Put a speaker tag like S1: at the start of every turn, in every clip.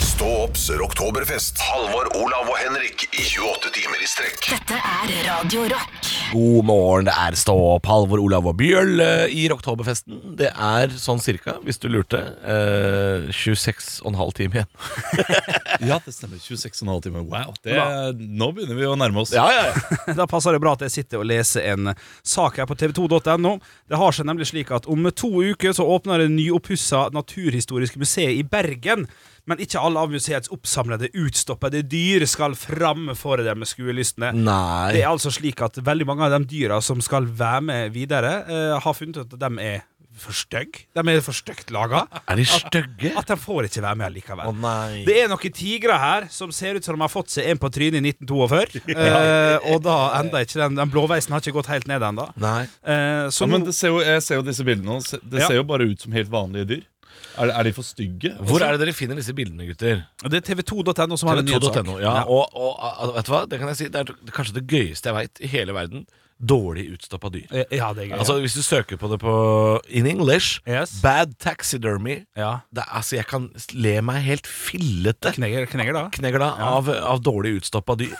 S1: Stå opps rocktoberfest. Halvor, Olav og Henrik i 28 timer i strekk.
S2: Dette er Radio Rock.
S3: God morgen, det er Stå opp, Halvor, Olav og Bjølle i Rocktoberfesten. Det er sånn cirka, hvis du lurte, eh, 26,5 timer igjen.
S4: Ja, det stemmer. 26,5 timer. Wow. Det, nå begynner vi å nærme oss.
S3: Ja, ja, ja.
S5: Da passer det bra at jeg sitter og leser en sak her på tv2.no. Det har seg nemlig slik at om to uker så åpner det nyoppussa Naturhistorisk museet i Bergen. Men ikke alle av museets oppsamlede, utstoppede dyr skal fram for de skuelystne.
S3: Nei.
S5: Det er altså slik at veldig mange av de dyra som skal være med videre, eh, har funnet ut at de er for stygge. De er for stygt laga.
S3: Er de stygge?
S5: At de får ikke være med likevel.
S3: Å, nei.
S5: Det er noen tigre her som ser ut som de har fått seg en på trynet i 1942. eh, og da enda ikke den, den blåveisen har ikke gått helt ned ennå.
S3: Nei.
S5: Eh, så
S4: Ja, men
S5: nå-
S4: det ser jo, jeg ser jo disse bildene. nå. Se- Det
S5: Ja.
S4: ser jo bare ut som helt vanlige dyr. Er, er de for stygge?
S3: Hvor er det dere finner disse bildene, gutter?
S5: det er tv2.no som har en nyhetssak.
S3: TV2.no. Ja, og, og al- vet du hva? Det kan jeg si, det er t- kanskje det gøyeste jeg veit i hele verden. Dårlig utstoppa dyr.
S5: Eh, ja, det er gøy.
S3: Altså Hvis du søker på det på in English
S5: Yes.
S3: Bad taxidermy.
S5: Ja.
S3: Det, er- altså, jeg kan le meg helt fillete.
S5: Kneger, kneger da.
S3: knegla av, av dårlig utstoppa dyr.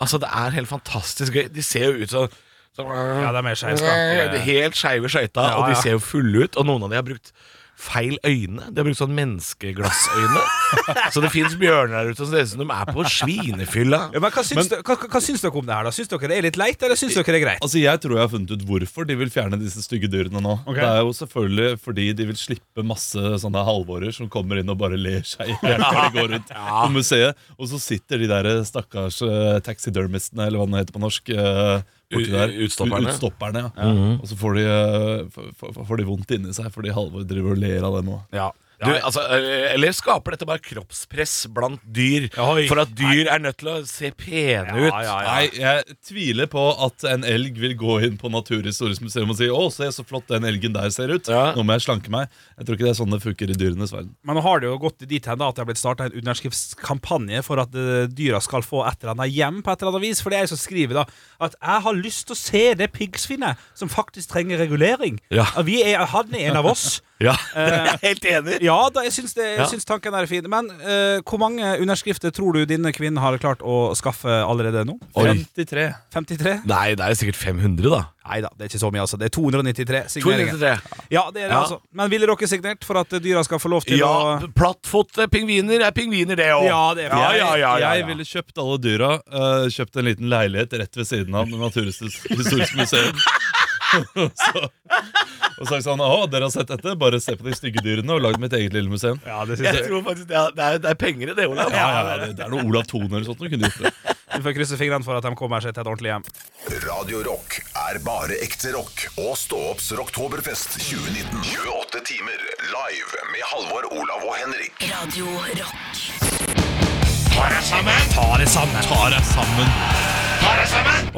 S3: altså, det er helt fantastisk gøy. De ser jo ut som som-
S5: Ja, de er skeive
S3: Det er
S5: skapere.
S3: Helt skeive skøyta,
S5: Ja,
S3: og de
S5: ja.
S3: ser jo fulle ut. Og noen av de har brukt feil øyne. De har brukt sånn menneskeglassøyne. så det fins bjørner der ute som ser ut som de er på svinefylla.
S5: Ja, men hva syns, dere- hva, hva syns dere om det her, da? Syns dere det er litt leit, eller syns dere det er greit?
S4: Altså, Jeg tror jeg har funnet ut hvorfor de vil fjerne disse stygge dyrene nå.
S5: Ok.
S4: Det er jo selvfølgelig fordi de vil slippe masse sånne halvårer som kommer inn og bare ler seg i hjel når de går rundt på museet. Og så sitter de der stakkars eh, taxidermistene, eller hva den heter på norsk. eh, borti
S3: U-
S4: der.
S3: utstopperne. Mhm.
S4: U- Utstopperne, ja. Og så får de, eh, f- f- får de vondt inni seg fordi Halvor driver og ler av dem òg.
S5: Ja.
S3: Du, altså, eh, eller skaper dette bare kroppspress blant dyr?
S5: Oi.
S3: For at dyr er nødt til å se pene ut?
S5: Ja, ja, ja.
S4: Nei, jeg tviler på at en elg vil gå inn på Naturhistorisk museum og si 'Å, se så flott den elgen der ser ut'.
S3: Ja.
S4: Nå må jeg slanke meg. Jeg tror ikke det er sånn det funker i dyrenes verden.
S5: Men nå har det jo gått dit hen da at det har blitt starta en underskriftskampanje for at eh, dyra skal få et eller annet hjem på et eller annet vis. For det er jeg som skriver da at jeg har lyst til å se det piggsvinet som faktisk trenger regulering.
S3: Ja.
S5: At Vi er, han er en av oss.
S3: Ja, Jeg er helt enig.
S5: Eh, Ja, da, jeg syns, det, jeg
S3: Ja.
S5: syns tanken er fin. Men eh, hvor mange underskrifter tror du denne kvinnen har klart å skaffe allerede nå?
S3: Oi.
S4: 53.
S5: 53?
S3: Nei, det er jo sikkert 500, da.
S5: Nei da, det er ikke så mye, altså. Det er 293 signeringer.
S3: 293.
S5: Ja, det er det
S3: Ja.
S5: altså Men ville dere signert for at eh, dyra skal få lov til
S3: Ja,
S5: å
S3: plattfotte pingviner er pingviner, det òg.
S5: Ja, det er
S3: ja, ja, ja, ja,
S4: Jeg ville kjøpt alle dyra. eh, kjøpt en liten leilighet rett ved siden av Naturhistorisk museum. Og så, og sagt sånn 'Å, dere har sett dette? Bare se på de stygge dyrene', og lagd mitt eget lille museum.
S5: Ja, det
S3: Jeg tror faktisk det er, det er, det er penger i det, Olav.
S4: Ja, ja, ja, det, det er noe Olav Thon eller sånt som kunne gjort det.
S5: Vi får krysse fingrene for at de kommer seg til et ordentlig hjem.
S1: Radio Rock er bare ekte rock. Og Stå opps rocktoberfest 2019. 28 timer live med Halvor, Olav og Henrik.
S2: Radio Rock.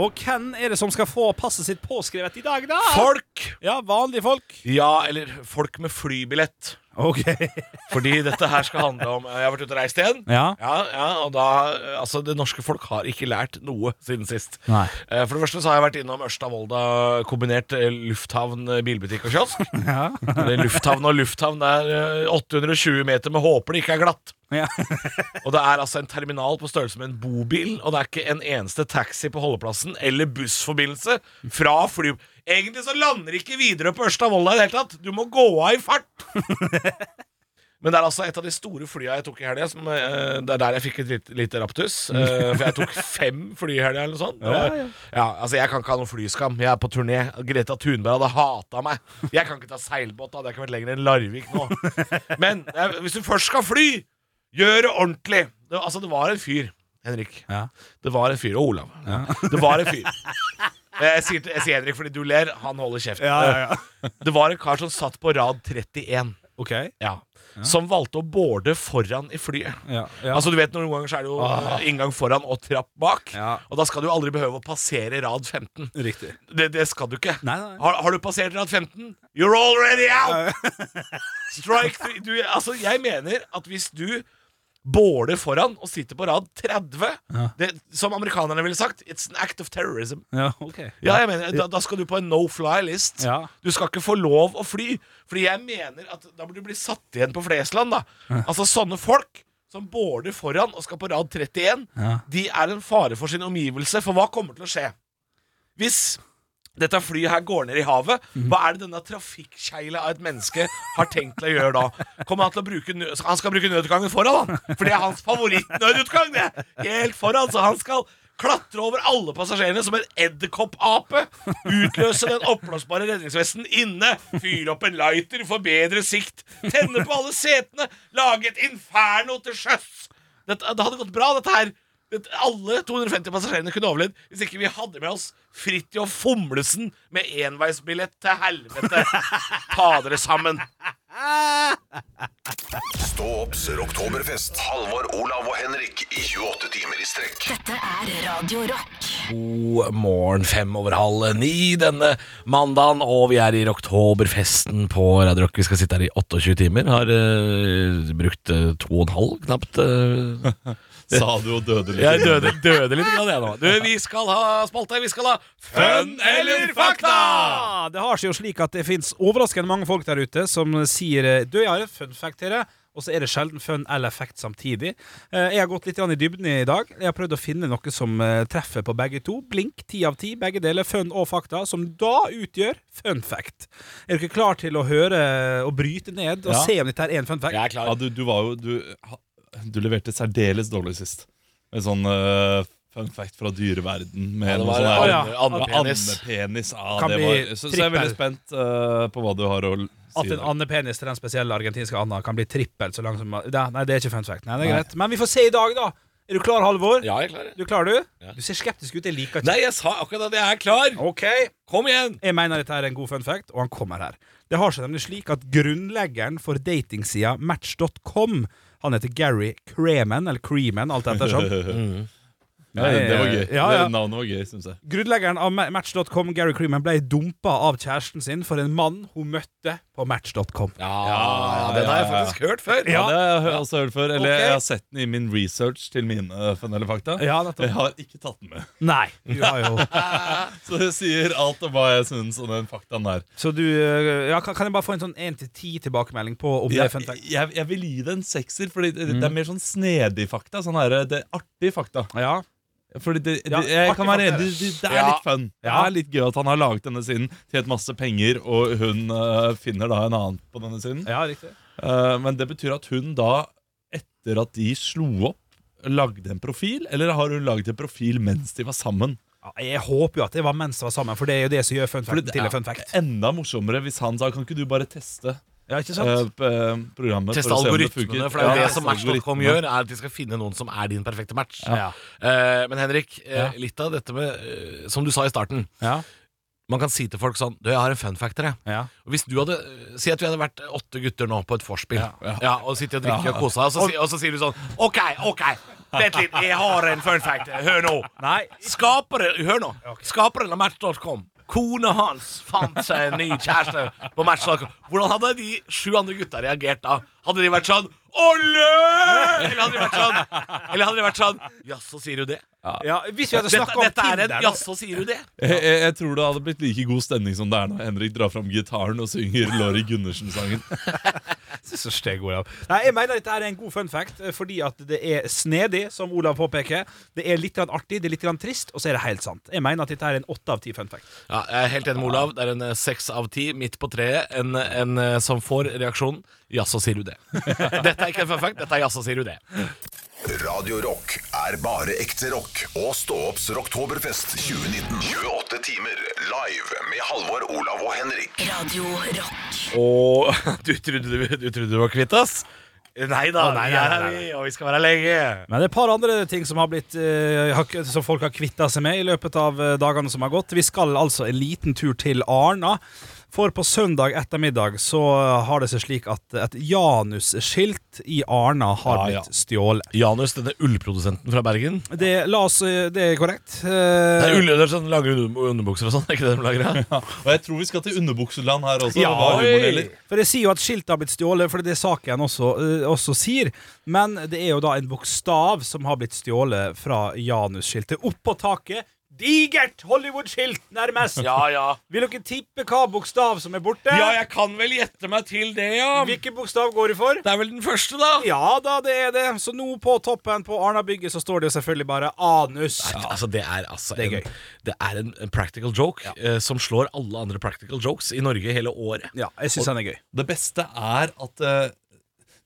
S5: Og hvem er det som skal få passet sitt påskrevet i dag, da?
S3: Folk!
S5: Ja, vanlige folk.
S3: Ja, eller folk med flybillett.
S5: Ok.
S3: Fordi dette her skal handle om Jeg har vært ute og reist igjen.
S5: Ja.
S3: Ja, ja, og da, altså Det norske folk har ikke lært noe siden sist.
S5: Nei.
S3: Eh, For det første så har jeg vært innom Ørsta-Volda kombinert eh, lufthavn, eh, bilbutikk og kiosk. Eller Lufthavn og lufthavn. Det er eh, 820 meter med håper det ikke er glatt.
S5: Ja.
S3: Og det er altså en terminal på størrelse med en bobil, og det er ikke en eneste taxi på holdeplassen eller bussforbindelse fra fly... Egentlig så lander ikke Widerøe på Ørsta Volda i det hele tatt. Du må gå av i fart! Men det er altså et av de store flya jeg tok i helga. som, eh, Det er der jeg fikk et lite, lite raptus. eh, for jeg tok fem fly i helga eller noe sånt. Ja, altså Jeg kan ikke ha noen flyskam. Jeg er på turné. Greta Thunberg hadde hata meg. Jeg kan ikke ta seilbåt. da hadde jeg ikke vært lenger enn Larvik nå. Men eh, hvis du først skal fly, Gjør det ordentlig! Det, altså, det var en fyr, Henrik.
S5: Ja.
S3: Det var en fyr. Og Olav. Det var en fyr. Jeg sier, til- jeg sier Henrik fordi du ler. Han holder kjeft. Det var en kar som satt på rad 31,
S5: Ok.
S3: ja. som valgte å borde foran i flyet.
S5: Ja, ja.
S3: Altså du vet Noen ganger så er det jo eh, inngang foran og trapp bak.
S5: Ja.
S3: Og da skal du aldri behøve å passere rad 15.
S5: Riktig.
S3: Det, det skal du ikke.
S5: Nei, nei.
S3: Har, har du passert rad 15? You're already out! Strike three. Du, altså, jeg mener at hvis du båler foran og sitter på rad 30 det, Som amerikanerne ville sagt, it's an act of terrorism.
S5: Ja, ok.
S3: Ja, jeg mener, da, da skal du på en no fly-list.
S5: Ja.
S3: Du skal ikke få lov å fly. Fordi jeg mener at da burde du bli satt igjen på Flesland. da Altså sånne folk
S6: som border foran og skal på rad 31,
S5: Ja.
S6: de er en fare for sin omgivelse. For hva kommer til å skje? Hvis dette flyet her går ned i havet, hva er det denne trafikkjegla av et menneske har tenkt til å gjøre da? Kommer Han til å bruke nø han skal bruke nødutgangen foran, han. For det er hans favorittnødutgang. det Helt foran, så han skal klatre over alle passasjerene som en edderkoppape. Utløse den oppblåsbare redningsvesten inne. Fyre opp en lighter for bedre sikt. Tenne på alle setene. Lage et inferno til sjøs. Dette, det hadde gått bra, dette her. Det- Alle 250 passasjerene kunne overlevd hvis ikke vi hadde med oss Fridtjof Fomlesen med enveisbillett til helvete. Ta dere sammen.
S1: Stå opps Rocktoberfest. Halvor, Olav og Henrik i 28 timer i strekk.
S2: Dette er Radio Rock.
S6: God morgen, fem over halv ni denne mandagen, og vi er i oktoberfesten på Radio Rock. Vi skal sitte her i 28 timer. Har eh, brukt eh, to og en halv, knapt. eh,
S4: Sa du og døde litt.
S6: Jeg døde, døde litt grann, jeg nå. Du, vi skal ha spalte. Vi skal ha Fun eller fakta!
S5: Ah, Det har seg jo slik at det fins overraskende mange folk der ute som sier eh, Du, jeg har en fun fact til deg. Og så er det sjelden fun eller fact samtidig. Eh, Jeg har gått litt grann i dybden i dag. Jeg har prøvd å finne noe som eh, treffer på begge to. Blink, ti av ti, begge deler. Fun og fakta, som da utgjør fun fact. Er dere klar til å høre eh, og bryte ned og
S4: Ja.
S5: se om dette er en fun fact?
S4: Ja,
S6: Jeg er klar.
S4: du, du var jo Du, ha- du leverte særdeles dårlig sist. En sånn eh, fun fact fra dyreverden med
S6: Ja, det
S4: noe
S6: var
S4: sånn
S5: Å,
S4: her-
S5: ja.
S6: andepenis.
S4: Andepenis. Ja,
S5: Kan
S4: det
S5: bli
S4: var, så, så jeg er
S5: trippel.
S4: veldig spent eh, på hva du har å l- si.
S5: At en
S4: der.
S5: andepenis til den spesielle argentinske anda kan bli trippelt så lang som Nei, nei, det er ikke fun fact. Nei, det er greit. Men vi får se i dag, da. Er du klar, Halvor?
S6: Ja, jeg er klar. jeg.
S5: Du klar, du?
S6: Ja.
S5: Du ser skeptisk ut. Jeg liker ikke
S6: Nei, jeg sa akkurat at jeg er klar.
S5: Ok.
S6: Kom igjen!
S5: Jeg mener dette er en god fun fact, og han kommer her. Det har seg nemlig slik at grunnleggeren for datingsida match.com, han heter Gary Creman, eller Creman, alt ettersom.
S4: Nei, Mm. det var gøy.
S5: Ja, ja.
S4: Det, navnet var gøy, syns jeg.
S5: Grunnleggeren av Ma- Match.com, Gary Creman, ble dumpa av kjæresten sin for en mann hun møtte på Match.com.
S6: Ja,
S4: ja,
S6: den har jeg
S4: ja, ja.
S6: faktisk hørt før.
S4: Ja,
S5: Ja.
S4: det har jeg også hørt før. Eller
S6: Ok.
S4: jeg har sett den i min research til mine eh, fun eller fakta.
S5: Ja, nettopp.
S4: Jeg har ikke tatt den med.
S5: Nei, du har jo
S4: Så det sier alt om hva jeg syns om den faktaen der.
S5: Så du eh, ja, kan, kan jeg bare få en sånn 1-10 tilbakemelding på om det er fun
S4: Jeg,
S5: fact? Mm.
S4: jeg, jeg vil gi det en sekser, Fordi det, det er mer sånn snedig fakta. Sånn her, det er artig fakta.
S5: Ja.
S4: Fordi det, det,
S5: Ja,
S4: jeg
S5: artig
S4: kan være
S5: fakta er
S4: enig,
S5: det.
S4: det, det er
S6: Ja.
S4: litt fun. Det
S5: Ja.
S4: er litt gøy at han har laget denne siden til et masse penger, og hun eh, finner da en annen på denne siden.
S5: ja, riktig.
S4: Eh, men det betyr at hun da, etter at de slo opp, lagde en profil? Eller har hun laget en profil mens de var sammen?
S5: Ja, jeg håper jo at det var mens de var sammen, for det er jo det som gjør fun
S4: Fordi
S5: facten til en fun fact.
S4: enda morsommere hvis han sa Kan ikke du bare teste
S5: Ja, ikke
S4: eh,
S5: sant?
S4: p- eh, programmet?
S6: Teste
S4: for å se om det
S6: algoritmene,
S4: funker?»
S6: for det er jo
S4: Ja,
S6: det som Match.com
S4: algoritmene.
S6: gjør, er at de skal finne noen som er din perfekte match.
S5: Ja.
S6: Eh, men Henrik, eh,
S4: Ja.
S6: litt av dette med eh, Som du sa i starten,
S5: Ja.
S6: man kan si til folk sånn Du, jeg har en fun fact til deg.
S5: ja.
S6: Og Hvis du hadde Si at vi hadde vært åtte gutter nå på et vorspiel, ja,
S5: Ja,
S6: og sitter og drikker og koser deg, og, så si- og så sier du sånn OK, OK, vent litt, jeg har en fun fact. Hør nå.
S5: Nei.
S6: Skapere, hør nå Skaperen av Match.com Kona hans fant seg en ny kjæreste på Match.com Hvordan hadde de sju andre gutta reagert da? Hadde de vært sånn Olle! Eller hadde de vært sånn Eller hadde de vært sånn Jaså, sier du det?
S5: Ja, hvis vi hadde
S6: Dette,
S5: snakket om
S6: dette er en
S5: Tinder
S6: Jaså, sier du det?
S4: Jeg, jeg, jeg tror det hadde blitt like god stemning som det er når Henrik drar fram gitaren og synger Laurie Gundersen-sangen.
S5: Så steg Olav. Nei, jeg mener dette er en god fun fact, eh, fordi at det er snedig, som Olav påpeker. Det er litt grann artig, det er litt grann trist, og så er det helt sant. Jeg mener at dette er en 8 av 10 fun fact.
S6: Ja, jeg er helt enig med Olav Det er en eh, seks av ti midt på treet En, en eh, som får reaksjonen Jaså, sier du det? Dette er ikke en fun fact Dette er jaså, sier du det?
S1: Radio Rock er bare ekte rock. Og stå opps Rocktoberfest 2019. 28 timer live med Halvor, Olav og Henrik.
S2: Radio Rock.
S6: Og du trodde du, du, trodde du var kvitt oss? Nei da,
S5: Å, nei,
S6: vi
S5: nei,
S6: er
S5: nei,
S6: her, vi, og vi skal være her lenge.
S5: Men det er et par andre ting som, har blitt, eh, har- som folk har kvitta seg med i løpet av eh, dagene som har gått. Vi skal altså en liten tur til Arna. For på søndag ettermiddag så har det seg slik at et Janus-skilt i Arna har
S4: Ja, ja.
S5: blitt stjålet.
S6: Janus, denne ullprodusenten fra Bergen.
S5: Det, la oss, eh, det er korrekt. Eh,
S6: Det er ull, det er sånn, lager under- underbukser og sånn. er ikke det de lager?
S4: Ja, og jeg tror vi skal til underbukseland her også.
S5: Ja,
S4: hva
S6: oi.
S4: humoren gjelder.
S5: For jeg sier jo at skiltet har blitt stjålet, for det er det saken også, eh, også sier. Men det er jo da en bokstav som har blitt stjålet fra Janus-skiltet. Opp på taket, Digert Hollywood-skilt, nærmest.
S6: Ja, ja.
S5: Vil dere tippe hva bokstav som er borte?
S6: Ja, jeg kan vel gjette meg til det, ja.
S5: Hvilken bokstav går det for?
S6: Det er vel den første, da.
S5: Ja da, det er det. Så nå på toppen på Arna-bygget så står det jo selvfølgelig bare anus.
S6: Altså, det er altså
S5: Det er gøy.
S6: en, det er en en practical joke eh, som slår alle andre practical jokes i Norge hele året.
S5: Ja, jeg syns den er gøy.
S4: Det beste er at eh,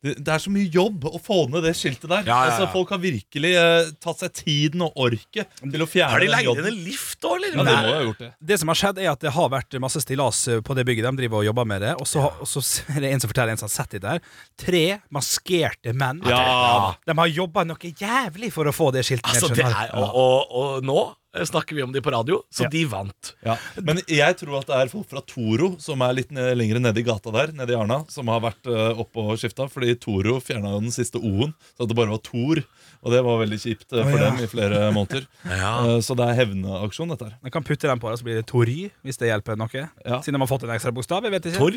S4: det, det er så mye jobb å få ned det skiltet der.
S6: Ja, ja, ja.
S4: Altså, folk har virkelig eh, tatt seg tiden og orket til å fjerne
S6: Har de
S4: den
S6: leid inn
S4: jobben.
S6: en lift òg, eller?
S4: Ja, det må jo ha gjort det.
S5: Det som har skjedd, er at det har vært masse stillas eh, på det bygget. De driver og jobber med det. Og så, og så er det en som forteller en som har sett det der. Tre maskerte menn.
S6: Ah.
S4: Ja.
S5: De har jobba noe jævlig for å få det skiltet.
S6: Altså,
S5: ned,
S6: det
S5: skjønner
S6: er, og, og, og nå eh, snakker vi om de på radio, så
S5: Ja.
S6: de vant.
S4: Ja. Men jeg tror at det er folk fra Toro som er litt ned, lenger nede i gata der, nede i Arna, som har vært eh, oppe og skifta. Fordi Toro fjerna jo den siste O-en, så at det bare var Tor. Og det var veldig kjipt eh, for
S5: Å, ja.
S4: dem i flere måneder. Eh, så det er hevnaksjon, dette her.
S5: du. De kan putte dem på det, så blir det Tory, hvis det hjelper noe.
S4: Ja.
S5: Siden de har fått en ekstra bokstav. Jeg vet ikke.
S4: Tor.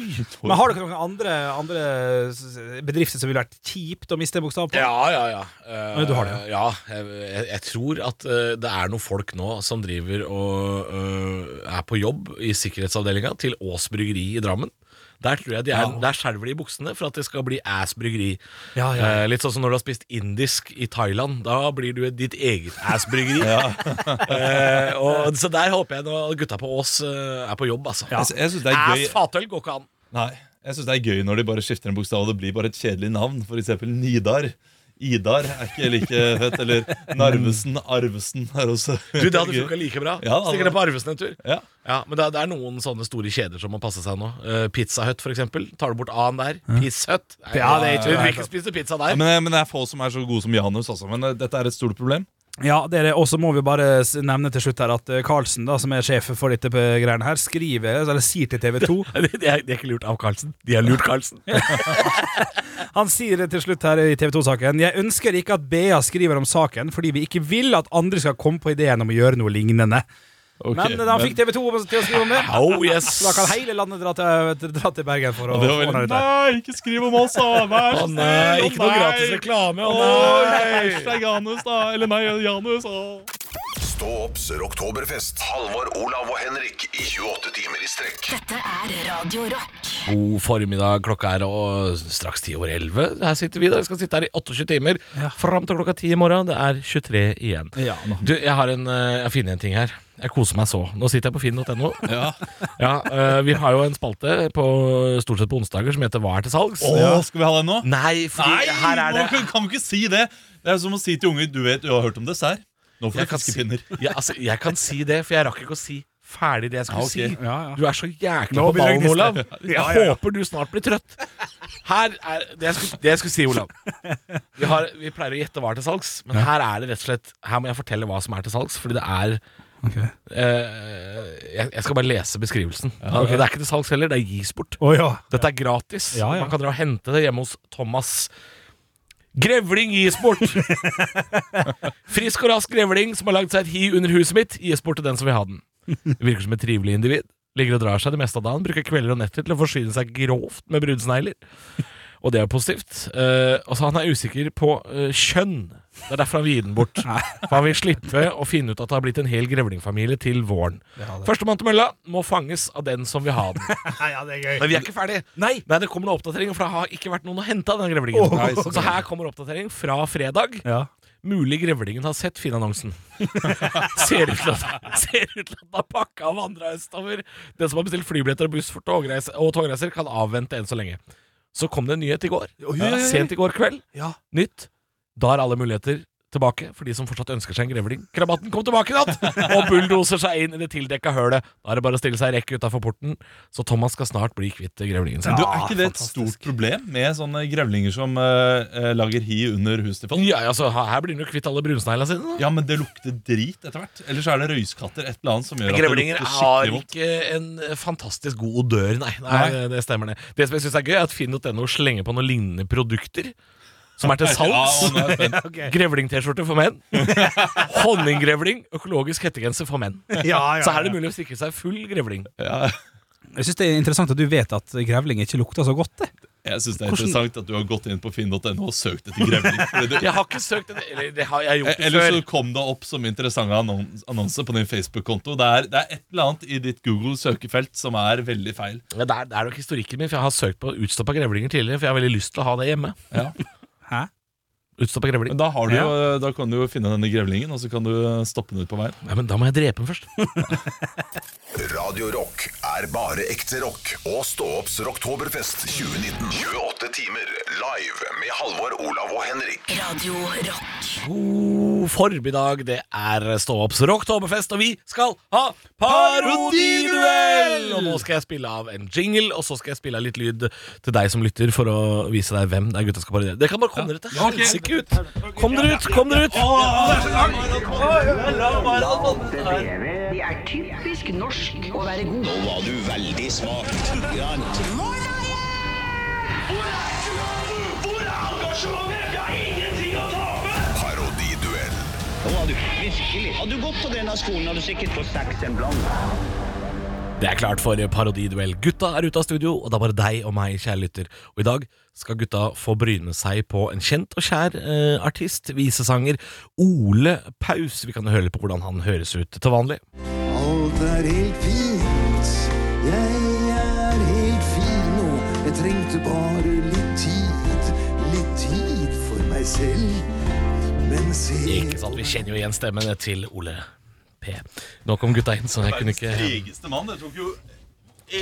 S5: Men har dere noen andre, andre s- bedrifter som ville vært kjipt å miste en bokstav på?
S6: Ja, ja, ja. Eh,
S5: Ja, du har det, ja.
S6: ja, jeg, jeg- jeg tror at eh, det er noen folk nå som driver og eh, er på jobb i sikkerhetsavdelinga til Ås Bryggeri i Drammen. Der tror jeg de er, der skjelver de i buksene for at det skal bli ass bryggeri.
S5: Ja, ja, ja.
S6: Eh, litt sånn som når du har spist indisk i Thailand. Da blir du ditt eget ass bryggeri. Eh, og, så der håper jeg nå gutta på Ås eh, er på jobb, altså.
S4: Jeg, jeg synes det er gøy
S6: Ass fatøl går ikke an.
S4: Nei, jeg synes det er gøy når de bare skifter en bokstav Og det blir bare et kjedelig navn For eksempel Nidar Idar er ikke like fett Eller Narvesen, Arvesen er også
S6: Du, Det hadde
S4: gøy.
S6: funka like bra.
S4: Ja, det hadde
S6: Stikker ned på Arvesen en tur.
S4: Ja.
S6: men det, er- det er noen sånne store kjeder som må passe seg nå. Eh, pizza Hut, for eksempel. Tar du bort A-en der? Pizza Hut. Nei,
S5: Ja, det er ikke-
S6: Du vil ikke spise pizza der.
S4: Ja, men, men det er få som er så gode som Janus også Men eh, dette er et stort problem
S5: Ja, det er det. Og så må vi bare s- nevne til slutt her at eh, Carlsen, da, som er sjef for dette eh, greiene her, skriver, eller sier til TV 2
S6: det, er, det er ikke lurt av Carlsen. De har lurt Carlsen.
S5: Han sier det til slutt her i TV 2-saken. Jeg ønsker ikke at BA skriver om saken, fordi vi ikke vil at andre skal komme på ideen om å gjøre noe lignende.
S4: Ok,
S5: men eh, da fikk TV 2 til å skrive om det.
S6: Oh, yes.
S5: Så da kan hele landet dra til, dra til Bergen for å
S4: Og det var
S5: ordne
S4: veldig,
S5: dette. her.
S4: Nei, ikke skriv om oss da Vær
S6: Å
S4: så snill
S6: nei, ikke noe gratis reklame. Å nei.
S4: Hashtag Janus da Eller nei, Janus å.
S1: Stå opps Rocktoberfest. Halvor, Olav og Henrik i 28 timer i strekk.
S2: Dette er Radio Rock.
S6: God formiddag, klokka er og straks ti over elleve. Her sitter vi da, vi skal sitte her i 28 timer. Fram til klokka ti i morgen. Det er 23 igjen.
S5: Ja, nå.
S6: Du, jeg har en, eh, jeg har funnet en ting her. Jeg koser meg så. Nå sitter jeg på finn.no. Ja. eh, vi har jo en spalte på, stort sett på onsdager som heter Hva er til salgs?
S4: Åh, skal vi ha den nå?
S6: Nei, fordi
S4: Nei,
S6: her er
S4: nå
S6: det
S4: kan, kan du ikke si det Det er som å si til unger Du vet, du har hørt om dessert Nå får
S6: jeg
S4: du
S6: kan, si,
S4: fiskepinner
S6: ja, altså, jeg kan si det, for jeg rakk ikke å si ferdig det jeg skulle
S4: Ja, ok.
S6: si.
S5: Ah, Ja, ja.
S6: Du er så jækla
S5: Nå
S6: på
S5: begynner jeg
S6: ballen,
S5: å
S6: Olav.
S5: gniste.
S6: Jeg
S5: Ja, ja, ja.
S6: håper du snart blir trøtt. Her er det jeg skulle, det jeg skulle si, Olav. Vi, har, vi pleier å gjette hva er til salgs, men her er det rett og slett Her må jeg fortelle hva som er til salgs, fordi det er
S5: Ok.
S6: eh, jeg, jeg skal bare lese beskrivelsen. Det er ikke til salgs heller, det gis bort.
S5: Å ja.
S6: Dette er gratis.
S5: Ja, ja.
S6: Man kan dra og hente det hjemme hos Thomas. Grevling gis bort! Frisk og rask grevling som har lagd seg et hi under huset mitt, gis bort til den som vil ha den. Virker som et trivelig individ. Ligger og drar seg det meste av dagen. Bruker kvelder og netter til å forsyne seg grovt med brudsnegler. Og det er jo positivt. Eh, altså, han er usikker på eh, kjønn. Det er derfor han vil gi den bort. For han vil slippe å finne ut at det har blitt en hel grevlingfamilie til våren. Førstemann til mølla må fanges av den som vil ha den.
S5: ja, det er gøy.
S6: Men vi er ikke ferdig. Nei. det kommer noen oppdateringer, for det har ikke vært noen å hente av den grevlingen.
S5: Åh. Nei,
S6: så her kommer oppdatering fra fredag.
S5: Ja.
S6: Mulig grevlingen har sett Finn-annonsen. ser, ut til at- ser ut til at den har pakka og vandra østover. Den som har bestilt flybilletter og buss for togreiser, og togreiser, kan avvente enn så lenge. Så kom det en nyhet i går. Sent i går kveld.
S5: Ja.
S6: Nytt. Da er alle muligheter tilbake for de som fortsatt ønsker seg en grevling. Krabaten kom tilbake i natt og bulldoser seg inn i det tildekka hølet. Da er det bare å stille seg i rekke utafor porten, så Thomas skal snart bli kvitt grevlingen sin.
S4: Du, er ikke det et
S5: fantastisk.
S4: stort problem med sånne grevlinger som eh, eh, lager hi under huset til folk?
S6: Ja, altså, her her blir han jo kvitt alle brunsnegla sine. da.
S4: Ja, men det lukter drit etter hvert. Eller så er det røyskatter et eller annet som gjør at det
S6: Grevlinger
S4: lukter
S6: har
S4: skikkelig vondt.
S6: ikke en fantastisk god odør, nei. nei, Det stemmer, det. Det som jeg syns er gøy, er at finn.no slenger på noen lignende produkter som er til salgs.
S4: Ja, nå er jeg spent.
S6: Grevling-T-skjorte for menn. Honninggrevling, økologisk hettegenser for menn. Så her er det mulig å stikke seg full grevling.
S4: ja.
S5: Jeg syns det er interessant at du vet at grevling ikke lukter så godt. Det.
S4: Jeg syns det er interessant at du har gått inn på finn.no og søkt etter grevling. fordi det-
S6: Jeg har ikke søkt en Eh, Eller det har jeg gjort
S4: Eller så
S6: før.
S4: kom det opp som interessante annon- annonser på din Facebook-konto. Det, er- det er et eller annet i ditt Google-søkefelt som er veldig feil.
S6: Men Det er, det er nok historikken min, for jeg har søkt på utstoppa grevlinger tidligere. For jeg har veldig lyst til å ha det hjemme.
S5: Hæ?
S6: Utstoppa grevling.
S4: Men da, har du jo, eh, da kan du jo finne denne grevlingen, og så kan du eh, stoppe den ut på veien.
S6: Nei, men da må jeg drepe den først.
S1: Radio Rock er bare ekte rock. Og stå opps Rocktoberfest 2019. 28 timer live med Halvor, Olav og Henrik.
S2: Radio Rock.
S6: God formiddag, det er Stå opps rocktoberfest, og vi skal ha parodiduell! Og nå skal jeg spille av en jingle, og så skal jeg spille av litt lyd til deg som lytter, for å vise deg hvem det er gutta skal parodiere. Dere kan bare komme dere til helsike ut! Kom dere ut! Kom dere ut!
S7: Det er typisk norsk å være god. Nå var du veldig smak.
S8: Hvor er engasjementet? Jeg har ingenting å tape!
S1: Parodiduell.
S7: Nå var du virkelig. Hadde du gått på denne skolen, hadde du sikkert fått seks en blant.
S6: Det er klart for parodiduell. Gutta er ute av studio, og det er bare deg og meg, kjære lytter. Og i dag skal gutta få bryne seg på en kjent og kjær eh, artist, visesanger Ole Paus. Vi kan jo høre litt på hvordan han høres ut til vanlig.
S9: Alt er helt fint. Jeg er helt fin nå. Jeg trengte bare litt tid. Litt tid for meg selv. Men se
S6: Ikke sant, Vi kjenner jo igjen stemmene til Ole P. Nå kom gutta inn, så jeg kunne ikke
S4: Tregeste mann. Det tok jo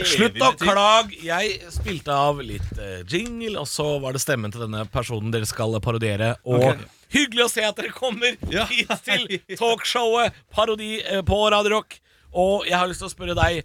S6: Slutt å klage! Jeg spilte av litt eh, jingle, og så var det stemmen til denne personen dere skal parodiere. Og hyggelig å se at dere kommer
S4: Ja.
S6: hit til talkshowet Parodi eh, på Radio Rock. Og jeg har lyst til å spørre deg,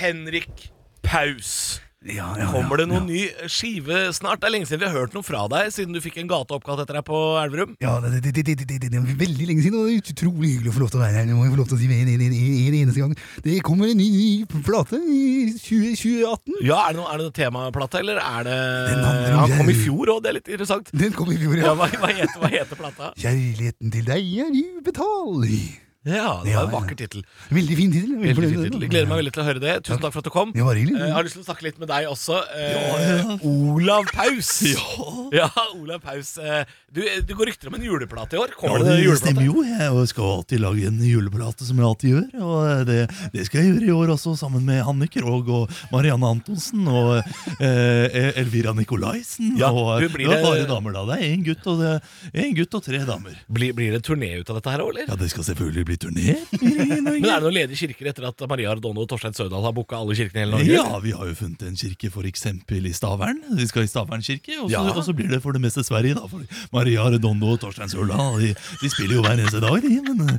S6: Henrik Paus.
S5: Ja, ja, ja.
S6: Kommer det noen ny eh, skive snart? Det er lenge siden vi har hørt noe fra deg, siden du fikk en gate oppkalt etter deg på Elverum.
S10: Ja, det, det, det, det, det, det, det er veldig lenge siden, og det er utrolig hyggelig å få lov til å være her. Jeg må jo få lov til å si det en, en, en, en eneste gang. Det kommer en ny, ny plate i 20, 2018.
S6: Ja, Er det noe, er det noe temaplate, eller er det
S10: Den handler om
S6: Han kom i
S10: jerv.
S6: fjor òg, det er litt interessant.
S10: Den kom i fjor,
S6: Ja,
S10: ja.
S6: hva, hva, heter, hva heter plata?
S10: Kjærligheten til deg er ubetalelig.
S6: Ja, det var en vakker tittel.
S10: Veldig fin tittel. veldig
S6: Veldig
S10: fornøyd
S6: fin
S10: med den.
S6: tittel. Jeg Gleder meg veldig til å høre det. Tusen takk for at du kom.
S10: Det var
S6: Eh,
S10: hyggelig.
S6: Jeg har lyst til å snakke litt med deg også. Eh, Olav Paus. Ja, Olav Paus. Eh, Du, du går rykter om en juleplate i år. Kommer det
S11: stemmer
S6: juleplate?
S11: jo. Jeg skal alltid lage en juleplate, som jeg alltid gjør. Og eh, det, det skal jeg gjøre i år også, sammen med Hanne Krogh og Marianne Antonsen og eh, Elvira Nikolaisen.
S6: Ja,
S11: og eh,
S6: du blir
S11: det er
S6: det-
S11: bare damer, da. Det er én gutt, og det er en gutt og tre damer.
S6: Blir, blir det turné ut av dette her òg, eller?
S11: Ja, det skal selvfølgelig bli turné.
S6: Men er det noen ledige kirker etter at Maria Ardono og Torstein Sødal har booka alle kirkene i hele Norge?
S11: Ja, vi har jo funnet en kirke for eksempel i Stavern. Vi skal i Stavern kirke, og så,
S6: Ja.
S11: og så blir det for det meste Sverige, da. For Maria Redondo og Torstein Sørla de, de spiller jo hver eneste dag, de. Men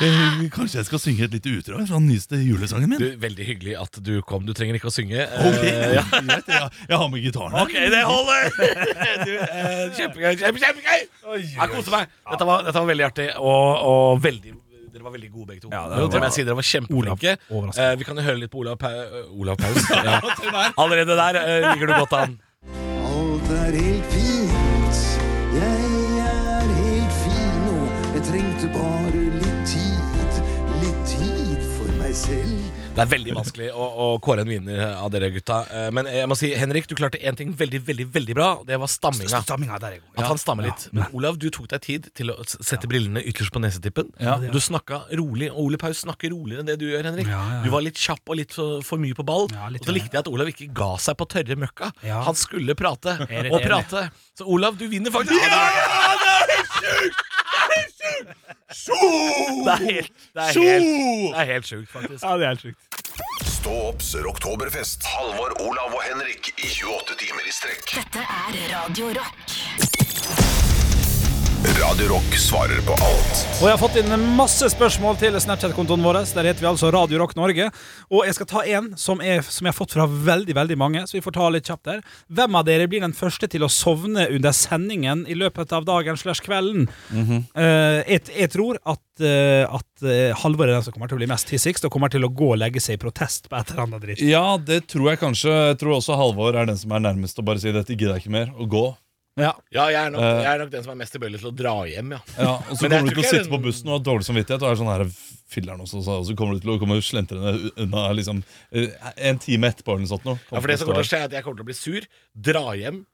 S11: eh, kanskje jeg skal synge et lite utdrag fra den nyeste julesangen
S6: Du,
S11: min?
S6: Veldig hyggelig at du kom. Du trenger ikke å synge.
S11: Ok,
S6: Eh,
S11: ja. greit, jeg, jeg har med gitaren her.
S6: Ok, det holder! Du, eh, kjempegøy. kjempe, kjempegøy! Jeg koser meg. Dette var, dette var veldig artig, og, og veldig dere var veldig gode begge to.
S5: Ja, det
S6: det,
S5: var-
S6: må jeg si, dere var kjempeflinke.
S5: Olav, overraskende.
S6: Eh, vi kan jo høre litt på Olav, pa eh, Olav Paus. Ja. Allerede der eh, ligger du godt an.
S9: Alt er helt fint. Jeg er helt fin nå. Jeg trengte bare litt tid. Litt tid for meg selv.
S6: Det er veldig vanskelig å, å kåre en vinner av dere gutta. Eh, men jeg må si, Henrik, du klarte én ting veldig, veldig veldig bra. og Det var stamminga.
S5: Stamminga der er god.
S6: At han stammer litt. Men Olav, du tok deg tid til å s- sette brillene ytterst på nesetippen. Du snakka rolig, og Ole Paus snakker roligere enn det du gjør, Henrik. Du var litt kjapp og litt for, for mye på ball.
S5: Ja, litt
S6: og så
S5: enig.
S6: likte jeg at Olav ikke ga seg på tørre møkka.
S5: Ja.
S6: Han skulle prate
S5: er litt
S6: og
S5: enig.
S6: prate. Så Olav, du vinner faktisk. Ja! Det er helt sjukt! Det er helt sjukt! Det er helt, det er helt sjukt, faktisk.
S5: Ja, det er helt sjukt.
S1: Stå opps Rocktoberfest. Halvor, Olav og Henrik i 28 timer i strekk.
S2: Dette er Radio Rock.
S1: Radio Rock svarer på alt.
S5: Og jeg har fått inn masse spørsmål til Snapchat-kontoen vår. Der heter vi altså Radio Rock Norge. Og jeg skal ta en som, er, som jeg har fått fra veldig veldig mange. Så vi får ta litt kjapt der. Hvem av dere blir den første til å sovne under sendingen i løpet av dagen slash kvelden? Eh, jeg, jeg tror at, eh, at eh, Halvor er den som kommer til å bli mest hissigst, og kommer til å gå og legge seg i protest på et eller annet dritt.
S4: Ja, det tror jeg kanskje. Jeg tror også Halvor er den som er nærmest å bare si dette gidder jeg ikke mer, og gå.
S5: Ja.
S6: Ja, jeg er, nok,
S5: Eh,
S6: jeg er nok den som er mest tilbøyelig til å dra hjem, ja.
S4: Ja, og så
S6: Men jeg
S4: kommer du
S6: tror
S4: til å
S6: ikke
S4: sitte på bussen og ha dårlig samvittighet. Og er sånn her, filleren også, så- og så kommer du til å komme slentrende unna liksom, eh, en time etterpå. eller noe sånt nå.
S6: Ja, for det som kommer til å skje er at Jeg kommer til å bli sur, dra hjem,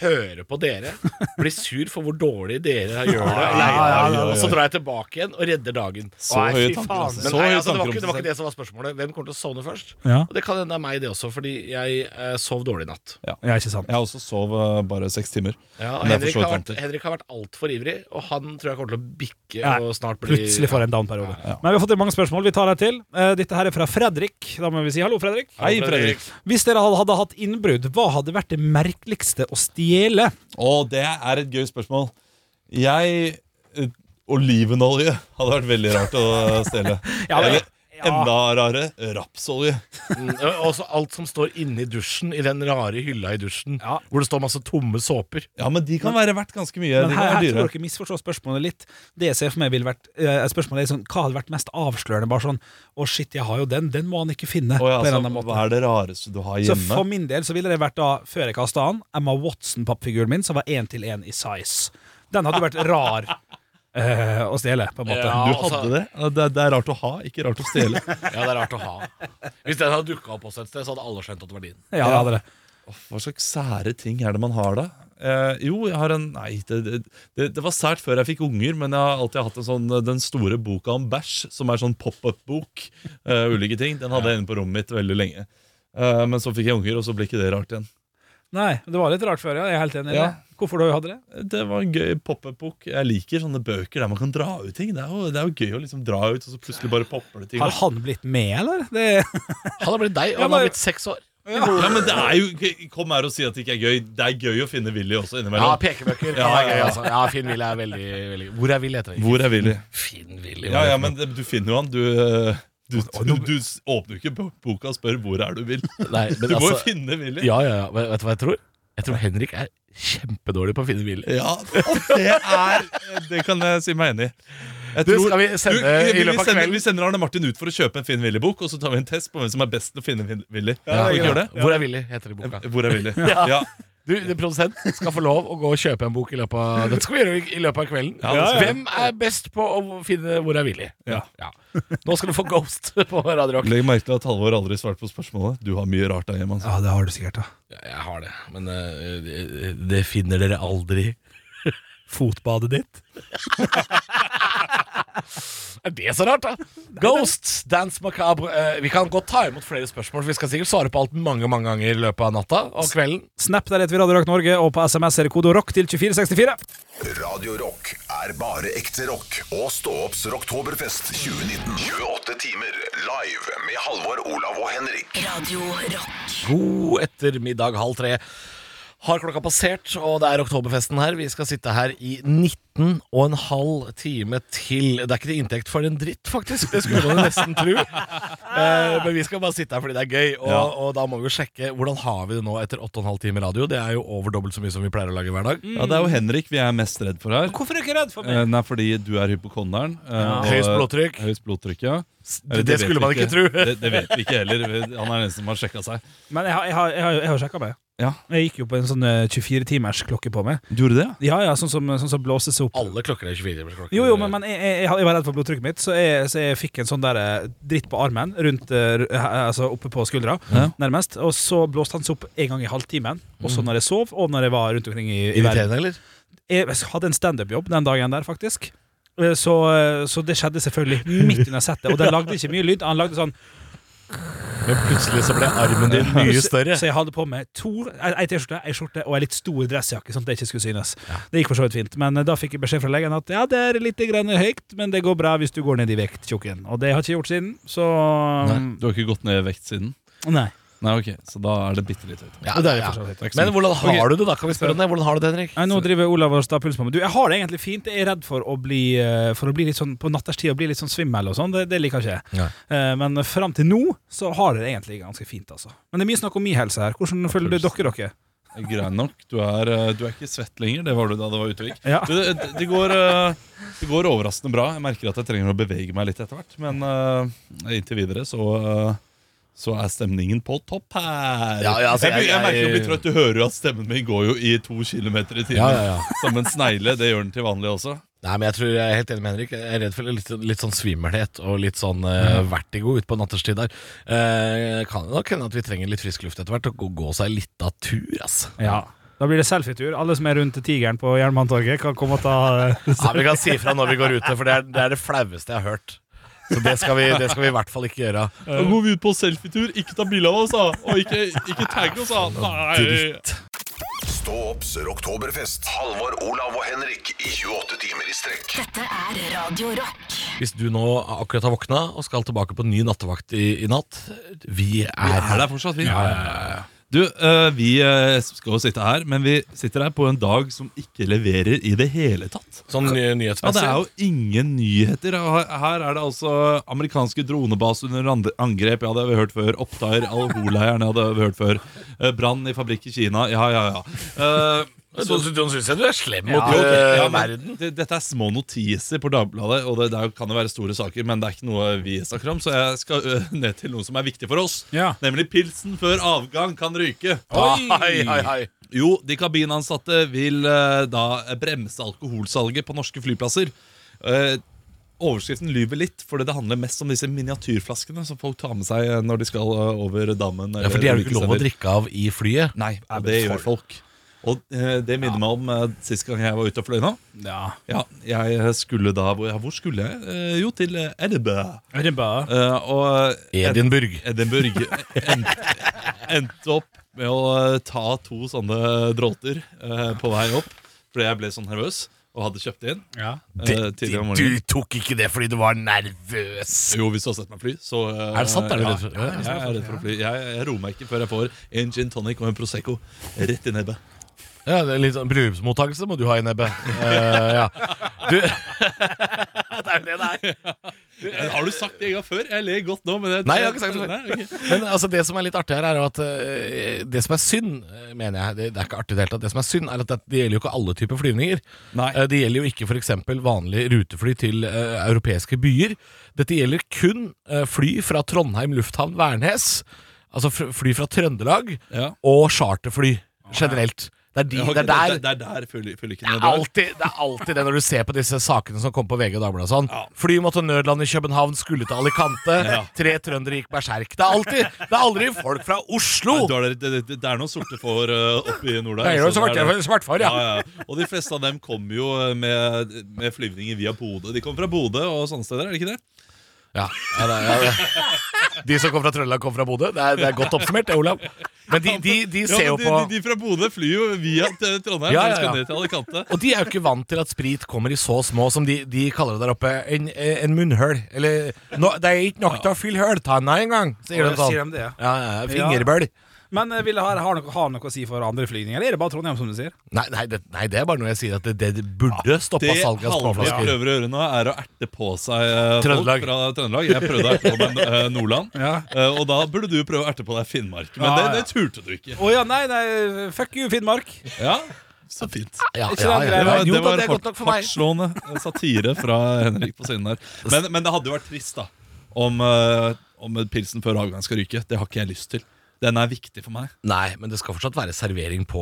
S6: høre på dere, bli sur for hvor dårlig dere gjør det.
S4: Ja, ja, ja, ja, ja.
S6: Og så drar jeg tilbake igjen og redder dagen.
S4: Så
S6: Nei,
S4: høye
S6: fy
S4: tanker
S6: faen.
S4: om seg selv.
S6: Men nei,
S4: Så høye
S6: altså,
S4: tanker om
S6: det, var ikke, det
S4: seg
S6: var ikke det som var spørsmålet. Hvem kommer til å sovne først?
S5: Ja.
S6: Og Det kan hende det er meg, det også, fordi jeg eh, sov dårlig i natt.
S5: ja, ikke sant.
S4: Jeg også sov eh, bare seks timer.
S6: Ja, og
S4: Men det er
S6: Henrik
S4: for så vidt
S6: har vært,
S4: vant til.
S6: Henrik har vært altfor ivrig, og han tror jeg kommer til å bikke
S5: Nei,
S6: og snart bli
S5: Plutselig får jeg en down-periode. Men vi har fått inn mange spørsmål. Vi tar en til. Eh, Dette her er fra Fredrik. Da må vi si hallo, Fredrik.
S4: Hei, Fredrik.
S5: Hvis dere hadde- hadde hatt innbrudd, hva hadde vært det merkeligste å stjele?
S4: Og det er et gøy spørsmål. Jeg eh, Olivenolje hadde vært veldig rart å stjele.
S5: Ja, men-
S4: Eller
S5: ja.
S4: enda rarere rapsolje.
S6: Mm, og Også alt som står inni dusjen, i den rare hylla i dusjen,
S5: Ja.
S6: hvor det står masse tomme såper.
S4: Ja, men de kan være verdt ganske mye.
S5: Men
S4: de
S5: her,
S4: kan
S5: her
S4: være
S5: tror
S4: dyre.
S5: dere misforstår spørsmålet litt. Det jeg ser for meg ville vært eh, Spørsmålet er sånn, Hva hadde vært mest avslørende? Bare sånn Å, shit, jeg har jo den. Den må han ikke finne.
S4: Å, ja,
S5: på en
S4: så,
S5: eller annen måte.
S4: hva er det rareste du har
S5: Så
S4: hjemme?
S5: for min del så ville det vært da, før jeg kasta han, Emma Watson-pappfiguren min, som var én til én i size. Den hadde vært rar eh, å stjele, på en måte.
S6: Ja,
S4: du
S6: altså-
S4: hadde det. det? Det er rart å ha, ikke rart å stjele.
S6: Ja, det er rart å ha. Hvis den hadde dukka opp også et sted, så hadde alle skjønt at det var din.
S5: Ja, det hadde det.
S4: Hva slags sære ting er det man har da? Eh, jo, jeg har en Nei, det, det, det, det var sært før jeg fikk unger, men jeg har alltid hatt en sånn, den store boka om bæsj, som er sånn pop-up-bok. eh, ulike ting. Den hadde jeg inne på rommet mitt veldig lenge. Eh, men så fikk jeg unger, og så ble ikke det rart igjen.
S5: Nei, det var litt rart før, ja. Jeg er helt enig i
S4: Ja.
S5: det. Hvorfor du hadde det?
S4: Det var en gøy pop-up-bok. Jeg liker sånne bøker der man kan dra ut ting. Det er jo, det er jo gøy å liksom dra ut, og så plutselig bare popper det ting.
S5: Har
S4: opp.
S5: han blitt med, eller? Det,
S6: Han har blitt deg, og
S5: Ja,
S6: han har
S5: men-
S6: blitt seks år.
S4: Ja, men det er jo Kom her og si at det ikke er gøy. Det er gøy å finne Willy også
S6: Ja,
S4: innimellom.
S6: pekebøker. Ja,
S4: Ja,
S6: gøy,
S4: ja.
S6: altså. ja Finn Willy er veldig, veldig Hvor er Willy, heter han?
S4: Hvor er Willy?
S6: Finn Willy.
S4: Ja, ja, men det- du finner jo han. Du, eh, du, du, du s- åpner jo ikke bo- boka og spør hvor er du vil.
S6: Nei, men
S4: Du må jo
S6: altså-
S4: finne Willy.
S6: Ja, ja, ja. Vet vet du hva jeg tror? Jeg tror Henrik er kjempedårlig på å finne Willy.
S4: Ja, og det er eh, Det kan jeg si meg enig i. Jeg
S6: Du, skal vi sende i
S4: vi,
S6: løpet av
S4: sender,
S6: kvelden?
S4: vi sender Arne Martin ut for å kjøpe en Finn Willy-bok, og så tar vi en test på hvem som er best til å finne Finn Willy. Ja, vi gjør det.
S6: Hvor er Willy, heter det i boka.
S4: Hvor er Willy? Ja.
S6: Du, det Produsent skal få lov å gå og kjøpe en bok i løpet av Dette skal vi gjøre i- i løpet av kvelden.
S4: Ja, ja.
S6: Hvem er best på å finne hvor er Willy?
S4: Ja.
S6: Nå skal du få Ghost på Radio Rock.
S4: Legg merke til at Halvor aldri svarte på spørsmålet. Du har mye rart der hjemme. Altså.
S5: ja, det har du sikkert, da.
S6: Jeg har det, men eh, det, det finner dere aldri.
S5: Fotbadet ditt?
S6: Er det så rart, da? Ghost, Dance Macabre. eh, vi kan godt ta imot flere spørsmål. for Vi skal sikkert svare på alt mange mange ganger i løpet av natta og kvelden.
S5: Snap der heter vi Radio Rock Norge, og på SMS er det kode ROCK til 2464.
S1: Radio Rock er bare ekte rock. Og stå opps Rocktoberfest 2019. 28 timer live med Halvor, Olav og Henrik.
S2: Radio Rock.
S6: God ettermiddag, halv tre. Har klokka passert, og det er oktoberfesten her. Vi skal sitte her i 19 og en halv time til. Det er ikke til inntekt for en dritt, faktisk. Det skulle man jo nesten tro. Eh, men vi skal bare sitte her fordi det er gøy. Og,
S4: Ja.
S6: og da må vi jo sjekke hvordan har vi det nå etter 8 15 timer radio. Det er jo over dobbelt så mye som vi pleier å lage hver dag.
S4: Ja, det er jo Henrik vi er mest redd for her.
S5: Hvorfor er du ikke redd for
S4: Eh, Nei, fordi du er hypokonderen. eh, og-
S6: Høyest blodtrykk.
S4: Høyest blodtrykk, ja.
S6: det
S4: vet
S6: skulle
S4: vi
S6: man ikke tro.
S4: Det, det vet vi ikke heller. Han er den som har sjekka seg.
S5: Men jeg har, jeg har, jeg har, jeg har sjekka meg.
S4: Ja.
S5: Jeg gikk jo på en sånn 24-timers klokke på meg.
S4: Du gjorde det?
S5: Ja, ja, sånn som, sånn som blåses opp.
S6: Alle klokker er 24 timers klokker.
S5: Jo, jo, men, men jeg, jeg, jeg var redd for blodtrykket mitt, så jeg, så jeg fikk en sånn der eh, dritt på armen, rundt, eh, her- altså oppe på skuldra,
S4: Ja.
S5: nærmest. Og så blåste han seg opp en gang i halvtimen, også når jeg sov, og når jeg var rundt omkring i, i verden.
S6: Eh, Irriterende, eller?
S5: Jeg hadde en standup-jobb den dagen der, faktisk. Eh, Så, eh, så det skjedde selvfølgelig midt under settet, og den lagde ikke mye lyd. Han lagde sånn
S6: Men plutselig så ble armen din mye større.
S5: Så jeg hadde på meg to ei T-skjorte, ei skjorte og ei litt stor dressjakke, sånn at det ikke skulle synes. Det gikk for så vidt fint, men eh, da fikk jeg beskjed fra legen at ja, det er litt grann høyt, men det går bra hvis du går ned i vekt, tjukken. Og det har jeg ikke gjort siden, så mm,
S4: Nei, Mm. du har ikke gått ned i vekt siden?
S5: Nei.
S4: Nei, ok, Så da er det bitte litt høyt.
S6: Ja, det er,
S5: for så vidt.
S6: ja. Men hvordan har du det, da? Kan vi spørre om det? Hvordan har du det, Henrik?
S5: Nei, nå driver Olav og star puls på meg. Du, jeg har det egentlig fint. Jeg er redd for å bli, eh, for å bli litt sånn på natterstid og bli litt sånn svimmel og sånn. Det, det liker ikke jeg.
S6: Nei.
S5: Eh, Men fram til nå så har jeg det egentlig ganske fint, altså. Men det er mye snakk om min helse her. Hvordan føler dere dere?
S4: Greit nok. Du er, eh, du er ikke svett lenger. Det var du da det var utevik.
S5: Ja.
S4: Du, Det, det, det, går, eh, det går overraskende bra. Jeg merker at jeg trenger å bevege meg litt etter hvert. Men eh, inntil videre så eh, så er stemningen på topp her.
S11: Ja, ja, altså,
S4: jeg, jeg,
S11: jeg-
S4: merker jo
S11: jeg-
S4: blir trøtt. Du hører jo at stemmen min går jo i to kilometer i timen.
S6: Ja, ja, ja.
S4: Som en snegle. Det gjør den til vanlig også.
S6: Nei, men Jeg tror jeg er helt enig med Henrik. Jeg er redd for litt, litt sånn svimmelhet og litt sånn eh, vertigo utpå natterstid der. Eh, kan det nok hende at vi trenger litt frisk luft etter hvert, og gå, gå seg litt av tur, altså.
S5: Ja. Da blir det selfietur. Alle som er rundt tigeren på Jernbanetorget, kan komme og ta eh,
S6: Ja, Vi kan si ifra når vi går ute, for det er det, er det flaueste jeg har hørt. Så det skal, vi, det skal vi i hvert fall ikke gjøre.
S4: Da går vi ut på selfietur. Ikke ta bilde av oss, da! Og ikke, ikke tagg oss, da! Nei.
S1: Stå opps Rocktoberfest. Halvor, Olav og Henrik i 28 timer i strekk.
S2: Dette er Radio Rock.
S6: Hvis du nå akkurat har våkna og skal tilbake på ny nattevakt i, i natt, vi er,
S4: er der fortsatt, vi. Du, eh, vi eh, skal jo sitte her, men vi sitter her på en dag som ikke leverer i det hele tatt.
S6: Sånn ny,
S4: Ja, Det
S6: nyhetsmessig.
S4: er jo ingen nyheter. Og Her her er det altså amerikanske dronebaser under andre- angrep. Ja, det har vi hørt før. Opptar Al-Hol-leiren. Ja, det har vi hørt før. Eh, Brann i fabrikk i Kina. Ja, ja, ja. Eh,
S6: Så, så, så syns sånn- jeg du er slem mot
S4: jo, ok.
S6: eh,
S4: Ja, men
S6: verden.
S4: det, dette er små notiser på Dagbladet, og det, det er jo- kan jo være store saker, men det er ikke noe vi snakker om, så jeg skal ø, ned til noe som er viktig for oss.
S5: Ja.
S4: Nemlig pilsen før avgang kan ryke. Ah.
S6: Oi, oi, oi.
S4: Jo, de kabinansatte vil eh, da bremse alkoholsalget på norske flyplasser. Eh, Overskriften lyver litt, for det handler mest om disse miniatyrflaskene som folk tar med seg eh, når de skal eh, over dammen.
S6: Ja, for de er jo ikke lov å drikke av i flyet.
S4: Nei, og det gjør folk. Og eh, det minner meg om eh, sist gang jeg var ute og fløy nå.
S5: Ja.
S4: Ja, jeg skulle da Hvor, ja, hvor skulle jeg? Eh, jo, til eh, Edinburgh.
S5: Er det bare
S4: Eh, og Ed-
S6: Edinburgh.
S4: Edinburgh en- endte opp med å eh, ta to sånne dråter eh, på vei opp, fordi jeg ble sånn nervøs og hadde kjøpt inn.
S5: Ja.
S4: eh,
S6: Det,
S4: tidligere om
S6: du
S4: morgenen.
S6: tok ikke det fordi du var nervøs.
S4: Jo, hvis du har sett meg fly, så eh,
S6: Er det sant? Er du
S4: ja,
S6: redd for-
S4: ja, jeg er redd for å fly. Jeg, jeg roer meg ikke før jeg får en gin tonic og en Prosecco rett i nebbet.
S6: Ja, det er litt sånn Bryllupsmottakelse må du ha i nebbet. Eh, ja. Du Det er jo det det er.
S4: Eh, Har du sagt det en gang før? Jeg ler godt nå, men jeg
S6: Nei, jeg har ikke sagt det før. Men altså, det som er litt artig her, er jo at eh, det som er synd, eh, mener jeg Det, det er ikke artig i det hele tatt. Det som er synd, er at det, det gjelder jo ikke alle typer flyvninger.
S4: Nei.
S6: Eh, Det gjelder jo ikke f.eks. vanlig rutefly til eh, europeiske byer. Dette gjelder kun eh, fly fra Trondheim lufthavn Værnes, altså fr- fly fra Trøndelag,
S4: Ja.
S6: og charterfly generelt. Det er, de,
S4: Ja, ok,
S6: det er der
S4: det er der fyllik- fyllikene
S6: det er,
S4: drar.
S6: alltid, det er alltid det når du ser på disse sakene som kom på VG og Dagbladet. og Sånn. Fly måtte nødlande i København, skulle til Alicante. Tre trøndere gikk berserk. Det er alltid Det er aldri folk fra Oslo!
S4: Nei, da er Det, det, det, det er noen sorte får eh, oppe i nord der.
S6: Det er jo
S4: altså,
S6: svart-
S4: det er det.
S6: svartfar, ja.
S4: Ja, ja. Og de fleste av dem kommer jo eh, med, med flyvninger via Bodø. De kommer fra Bodø og sånne steder, er det ikke det?
S6: Ja, ja, det er, ja. De som kom fra Trøndelag, kom fra Bodø. Det, er- det er godt oppsummert, det, Olav. Men de, de, de ser
S4: ja,
S6: jo
S4: men
S6: på
S4: de, de, de fra Bodø flyr jo via til Trondheim
S6: Ja,
S4: ja,
S6: ja,
S4: skal
S6: ja.
S4: ned til Alicante.
S6: Og de er jo ikke vant til at sprit kommer i så små som de, de kaller det der oppe. En, en munnhøl. Eller no, Det er ikke nok til å fylle høltanna engang, sier
S5: Å,
S6: de sånn.
S5: sier de det, ja.
S6: Ja, ja, ja, Fingerbøl.
S5: Men eh, vil det her ha noe, ha noe å si for andre flygninger, eller er det bare Trondheim, som du sier?
S6: Nei, nei, det, nei, det er bare noe jeg sier at det, det burde stoppa
S4: Det
S6: salget av
S4: Halvor
S6: småflasker.
S4: prøver å gjøre nå, er å erte på seg eh,
S6: Trøndelag.
S4: folk fra Trøndelag. Jeg prøvde å erte på meg eh, Nordland, Eh, og da burde du prøve å erte på deg Finnmark. Men
S5: Ja,
S4: det,
S5: ja.
S4: det turte du ikke.
S5: Å ja, nei, nei, fuck you, Finnmark.
S4: Ja, så fint.
S6: Ja,
S5: Ikke
S6: ja,
S5: sant,
S6: ja.
S4: Det var,
S6: Jo
S4: det
S6: da,
S4: var
S6: det er godt nok for meg.
S4: hartslående satire fra Henrik på siden der. Men, men det hadde jo vært trist da om, eh, om pilsen før avgang skal ryke. Det har ikke jeg lyst til. Den er viktig for meg.
S6: Nei, men det skal fortsatt være servering på,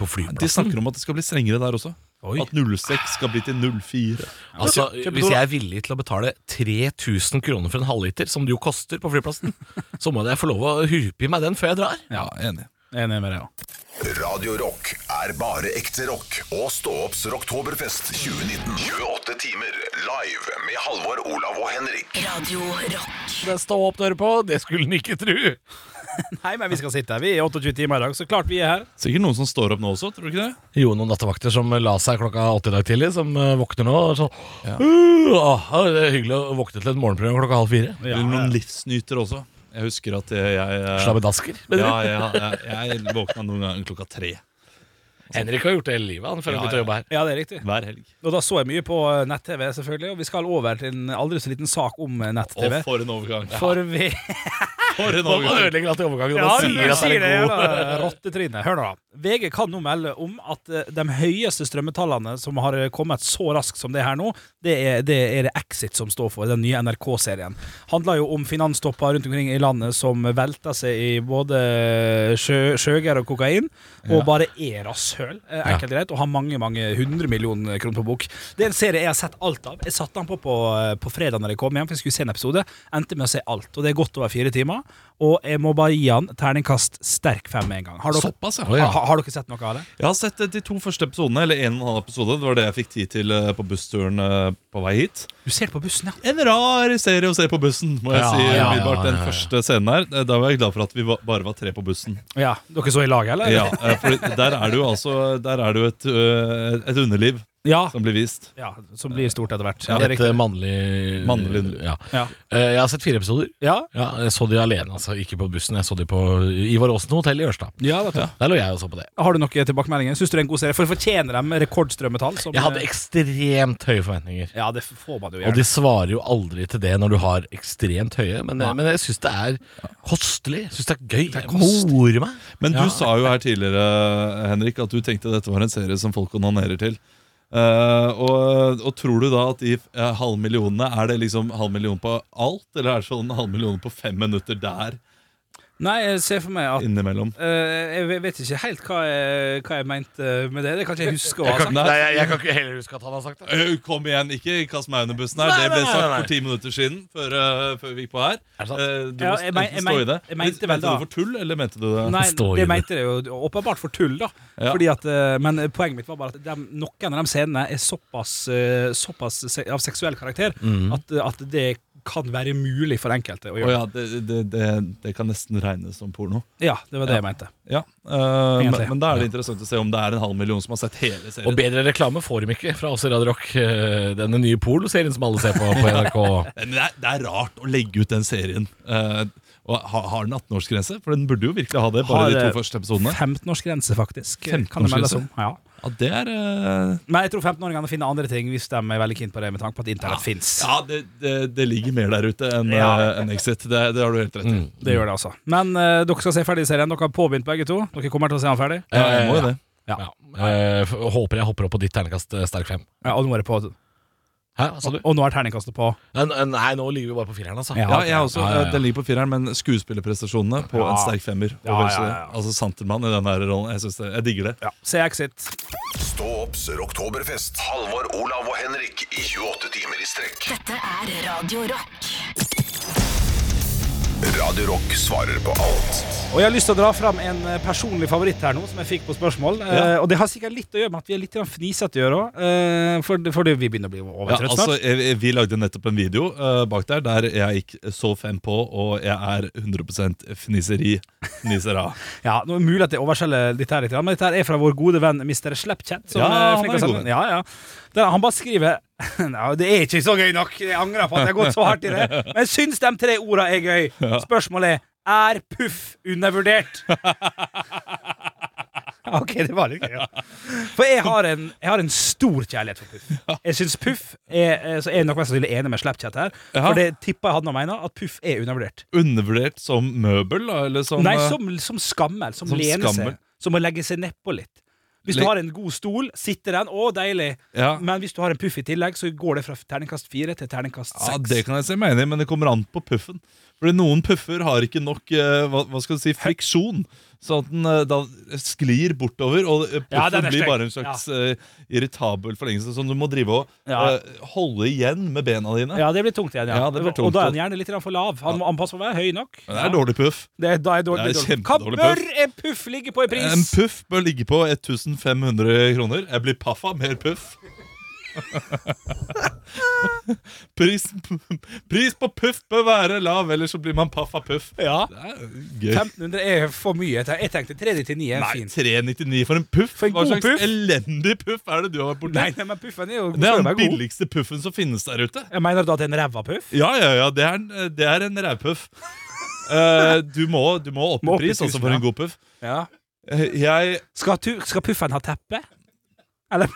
S6: på
S4: De
S6: flyplassen.
S4: snakker om at det skal bli strengere der også. At 06 skal bli til 04.
S6: Altså, Hvis jeg er villig til å betale 3000 kroner for en halvliter, som det jo koster på flyplassen, så må jeg få lov å hupe i meg den før jeg drar.
S4: Ja, enig.
S5: Enig med deg, ja.
S1: Radio Rock er bare ekte rock. Og stå opps Rocktoberfest 2019. 28 timer live med Halvor, Olav og Henrik.
S2: Radio Rock.
S6: Det stå opp dører på, det skulle den ikke tru.
S5: Nei, men vi skal sitte her. Vi er 28 timer i dag, så klart vi er her.
S4: Sikkert noen som står opp nå også, tror du ikke det?
S6: Jo, noen nattevakter som la seg klokka åtte i dag tidlig, som eh, våkner nå. og Sånn, «Uh, ah, det er hyggelig å våkne til et morgenprogram klokka halv fire.
S4: Eller noen livsnytere også. Jeg husker at jeg, eh,
S6: Slabbedasker. mener
S4: ja,
S6: du?
S4: ja, jeg, jeg våkna noen ganger klokka tre
S6: Henrik har gjort det hele livet han, før han
S4: Ja,
S6: begynte å jobbe her.
S5: Ja, det er riktig.
S4: hver helg.
S5: Og da så jeg mye på eh, nett-TV, selvfølgelig. Og vi skal over til en aldri så liten sak om eh,
S4: Og
S5: nett-TV.
S4: for en overgang.
S5: For vi
S4: For en
S6: Man
S4: overgang.
S6: ødelegger alltid overgangen når
S5: Ja,
S6: man
S5: du
S6: sier at
S5: sier
S6: det
S5: det,
S6: er en god.
S5: jævla rottetryne. Hør nå. VG kan nå melde om at eh, de høyeste strømmetallene som har eh, kommet så raskt som det her nå, det er det, er det Exit som står for, den nye NRK-serien. Handler jo om finanstopper rundt omkring i landet som velter seg i både sjø, sjøgær og kokain, og bare er rasshøl, eh, enkelt og greit, og har mange, mange hundre millioner kroner på bok. Det er en serie jeg har sett alt av. Jeg satte den på på, eh, på fredag når jeg kom hjem, for jeg skulle se en episode. Endte med å se alt, og det er godt over fire timer. Og jeg må bare gi han terningkast sterk fem med en gang. Har dere,
S4: Såpass, ja.
S5: ha, har dere sett noe av det?
S4: Jeg har sett eh, de to første episodene, eller en og en halv episode. Det var det jeg fikk tid til eh, på bussturen eh, på vei hit.
S5: Du ser det på bussen, ja.
S4: En rar serie å se på bussen, må jeg
S6: Ja,
S4: si.
S6: ja, ja,
S4: umiddelbart,
S6: ja, ja.
S4: Den første scenen her, eh, Da var jeg glad for at vi var, bare var tre på bussen.
S5: ja. Dere så i laget, eller?
S4: Ja, eh, for der er det jo altså Der er det jo et, eh, et underliv
S5: Ja.
S4: som blir vist.
S5: ja som blir stort etter hvert.
S6: Ja,
S5: det er
S6: et
S5: riktig.
S6: eh, mannlig
S4: Mannlig.
S6: Ja.
S5: Ja.
S6: Eh, Jeg har sett fire episoder.
S5: Ja.
S6: Ja, jeg så de alene, altså. Ikke på bussen. Jeg så de på Ivar Aasen hotell i Ørsta.
S5: Ja, vet du.
S6: Der lå jeg og så på det.
S5: Har du noen tilbakemeldinger? Syns du det er en god serie? For fortjener de rekordstrømmetall? Som,
S6: Jeg hadde ekstremt høye forventninger.
S5: Ja, det får man jo
S6: Og
S5: gjerne.
S6: de svarer jo aldri til det når du har ekstremt høye, men, men jeg syns det er kostelig. Jeg syns det er gøy. jeg morer meg.
S4: Men
S6: Ja.
S4: du sa jo her tidligere Henrik at du tenkte dette var en serie som folk onanerer til. Eh, og, og tror du da at de eh, halvmillionene Er det liksom halv million på alt, eller er det sånn halv million på fem minutter der
S5: Nei, jeg ser for meg at
S4: innimellom?
S5: eh, Jeg ve- vet ikke helt hva jeg, hva jeg mente med det. Det kan ikke jeg huske å ha sagt.
S4: Nei.
S6: Nei, jeg, jeg kan ikke heller huske at han har sagt det.
S4: Øy, Eh, Kom igjen, ikke kast meg under bussen her.
S6: Nei,
S4: det ble
S6: nei, nei,
S4: sagt
S6: nei.
S4: for ti minutter siden. Før, eh, før vi gikk på her.
S6: Er det sant?
S4: Eh, du
S5: Ja,
S4: må
S5: jeg men- jeg
S4: enten stå
S5: men-
S4: i det.
S5: jeg mente vel
S4: mente
S5: da-
S4: du for tull, eller mente du det?
S5: Nei,
S6: Står
S5: det
S6: i det.
S5: mente jeg jo åpenbart for tull, da.
S4: Ja.
S5: Fordi at, eh, men poenget mitt var bare at de, noen av de scenene er såpass, eh, såpass se av seksuell karakter at, at det kan være mulig for enkelte å
S4: Å
S5: gjøre.
S4: ja, det, det, det, det kan nesten regnes som porno.
S5: ja. det var det jeg mente.
S4: Ja, eh, men,
S5: Egentlig.
S4: men da er det interessant å se om det er en halv million som har sett hele serien.
S6: Og bedre reklame får de ikke fra oss i Radio Rock. eh, Denne nye Polo-serien som alle ser på på NRK.
S4: Men det, er, det er rart å legge ut den serien. Eh, og ha, har den 18-årsgrense? For den burde jo virkelig ha det. Bare
S5: Har
S4: de
S5: det-
S4: to første episodene.
S5: 15-årsgrense, faktisk. Kan det meldes om. Ja.
S4: Ja, det er eh,
S5: Men jeg tror 15-åringene finner andre ting hvis de er veldig keen på det, med tanke på at internett fins.
S4: Ja, det, det, det ligger mer der ute enn
S5: Ja.
S4: eh, enn Exit. Det, det har du helt rett i.
S5: Det gjør det, altså. Men eh, dere skal se ferdig serien. Dere har påbegynt begge to. Dere kommer til å se den ferdig.
S4: Ja, jeg må jo det.
S6: Ja. Eh, f- Håper jeg hopper opp på ditt terningkast eh, sterk fem.
S5: Ja, og, nå er det på.
S6: Hæ, hva sa du?
S5: og nå er terningkastet på.
S6: Nei, Nei, nå ligger vi bare på fireren, altså.
S5: Ja.
S4: Ja, jeg også.
S6: Ja, ja, ja.
S4: eh, Den ligger på fireren, men skuespillerprestasjonene på en sterk femmer. og
S5: Ja,
S4: vel så
S5: ja,
S4: det.
S5: ja.
S4: Altså Santermann i den her rollen. Jeg, synes det, jeg digger det.
S5: Ja. Se Exit.
S1: Stå opps oktoberfest. Halvor, Olav og Henrik i 28 timer i strekk.
S2: Dette er Radio Rock.
S1: Radio Rock svarer på alt.
S5: Og jeg har lyst til å dra fram en eh, personlig favoritt her nå, som jeg fikk på spørsmål. Eh, og det har sikkert litt å gjøre med at vi er litt grann fnisete i øra, eh, for, for det- vi begynner å bli
S4: Ja,
S5: overtrøtt
S4: altså,
S5: snart.
S4: jeg, jeg- vi lagde nettopp en video eh, bak der der jeg gikk så fem på, og jeg er 100 fniseri. Fnisera.
S5: Ja, nå er det mulig at jeg overselger dette her litt, grann, men dette her er fra vår gode venn Mr. Slepchat. som,
S4: Ja,
S5: eh,
S4: han er
S5: fikk oss
S4: en
S5: en-
S4: god venn.
S5: Ja, ja. Der, han bare skriver Nei, det er ikke så gøy nok. Jeg angrer på at jeg har gått så hardt i det. Men jeg syns de tre orda er gøy. Spørsmålet er er puff undervurdert? OK, det var litt gøy. ja. For jeg har en, jeg har en stor kjærlighet for Puff. Jeg syns Puff er, eh, Så er jeg nok mest sannsynlig enig med Slapchat her.
S4: Ja.
S5: For det tipper jeg han nå mener, at Puff er undervurdert.
S4: Undervurdert som møbel, da? Eller som,
S5: Nei,
S4: eh,
S5: som, som skammel. Som,
S4: som
S5: lene
S4: skammel.
S5: seg. Som å legge seg nedpå litt. Hvis du
S4: Le-
S5: har en god stol, sitter den. Å, deilig.
S4: Ja.
S5: Men hvis du har en puff i tillegg, så går det fra terningkast fire til terningkast
S4: Ja,
S5: seks.
S4: Det kan jeg se meg enig i, men det kommer an på puffen. Fordi noen puffer har ikke nok eh, hva, hva skal du si, friksjon, så at den eh, da sklir bortover. Og eh,
S5: Ja,
S4: puffen
S5: den er
S4: blir
S5: streng.
S4: bare en slags eh, irritabel forlengelse som du må drive og
S5: Ja.
S4: eh, holde igjen med bena dine.
S5: Ja, det blir tungt igjen. Ja.
S4: Ja, det blir tungt,
S5: og da er
S4: og-
S5: han gjerne litt grann for lav. Han, må- han passer på å være høy nok.
S4: Men Det er dårlig puff.
S5: Det er, da er dårlig,
S4: Det er
S5: dårlig. Hva
S4: kjempedårlig
S5: bør
S4: puff.
S5: en puff ligge på i pris?
S4: En puff bør ligge på 1500 kroner. Jeg blir paff av mer puff. Prisen, pris på puff bør være lav, ellers så blir man paff av puff.
S5: Ja.
S4: Det er gøy.
S5: 1500 er for mye. Jeg tenkte 399 er
S4: Nei,
S5: fint.
S4: 399 for en puff?
S5: For en
S4: Hva
S5: god
S4: slags
S5: puff.
S4: elendig puff er det du har vært borti?
S5: Nei, nei, men puffen er jo
S4: Det er
S5: søren
S4: den
S5: meg god.
S4: billigste puffen som finnes der ute.
S5: Jeg mener du at det er en ræva puff?
S4: Ja, ja, ja, det er, en- det er en rævpuff. Eh, du, må- du må opp
S5: Må
S4: i
S5: opp i
S4: pris altså, også
S5: tusen,
S4: for en
S5: ja.
S4: god puff.
S5: Ja.
S4: Eh, Jeg
S5: Skal, tu, skal puffen ha teppe? Eller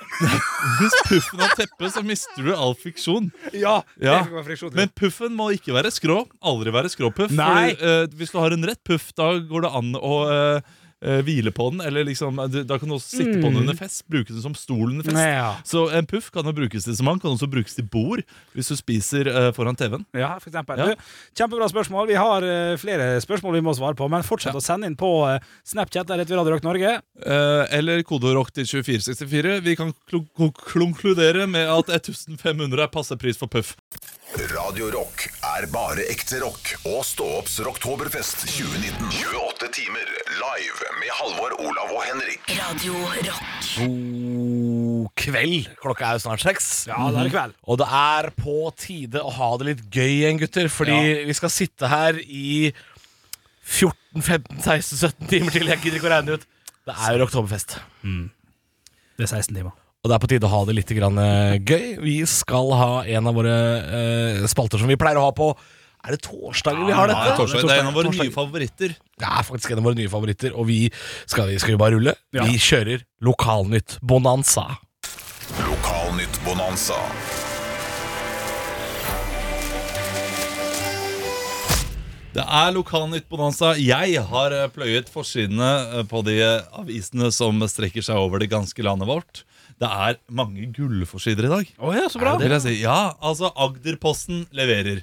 S4: Hvis puffen har teppe, så mister du all friksjon.
S5: Ja,
S4: Ja.
S5: det kan være friksjon,
S4: Men puffen må ikke være skrå. Aldri være skråpuff.
S5: Nei.
S4: Fordi, eh, hvis du har en rett puff, da går det an å eh, eh, hvile på den. Eller liksom, eh, du- Da kan du også sitte på den
S5: Mm.
S4: under fest. Bruke den som stol under fest.
S5: Nei, ja.
S4: Så en puff kan jo brukes til så mange. Kan også brukes til bord hvis du spiser eh, foran TV-en.
S5: Ja, for eksempel.
S4: Ja.
S5: Du, kjempebra spørsmål. Vi har eh, flere spørsmål vi må svare på, men fortsett å sende inn på eh, Snapchat der heter vi Radio Rock Norge.
S4: Eh, eller koderock til 2464. Vi kan klo- ko- konkludere med at 1500 er passe pris for puff.
S1: Radio Rock er bare ekte rock og stå opps rocktoberfest 2019. 28 timer live med Halvor, Olav og Henrik.
S2: Radio Rock.
S6: God kveld. Klokka er jo snart seks.
S5: Ja, da er det kveld.
S6: Og det er på tide å ha det litt gøy igjen, gutter. Fordi vi skal sitte her i 14, 15, 16, 17 timer til. Jeg gidder ikke å regne ut. Det er jo oktoberfest.
S5: Det er 16 timer.
S6: Og det er på tide å ha det litt grann, eh, gøy. Vi skal ha en av våre eh, spalter som vi pleier å ha på Er det torsdager vi har
S4: Ja, det, er
S6: dette?
S4: torsdag. det er en av våre
S6: Torsdag.
S4: nye favoritter.
S6: Det er faktisk en av våre nye favoritter. Og vi skal, skal vi bare rulle? Vi kjører Lokalnytt Bonanza.
S1: Lokalnytt Bonanza.
S4: Det er Lokalnytt Bonanza. Jeg har eh, pløyet forsidene eh, på de eh, avisene som strekker seg over det ganske landet vårt. Det er mange gullforsider i dag.
S5: Å ja, så bra.
S4: Vil jeg si. Ja, altså Agderposten leverer.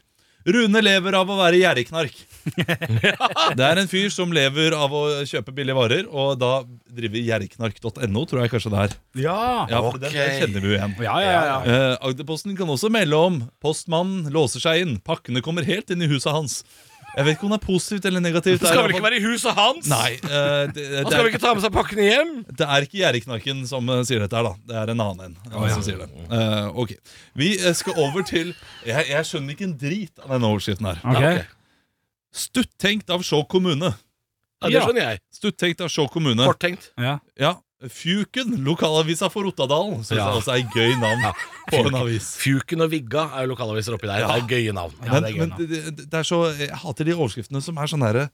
S4: Rune lever av å være gjerdeknark. Det er en fyr som lever av å kjøpe billige varer, og da driver gjerdeknark.no, tror jeg kanskje det er.
S5: Ja.
S4: Ja, for den, den kjenner vi jo igjen.
S5: Ja, ja, ja.
S4: Eh, Agderposten kan også melde om Postmannen låser seg inn. Pakkene kommer helt inn i huset hans. Jeg vet ikke om det er positivt eller negativt.
S6: Det skal vel ikke være i huset hans?
S4: Nei, eh, det, det,
S6: Han
S4: er,
S6: skal vel ikke ta med seg pakkene hjem?
S4: det er ikke Gjerdeknarken som eh, sier dette her, da. Det er en annen en eh, som sier det. Eh, ok, Vi eh, skal over til jeg, jeg skjønner ikke en drit av denne overskriften her.
S5: Ok.
S4: Stuttenkt av Skjåk kommune.
S6: Ja, Det
S5: Ja.
S6: skjønner jeg.
S4: Stuttenkt av Skjåk kommune.
S6: Korttenkt.
S5: Ja.
S4: Ja, Fjuken, lokalavisa for Ottadalen. Syns
S6: Ja.
S4: jeg også er et gøy navn på en avis.
S6: Fjuken og Vigga er jo lokalaviser oppi der.
S4: Ja.
S6: Det er gøye navn. Ja,
S4: men
S6: det er gøye
S4: men
S6: navn.
S4: det, det, det er så, jeg hater de overskriftene som er sånn her eh,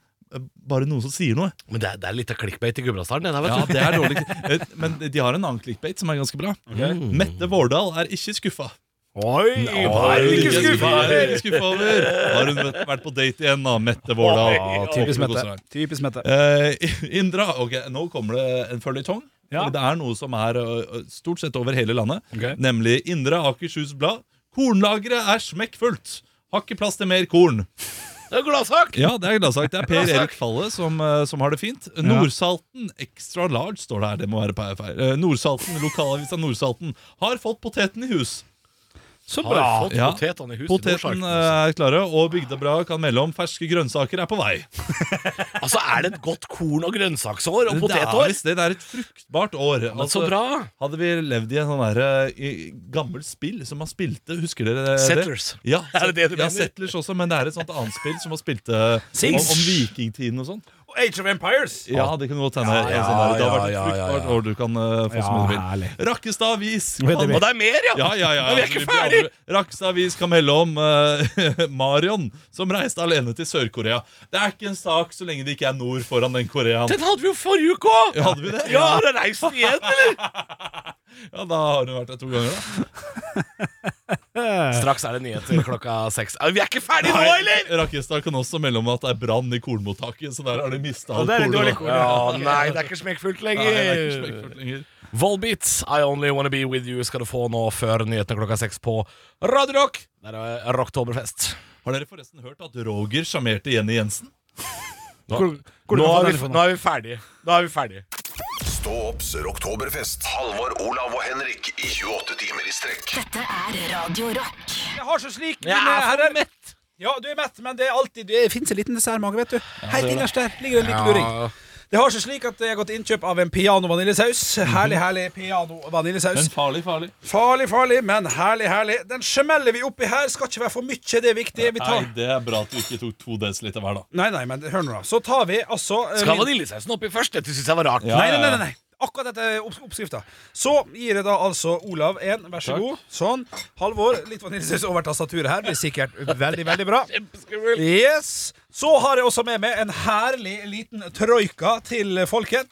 S4: Bare noen som sier noe.
S6: Men det er, det er litt av clickbait i Gudbrandsdalen. det der,
S4: Ja,
S6: vet du.
S4: det er dårlig Eh, Men de har en annen clickbait som er ganske bra. Mm. Mette Vårdal er ikke skuffa.
S5: Oi!
S6: Hva er det du ikke skuffa over?
S4: Ikke skuffa over? Har hun vært vært på date igjen, da, Mette Vårdal?
S5: Ja,
S4: Håper det
S5: typisk
S4: går
S5: Mette.
S4: sånn.
S5: Typisk Mette.
S4: Eh, Indra Ok, nå kommer det en føljetong.
S5: Ja.
S4: Det er noe som er eh, stort sett over hele landet.
S5: Ok.
S4: Nemlig Indre Akershus Blad. Kornlageret er smekkfullt! Har ikke plass til mer korn.
S6: Det er gladsak!
S4: Ja, det er gladsak. Det er Per Erik Falle som, eh, som har det fint. Nordsalten extra large står det her. Det må være pe- feil. Eh, Nordsalten, Lokalavisa Nordsalten har fått poteten i hus.
S5: Så
S6: Har
S5: bra.
S6: fått
S4: Ja.
S6: potetene i huset.
S4: Poteten
S6: Morsarten.
S4: eh, er klare, og Bygdebladet kan melde om ferske grønnsaker er på vei.
S6: Altså, er det et godt korn- og grønnsaksår
S4: eh,
S6: og
S4: Det er
S6: potetår?
S4: visst det. Det er et fruktbart år.
S6: Men så
S4: Altså,
S6: bra!
S4: Hadde vi levd i en sånn der, eh, i gammelt spill som man spilte, husker dere det?
S6: Settlers.
S4: Ja,
S6: Er det det du
S4: ja,
S6: mener?
S4: Settlers også, men det er et sånt annet spill som man spilte om, om vikingtiden og sånn.
S5: Age of Empires.
S4: Ja, det kan godt hende. En
S6: Ja,
S4: sånn der. Det har
S6: ja,
S4: vært et
S6: ja, ja,
S4: fruktbart
S6: ja.
S4: år du kan eh, få som
S5: Ja,
S4: du vil.
S5: herlig.
S4: Rakkestad Avis
S5: Vet
S4: kan-
S5: du
S6: Og det er mer, ja!
S4: ja, ja, ja.
S6: Men vi er ikke
S4: blir aldri- Rakkestad Avis kan melde om eh, Marion, som reiste alene til Sør-Korea. Det er ikke en sak så lenge det ikke er nord foran den Koreaen.
S6: Den hadde vi jo forrige uke òg!
S4: Ja, hadde vi det?
S6: Ja, har den reist den igjen, eller?
S4: Ja, Da har hun vært der to ganger, da.
S6: Straks er det nyheter klokka seks. Ja, Vi er ikke ferdige nå, eller?
S4: Rakkestad kan også melde om at det er brann i kornmottaket, så der har de mista
S5: Og
S4: alt
S5: det er litt dårlig
S4: kornet.
S5: korn.
S6: Ja, nei, det er ikke smekkfullt
S4: Nei, det er ikke
S6: lenger.
S4: smekkfullt lenger.
S6: Volbeat, I Only Wanna Be With You skal du få nå før nyhetene klokka seks på Radio Rock. Der er eh, Rocktoberfest.
S4: Har dere forresten hørt at Roger sjarmerte Jenny Jensen?
S5: Hvor, hvor
S6: Nå
S5: er
S6: er, vi,
S5: det
S6: nå er vi ferdige. Nå er vi ferdige.
S1: Stå opps rocktoberfest. Halvor, Olav og Henrik i 28 timer i strekk.
S2: Dette er Radio Rock.
S5: Jeg har så slik,
S6: Jeg
S5: mine
S6: er
S5: herrer. Ja, du er mett, men det er alltid Det fins en liten dessertmage, vet du. Helt innerst der ligger det en liten luring. Det har seg slik at jeg har gått innkjøp av en piano-vaniljesaus. Herlig, herlig piano-vaniljesaus.
S4: Men farlig, farlig.
S5: Farlig, farlig, men herlig, herlig. Den smeller vi oppi her. Skal ikke være for mye, det er viktig. Vi
S4: Nei,
S5: tar...
S4: Det er bra at du ikke tok to desiliter hver, da.
S5: Nei, nei, men hør nå, da. Så tar vi altså eh,
S6: Skal
S5: min-
S6: vaniljesausen oppi først? Dette syns jeg var rart.
S4: Ja,
S5: Nei,
S4: ja, ja.
S5: nei, nei, nei, nei. Akkurat dette er opps- oppskrifta. Så gir jeg da altså Olav en, vær så
S4: Takk.
S5: god. Sånn. Halvor, litt vaniljesaus over tastaturet her. Blir sikkert veldig, veldig bra. Yes. Så har jeg også med meg en herlig liten troika til folket.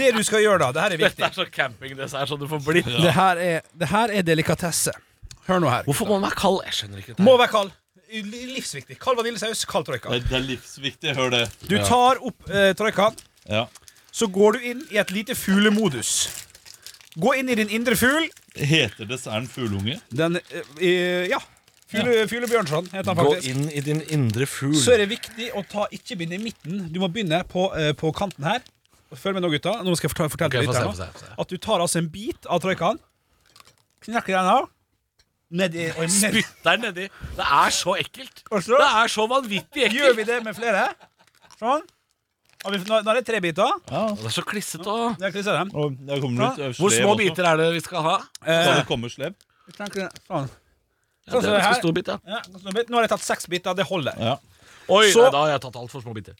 S5: Det du skal gjøre da, det her er
S6: Dette
S5: viktig.
S6: er så campingdessert som det får bli.
S5: Det her er, det her er delikatesse. Hør nå her.
S6: Hvorfor må den være kald? Jeg skjønner ikke
S5: Må være kald. Livsviktig. Kald vaniljesaus, kald troika.
S4: Det, det er livsviktig, hør det.
S5: Du tar opp eh, troikaen,
S4: Ja.
S5: så går du inn i et lite fuglemodus. Gå inn i din indre fugl.
S4: Heter desserten fugleunge?
S5: Den eh, eh, Ja. Fugle, Fugle Bjørnson heter han
S6: Gå
S5: faktisk.
S6: inn i din indre fugl.
S5: Så er det viktig å ta ikke begynne i midten. Du må begynne på, eh, på kanten her. Følg med nå, gutta. Nå skal jeg fortelle, fortelle til
S6: Ok, få se,
S5: lytterne
S6: få se, få se.
S5: At du tar altså en bit av troikaen, knekker den av Nedi og ned,
S6: Spytter den nedi. Det er så ekkelt.
S5: og så
S6: Det er så vanvittig
S5: gjør
S6: ekkelt.
S5: vi det med flere. Sånn. Og vi, nå, nå er det tre biter.
S6: Det er så klissete og
S5: Jeg klisser dem.
S4: Og det kommer litt, eh,
S6: Hvor
S4: slev
S6: små
S4: også.
S6: biter er det vi skal ha?
S4: Skal
S5: Eh,
S4: det komme slev?
S5: vi knekker den- sånn.
S6: Ja,
S5: Sånn som
S6: det er
S5: det
S6: ganske
S5: her.
S6: stor bit, ja.
S5: Ja, sånn bit. Nå har jeg tatt seks biter. Det holder.
S4: Ja.
S6: Oi,
S5: Så-
S6: nei, da har jeg tatt altfor små biter.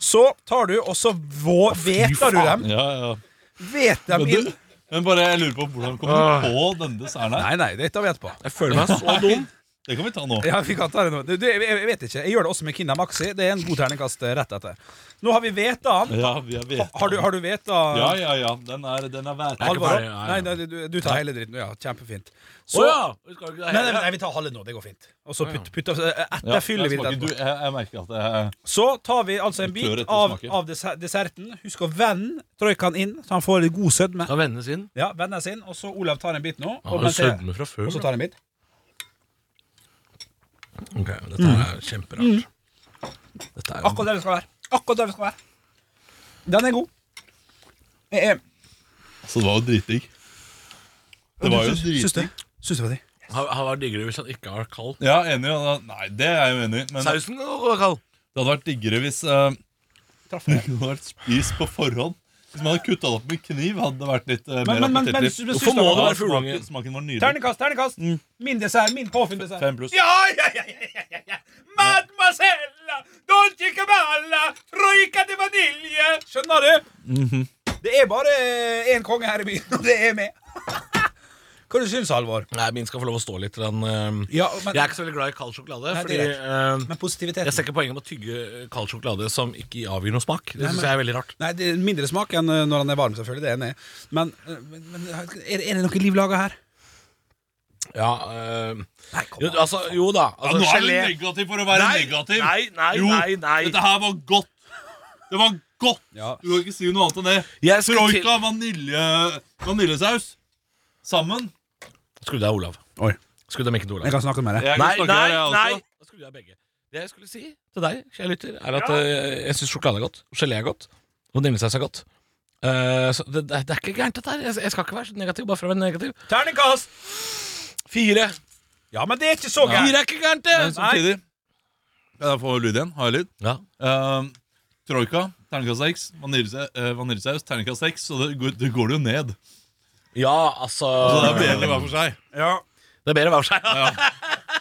S5: Så tar du, og så vå- hveter du dem.
S4: Ja, ja.
S5: Vet dem
S4: Men, du,
S5: inn.
S4: men bare jeg lurer på hvordan kom du på denne desserten her?
S5: Nei, nei, det tar vi etterpå.
S6: Jeg føler
S4: sånn.
S6: meg så dum.
S4: Det kan vi ta nå.
S5: Ja, vi kan ta det nå. Det, det, jeg, jeg vet ikke. Jeg gjør det også med Kinder Maxi. Det er en god terningkast eh, rett etter. Nå har vi hveta han.
S4: Ja, vi er vet.
S5: Har du, har du hveta
S4: Ja, ja, ja. Den er, den er vært.
S6: Jeg er ikke
S5: Alvor?
S6: ferdig, ja,
S5: Nei,
S6: ja.
S5: nei, du, du tar hele dritten. Ja, kjempefint.
S6: Å
S5: Så
S6: ja! vi skal ikke
S5: Nei, nei,
S6: det
S5: nei,
S6: hele.
S5: vi tar halve nå. Det går fint. Og så putt, putt, etter
S4: Ja,
S5: fyller vi
S4: jeg smaker- Du,
S5: den.
S4: jeg, jeg merker at jeg,
S5: Så tar vi altså en
S4: Vi tør
S5: bit
S4: etter
S5: av,
S4: smaken.
S5: av dessert- desserten. Husk å vende troikaen inn, så han får litt god sødme.
S6: Kan vendes inn.
S5: Ja, vende sin. Og så Olav tar en bit nå.
S6: Han
S5: Og,
S6: har jo
S5: mens jeg-
S6: sødme fra før.
S5: og så
S6: da.
S5: tar han en bit.
S6: Ok, Dette er kjemperart. Dette er jo
S5: Mm. Akkurat der vi skal være. Akkurat der vi skal være. Den er god. Jeg er
S4: Så det var jo dritdigg. Det var jo
S10: Syns du? Syns du det var det?
S6: Han han var diggere hvis han ikke var kald.
S4: Ja, enig. ja, da- Nei, det er jeg jo enig i. Men det
S6: Sausen kan også være kald.
S4: hadde vært diggere hvis eh, det hadde vært spist på forhånd. Hvis man hadde kutta det opp med kniv, hadde det vært litt eh,
S5: Men-
S4: mer
S5: men- men- men-
S4: appetittlig.
S5: men- men-
S4: Hvorfor må
S6: synes
S4: det
S6: du-
S4: være fugleunge? Smaken var nydelig.
S5: Ternekast, ternekast.
S6: Mm.
S5: Min dessert, min påfunndessert.
S4: Fem pluss.
S5: Ja, ja, ja, ja, ja, ja, ja. Mademoiselle, dolce caballa, troika de vanilje. Skjønner du?
S6: Mhm.
S5: Det er bare én konge her i byen, og det er meg. Hva du syns Halvor?
S6: Nei, min skal få lov å stå litt. Den, ehm,
S5: Ja, men,
S6: jeg er ikke så veldig glad i kald sjokolade.
S5: Nei, det
S6: fordi
S5: er
S6: ehm,
S5: men
S6: Jeg
S5: positiviteten
S6: ser ikke poenget med å tygge eh, kald sjokolade som ikke avgir noe smak. Det synes jeg er veldig rart.
S5: Nei, det er Mindre smak enn eh, når han er varm, selvfølgelig. Det er jeg enig i. Men, eh, men, men er, er det noe liv laga her?
S6: Ja, ehm,
S5: Nei, kom
S6: jo,
S5: an.
S6: altså, jo da.
S4: Ja, nå er
S6: Altså,
S4: du
S6: gelé
S4: negativ for å være
S6: Nei,
S4: negativ.
S6: nei, nei,
S4: jo,
S6: nei, nei.
S4: Dette her var godt. Det var godt.
S5: Ja.
S4: Du kan ikke si noe annet enn det.
S6: Jeg skulle til-
S4: Troika vanilje, vaniljesaus. Sammen.
S6: Skru deg, Olav.
S5: Oi.
S6: Skru deg mikken til Olav.
S5: Jeg kan snakke med deg.
S4: Jeg kan
S6: Nei,
S4: snakke
S6: nei,
S4: her, jeg også.
S6: nei! Da skulle jeg begge. Det jeg skulle si til deg, kjære lytter, er at eh, jeg syns sjokolade er godt. Gelé er godt. Vaniljesaus er godt. Eh, så det, det, det er ikke gærent, dette her. Jeg, jeg skal ikke være så negativ bare for å være negativ.
S5: Terningkast!
S6: Fire.
S5: Ja, men det er ikke så gærent.
S6: Fire er ikke gærent, det!
S4: Men samtidig Ja, da får vi lyd igjen. Har jeg lyd?
S6: Ja.
S4: Ehm, Troika, terningkast 6. Vaniljesaus, eh, vaniljesaus, terningkast 6. Så det, går- det går det jo ned.
S6: ja, altså
S4: Så det er bedre hver for seg.
S5: Ja.
S6: Det er bedre hver for seg. Ja.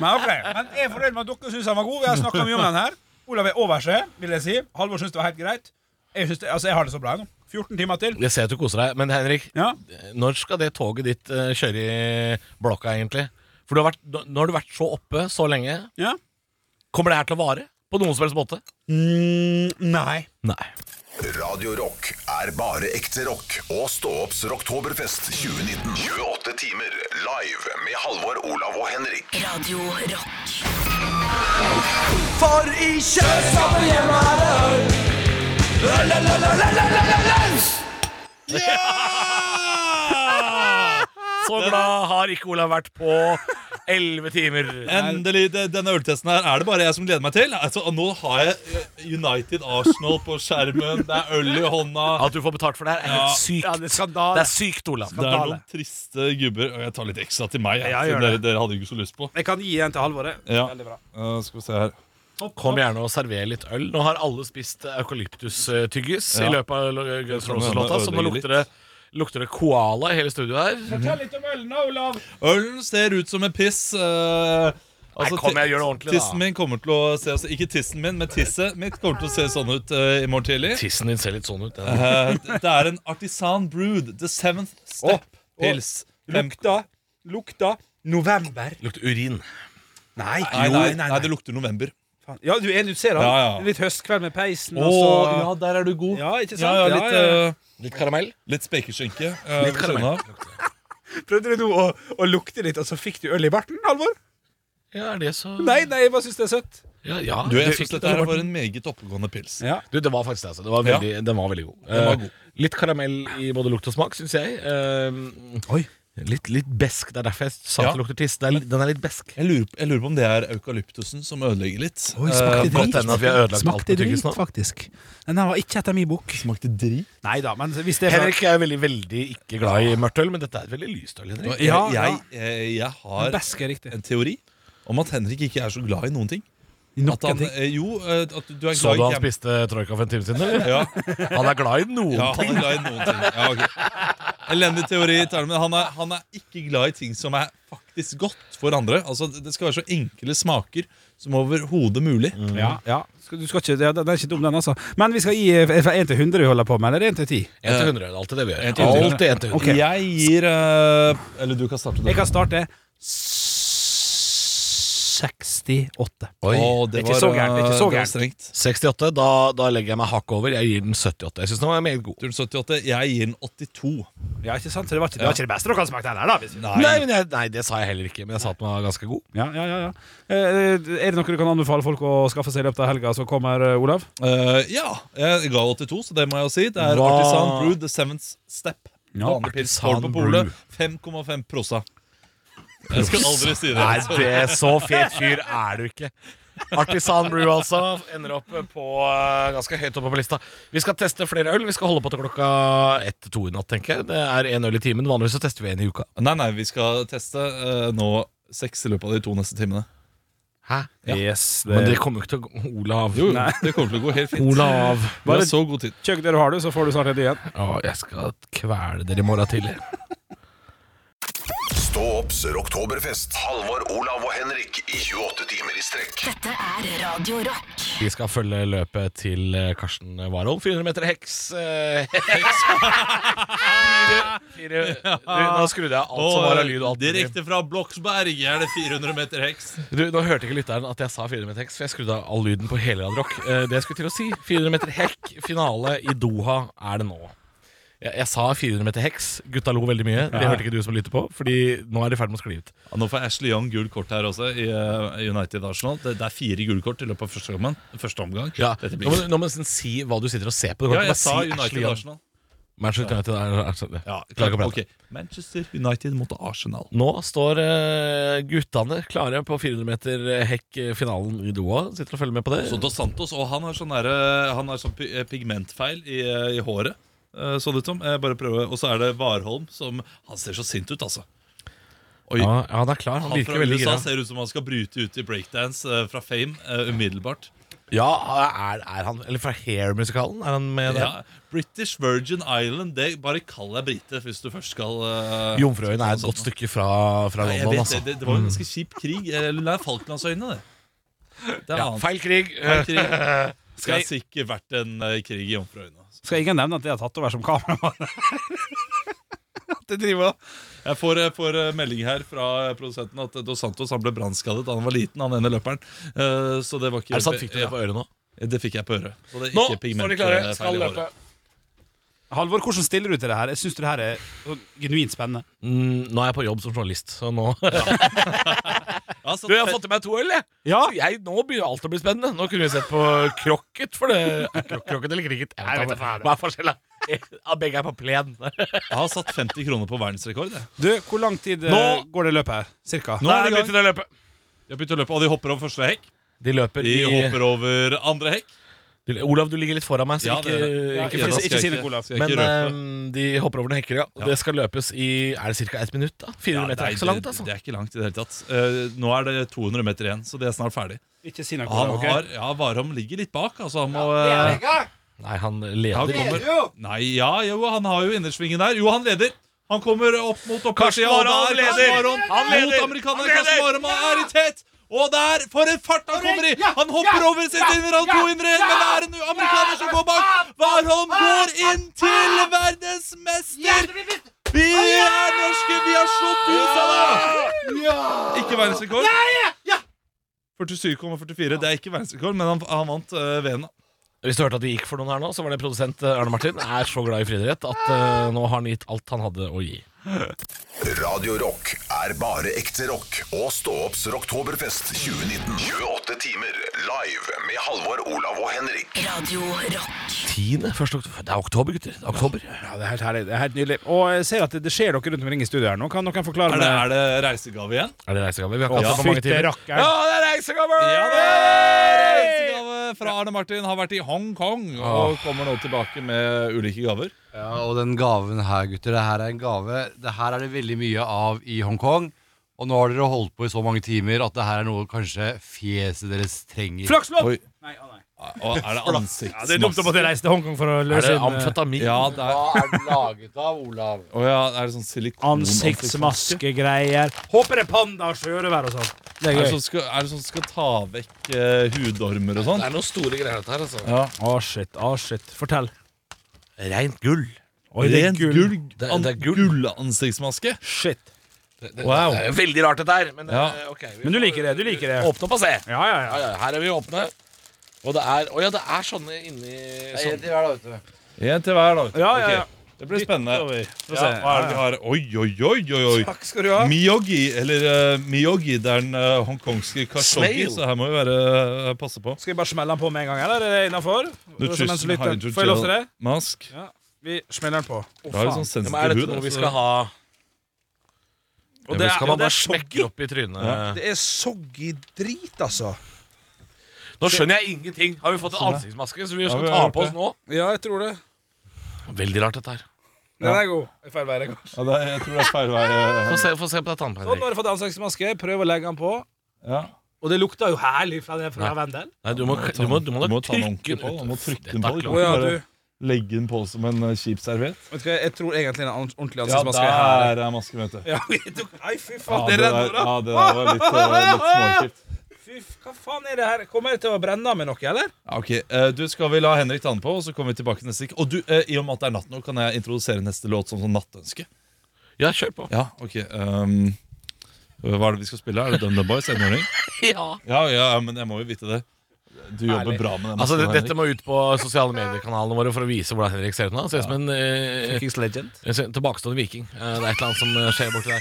S5: Men, ok, men jeg er fornøyd med at dere syns han var god. Vi har snakket mye om den her. Olav er over seg, vil jeg si. Halvor syns det var helt greit. Jeg, synes det, altså, jeg har det så bra nå. 14 timer til.
S6: Jeg ser at du koser deg, men Henrik,
S5: Ja.
S6: når skal det toget ditt eh, kjøre i blokka, egentlig? For du har vært, nå nå har du vært så oppe så lenge.
S5: ja.
S6: Kommer det her til å vare? På noen som helst måte?
S4: Mm.
S5: Nei.
S6: Nei.
S1: Radio Rock er bare ekte rock. Og stå opps Rocktoberfest 2019. 28 timer live med Halvor, Olav og Henrik.
S2: Radio Rock.
S6: Så glad har ikke Olav vært på elleve timer.
S4: Altså, Endelig, det, Denne øltesten her er det bare jeg som gleder meg til. Altså, og nå har jeg eh, United Arsenal på skjermen. Det er øl i hånda.
S6: At du får betalt for det her, er helt sykt.
S5: Ja, det er skandale.
S6: Det er sykt, Olav.
S4: Det er noen triste gubber. Og jeg tar litt ekstra til meg.
S5: Ja,
S4: Ja,
S5: gjør
S4: siden dere, dere hadde ikke så lyst på.
S5: Jeg kan gi en til Halvor. det.
S4: Ja.
S5: Veldig bra.
S4: Eh, skal vi se her.
S6: Kom gjerne og server litt øl. Nå har alle spist eukalyptustyggis i
S4: Ja.
S6: løpet av Guns
S4: kan
S6: Roses-låta,
S4: hende
S6: så nå
S4: ødelegger
S6: lukter det, lukter det koala i hele studioet her.
S4: Mhm.
S5: Fortell litt om ølen, da, Olav.
S4: Ølen ser ut som en piss. eh, altså,
S6: kom igjen, gjør det ordentlig, da.
S4: Tissen min kommer til å se altså, Ikke tissen min, men tisset mitt kommer til å se sånn ut eh, i morgen tidlig.
S6: Tissen din ser litt sånn ut. Den.
S4: Eh, det er en artisan brood. The seventh step pils. Fem-
S5: Lukta. Lukta. November.
S6: Lukter urin.
S5: Nei,
S4: Nei,
S5: jo,
S4: nei, nei, det lukter november.
S5: Ja, du er du ser han.
S4: Ja, ja.
S5: Litt høstkveld med peisen.
S4: Å,
S5: og så-
S4: ja, der er du god.
S5: Ja, ikke sant?
S4: Ja, ja, litt,
S5: Ja, ja.
S4: eh,
S6: Litt karamell?
S4: litt spekeskinke. eh,
S6: Litt karamell.
S5: Prøvde du nå å, å lukte litt, og så fikk du øl i barten, Halvor?
S6: Ja, er det så
S5: Nei, nei, jeg bare syns det er søtt.
S6: Ja, ja.
S4: Du, jeg
S6: Det-
S4: syns dette her var en meget oppegående pils.
S5: Ja.
S6: Du, det var faktisk det. Altså. Det var
S4: Ja.
S6: veldig, Den var veldig god.
S4: Den var
S6: Eh,
S4: god.
S6: litt karamell i både lukt og smak, syns jeg. Eh,
S10: Oi.
S6: Litt, litt besk. Det er derfor jeg sa
S4: Ja.
S6: at det lukter tiss. Det er, litt- den er litt besk.
S4: Jeg lurer, jeg lurer på om det er eukalyptusen som ødelegger litt.
S10: Oi, smakte
S4: Eh,
S10: drit.
S6: godt hende at vi har ødelagt alt
S10: Smakte
S6: med tyggis nå.
S10: drit, faktisk. Den her var ikke etter min bok.
S4: smakte drit.
S5: Nei da, men hvis det er fra-
S6: Henrik er veldig, veldig ikke glad i mørkt øl, men dette er et veldig lyst øl. Henrik
S4: Jeg,
S5: Ja,
S4: jeg,
S5: ja.
S4: eh, jeg har
S5: Besk er riktig.
S4: en teori om at Henrik ikke er så glad i noen ting. At
S5: Nok
S4: han,
S5: en ting.
S4: eh, jo, eh, at du er glad
S6: Så du
S4: i
S6: han
S4: camp-
S6: spiste troika for en time siden? eller?
S4: Ja,
S6: Han er glad i noen
S4: ja,
S6: ting.
S4: han er glad i noen ting. Ja, ok. Elendig teori, Tarjei, men han er, han er ikke glad i ting som er faktisk godt for andre. Altså, Det skal være så enkle smaker som overhodet mulig.
S5: Ja, ja. Skal- Du skal ikke, ja, den er ikke dum, den, altså. Men vi skal gi eh, fra 1 til 100 vi holder på med, eller 1 til 10?
S6: 1 til 100 er det alltid det vi gjør.
S4: En til hundre.
S6: Alltid en til 100.
S5: Ok.
S4: Jeg gir eh, Eller du kan starte.
S5: Jeg
S4: Du.
S5: kan starte 68.
S4: Å,
S5: Det er ikke så gærent, det er ikke så
S4: eh, var
S5: gærent.
S4: strengt.
S6: 68, da, da legger jeg meg hakket over. Jeg gir den 78. Jeg syns den var meget god.
S4: Du er 78, jeg gir den 82.
S5: Ja, ikke sant? Så det var ikke, det, var ikke det beste dere har smakt heller, da. Hvis vi...
S6: Nei, men jeg, nei, det sa jeg heller ikke, men jeg sa at den var ganske god.
S5: Ja, ja, ja, ja. Eh, Er det noe du kan anbefale folk å skaffe seg i løpet av helga som kommer, eh, Olav?
S4: Eh, ja, jeg ga 82, så det må jeg jo si. Det er
S6: Hva?
S4: Artisan Brew The Seventh Step.
S5: Ja,
S4: Vanlig pils står
S6: Artisan
S4: på polet.
S6: Brew.
S4: 5,5 prosa. Jeg skal aldri si det.
S6: Nei, det så fet fyr er du ikke. Artisan Brew altså ender opp på eh, ganske høyt oppe på lista. Vi skal teste flere øl. Vi skal holde på til klokka ett til to i natt, tenker jeg. Det er én øl i timen. Vanligvis så tester vi én i uka.
S4: Nei, nei, vi skal teste eh, nå seks i løpet av de to neste timene.
S6: Hæ?
S5: Yes,
S6: Men det kommer jo ikke til å gå Olav.
S4: Jo, det kommer til å gå helt fint.
S6: Olav.
S4: Vi
S5: Bare-
S4: har så god tid.
S5: Kjøkk det du har, du, så får du snart et igjen.
S6: Å, jeg skal kvele dere i morgen tidlig.
S1: Stå opps rocktoberfest. Halvor, Olav og Henrik i 28 timer i strekk.
S2: Dette er Radio Rock.
S6: Vi skal følge løpet til eh, Karsten Warholm. 400 meter heks. eh, heks. Fire, fire. Du, nå skrudde jeg alt som var av lyd. Og alt mulig.
S4: direkte fra Bloksberg er det 400 meter heks.
S6: Du, nå hørte ikke lytteren at jeg sa 400 meter heks, for jeg skrudde av all lyden på hele Radio Rock. Eh, Det jeg skulle til å si, 400 meter hekk, finale i Doha er det nå. Jeg, jeg sa 400 meter heks. Gutta lo veldig mye. Det hørte ikke du som lytter på, Fordi nå er de i ferd med å skli ut.
S4: Ja, nå får Ashley Young gult kort her også, i eh, United Arsenal. Det, det er fire gule kort i løpet av første omgang. Første omgang.
S6: Ja.
S4: Dette
S6: Nå
S4: blir...
S6: må nå må du nesten si hva du sitter og ser på. Du kan
S4: ja jeg
S6: ikke bare
S4: sa
S6: si Ashley
S4: United
S6: Young.
S4: Arsenal.
S6: Manchester United er, er, er,
S4: Ja,
S6: Klarer ikke å prate.
S4: ok. Manchester United mot Arsenal.
S6: Nå står eh, guttene klare på 400 meter eh, hekk-finalen i Doha. Sitter og følger med på det.
S4: Så Dos Santos og han har sånn, derre- han har sånn pi- eh, pigmentfeil i, eh, i håret. eh, Så det ut som. Jeg Bare prøve. Og så er det Warholm som Han ser så sint ut, altså. Oi.
S6: ja, ja, han er klar. Han,
S4: Han fra
S6: virker veldig
S4: USA
S6: gira.
S4: ser ut som han skal bryte ut i breakdance eh, fra Fame eh, umiddelbart.
S6: Ja, er, er han Eller fra Hair-musikalen? Er han med der?
S4: Ja, British Virgin Island, det bare kall deg brite hvis du først skal uh,
S6: Jomfrøyen er et godt stykke fra, fra
S4: Nei, jeg
S6: London,
S4: vet, det,
S6: altså.
S4: det, det var jo en ganske kjip krig. Eh, Eller det er Falklandsøyene, det. Det er
S6: Ja,
S4: annet.
S6: feil krig.
S4: Feil krig. Det
S5: Skal
S4: har
S5: jeg,
S4: sikkert vært en eh, krig i Jomfruøyene. altså.
S5: skal ingen nevne at jeg har tatt over som kameramann? At jeg driver og-
S4: Jeg får, jeg får eh, melding her fra produsenten at eh, Dos Santos han ble brannskadet da han var liten. Han ene løperen. Eh, Så det var ikke
S6: Er det sant? Fikk du det på øret nå?
S4: Ja, Eh, det fikk jeg på øret. Så det er
S6: Nå
S4: ikke
S6: står de
S4: pigment,
S6: klare.
S4: eh, feil
S6: Skal
S4: i håret.
S6: løpe.
S5: Halvor, hvordan stiller du til det her? Jeg syns det her er så genuint spennende.
S6: Mm, nå er jeg på jobb som journalist, så nå
S4: Ja, så
S6: Du, jeg har
S4: fett.
S6: fått i meg to øl, jeg.
S5: Ja.
S6: Så jeg, nå begynner alt å bli spennende. Nå kunne vi sett på krokket, for det er krok- Krokket eller cricket? Jeg vet ikke. Hva er forskjellen? Ja, Begge er på plen.
S4: Jeg har satt 50 kroner på verdensrekord. jeg.
S5: Du, hvor lang tid eh,
S6: Nå-
S5: går det løpet her? Cirka?
S4: Nå er det i gang.
S6: de å løpe.
S4: De har begynt å løpe, og de hopper over første hekk.
S6: De løper
S4: De
S6: i
S4: hopper over andre hekk.
S6: Du- Olav, du ligger litt foran meg, så
S4: Ja,
S6: ikke,
S4: det gjør da
S5: Ja, ikke,
S6: ikke frys.
S4: skal
S5: ikke
S4: jeg
S5: si
S4: ikke-
S5: det, Olav.
S4: skal jeg
S6: Men
S4: ikke røpe.
S6: ehm, de hopper over noen hekker, ja. Og det skal løpes i Er det ca. ett minutt? da? 400
S4: Ja,
S6: meter er
S4: nei,
S6: ikke så langt,
S4: det,
S6: altså.
S4: det er ikke langt i det hele tatt. Eh, nå er det 200 meter igjen, så de er snart ferdig.
S5: Ikke si noe,
S4: Han
S5: Olav. ok?
S4: har, ja, Warholm ligger litt bak. Altså, han må eh,
S6: Nei, han
S4: Han
S6: leder.
S4: kommer Nei, ja, jo, han har jo innersvingen der. Jo, han leder. Han kommer opp mot
S6: Karsten
S4: oppersida. og
S6: Warholm
S4: der,
S6: leder.
S4: Karsten Warholm
S6: Han leder.
S4: Mot amerikaneren.
S6: Han
S4: Karsten
S6: leder.
S4: Warholm er i tett. Og der, for en fart han kommer i! Han hopper over sitt inner, han to innre igjen, men det er en amerikaner som går bak. Warholm går inn til verdensmester! Vi er norske, vi har slått USA, da! Ikke verdensrekord. 47,44. Det er ikke verdensrekord, men han, han vant uh, VM, da.
S6: Hvis du hørte at det gikk for noen her nå, så var det produsent eh, Arne Martin. Er så glad i friidrett at eh, nå har han gitt alt han hadde å gi.
S1: Radio Rock er bare ekte rock. Og stå opps Rocktoberfest 2019. 28 timer live med Halvor, Olav og Henrik.
S2: Radio Rock.
S6: 10. 1. oktober. Det er oktober, gutter. Det er oktober.
S5: Ja, det er helt herlig. Det er helt nydelig. Og jeg ser at det, det skjer noe rundt omkring i studio her nå. Kan noen
S4: Er
S5: forklare
S4: det,
S5: meg
S4: er det reisegave igjen?
S6: Er det reisegave? Vi har
S5: Å,
S6: ikke hatt det på mange
S5: fytte
S6: timer.
S5: rakkeren.
S6: Ja, det er reisegave!
S4: Ja, det er reisegave fra Arne Martin. Har vært i Hongkong og
S6: Ah.
S4: kommer nå tilbake med ulike gaver.
S3: Ja, og den gaven her, gutter, det her er en gave. Det her er det veldig mye av i Hongkong. Og nå har dere holdt på i så mange timer at det her er noe kanskje fjeset deres trenger.
S5: Flakslodd!
S4: Oi.
S5: Nei, å nei.
S4: Og er det
S5: Ja, det er dumt å
S4: ansiktsmaske?
S5: måtte reise til Hongkong for å
S6: Er
S5: løse
S6: det
S5: inn, eh,
S6: amfetamin?
S4: Ja, det er,
S3: Hva er det laget av, Olav?
S4: Å ja, er det sånn silikon
S5: ansiktsmaskegreier. Håper det er panda og sjørøver og sånn. Det
S4: Er
S5: er
S4: det
S5: gøy.
S4: som skal, er det som skal ta vekk eh, hudormer og sånn?
S6: Det er noen store greier dette her, altså.
S4: Ja.
S5: Å, shit. Å, shit. Fortell.
S6: Rent gull.
S5: Oi, det er
S4: Rent
S5: gull.
S4: gull,
S6: Det- det
S4: an,
S6: er gull.
S4: gullansiktsmaske.
S5: Shit.
S6: Det, det,
S4: Wow.
S6: det er jo veldig rart, dette her. Men,
S4: Ja.
S6: eh, ok, vi
S5: Men du
S6: får-
S5: liker det, du liker det.
S6: Åpne opp og se.
S5: Ja, ja,
S6: Ja,
S5: ja.
S6: ja, her er vi åpne. Og det er, å ja, det er sånne inni sånn.
S4: Én til hver, da. vet du.
S5: Ja, ja, ja.
S4: Ok, Det blir spennende.
S5: Over. Få
S4: Ja,
S5: se.
S4: hva er det vi har? Oi, oi, oi, oi, oi.
S6: Takk skal du ha.
S4: Miyogi, eller eh, Miyogi, det er den eh, hongkongske khashoggi,
S6: Snail.
S4: så her må vi være eh, passe på.
S5: Skal vi bare smelle den på med en gang, eller? Er det innafor?
S4: Nutrition hydrogel
S5: Får jeg lov til det?
S4: mask.
S5: Ja. Vi smeller den på.
S4: Jeg har jo sånn sensitiv
S6: er
S4: hud,
S6: dette noe vi
S4: altså.
S6: skal ha
S5: Og
S6: det
S5: det,
S6: skal
S5: er-
S6: man
S5: det
S6: bare
S5: er
S6: smekke
S5: soggy.
S6: opp i trynet.
S5: Det er soggy drit, altså.
S6: Nå skjønner jeg ingenting. Har vi fått
S5: Sånn,
S6: en ansiktsmaske som vi skal
S4: vi har
S6: ta
S4: gjort
S6: på oss nå?
S5: Ja, jeg tror det.
S6: Veldig rart, dette her.
S5: Den er god. Det er Feil vei, det går.
S4: Ja, det er, jeg tror det er feil vei.
S6: Få
S4: eh,
S6: se, få se på det
S5: Sånn, nå
S6: tannpleieriet.
S5: har jeg fått ansiktsmaske. Prøv å legge den på.
S4: Ja.
S5: Og det lukter jo herlig fra den fra vendelen.
S6: Nei, du må, du må, du må,
S4: Du må ta den
S6: trykke
S4: ordentlig
S6: den
S4: på.
S6: ut.
S4: Du må trykke
S6: Dette
S4: den på.
S6: er
S4: Du kan
S5: Å ja,
S4: ikke
S5: du.
S4: bare legge den på som en eh, kjip serviett.
S5: Vet du hva, jeg tror egentlig en an- ordentlig
S4: Ja,
S5: ansiktsmaske er
S4: der
S5: herlig.
S4: er masken, vet du.
S5: Ja, vi tok Nei, fy
S4: Ja,
S5: faen,
S4: det
S5: det
S4: der,
S5: renner
S4: ja,
S5: da.
S4: det der var litt, eh, litt småkjipt.
S5: Fy, f- hva faen er det her? Kommer jeg til å brenne av med noe, eller?
S4: Ja, ok, Eh, du Skal vi la Henrik ta den på, og så kommer vi tilbake neste stikk. Og du, eh, I og med at det er natt nå, kan jeg introdusere neste låt som sånn nattønske?
S6: Ja, kjør på.
S4: Ja, ok ehm, Hva er det vi skal spille? Er det Dum Dum Boys? Enhjørning?
S6: Ja.
S4: Ja, ja, ja, men jeg må jo vite det. Du jobber bra med den.
S6: Altså, det,
S4: masken,
S6: dette må ut på sosiale mediekanalene våre for å vise hvordan Henrik ser ut nå. Han Ser ut som en eh,
S5: Legend.
S6: en tilbakestående viking. Eh, Det er et eller annet som eh, skjer borti der.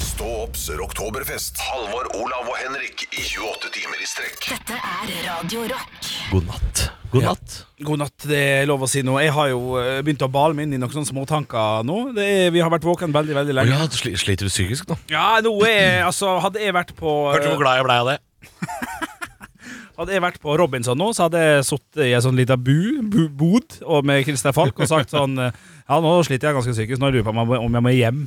S1: Stå opps Rocktoberfest. Halvor, Olav og Henrik i 28 timer i strekk.
S2: Dette er Radio Rock.
S6: God natt. God natt.
S5: God natt, det er lov å si nå. Jeg har jo eh, begynt å bale meg inn i noen sånne småtanker nå. Det er, vi har vært våken veldig, veldig
S6: Å
S5: lenge.
S6: ja, du sli- sliter du psykisk nå?
S5: Ja, nå er Altså, hadde jeg vært på
S6: Hørte du hvor glad jeg blei av det?
S5: Hadde jeg vært på Robinson nå, så hadde jeg sittet i en sånn lita bu, bu, bod og med Christian Falk og sagt sånn Ja, nå sliter jeg ganske psykisk, nå lurer jeg på om jeg må- om jeg må hjem.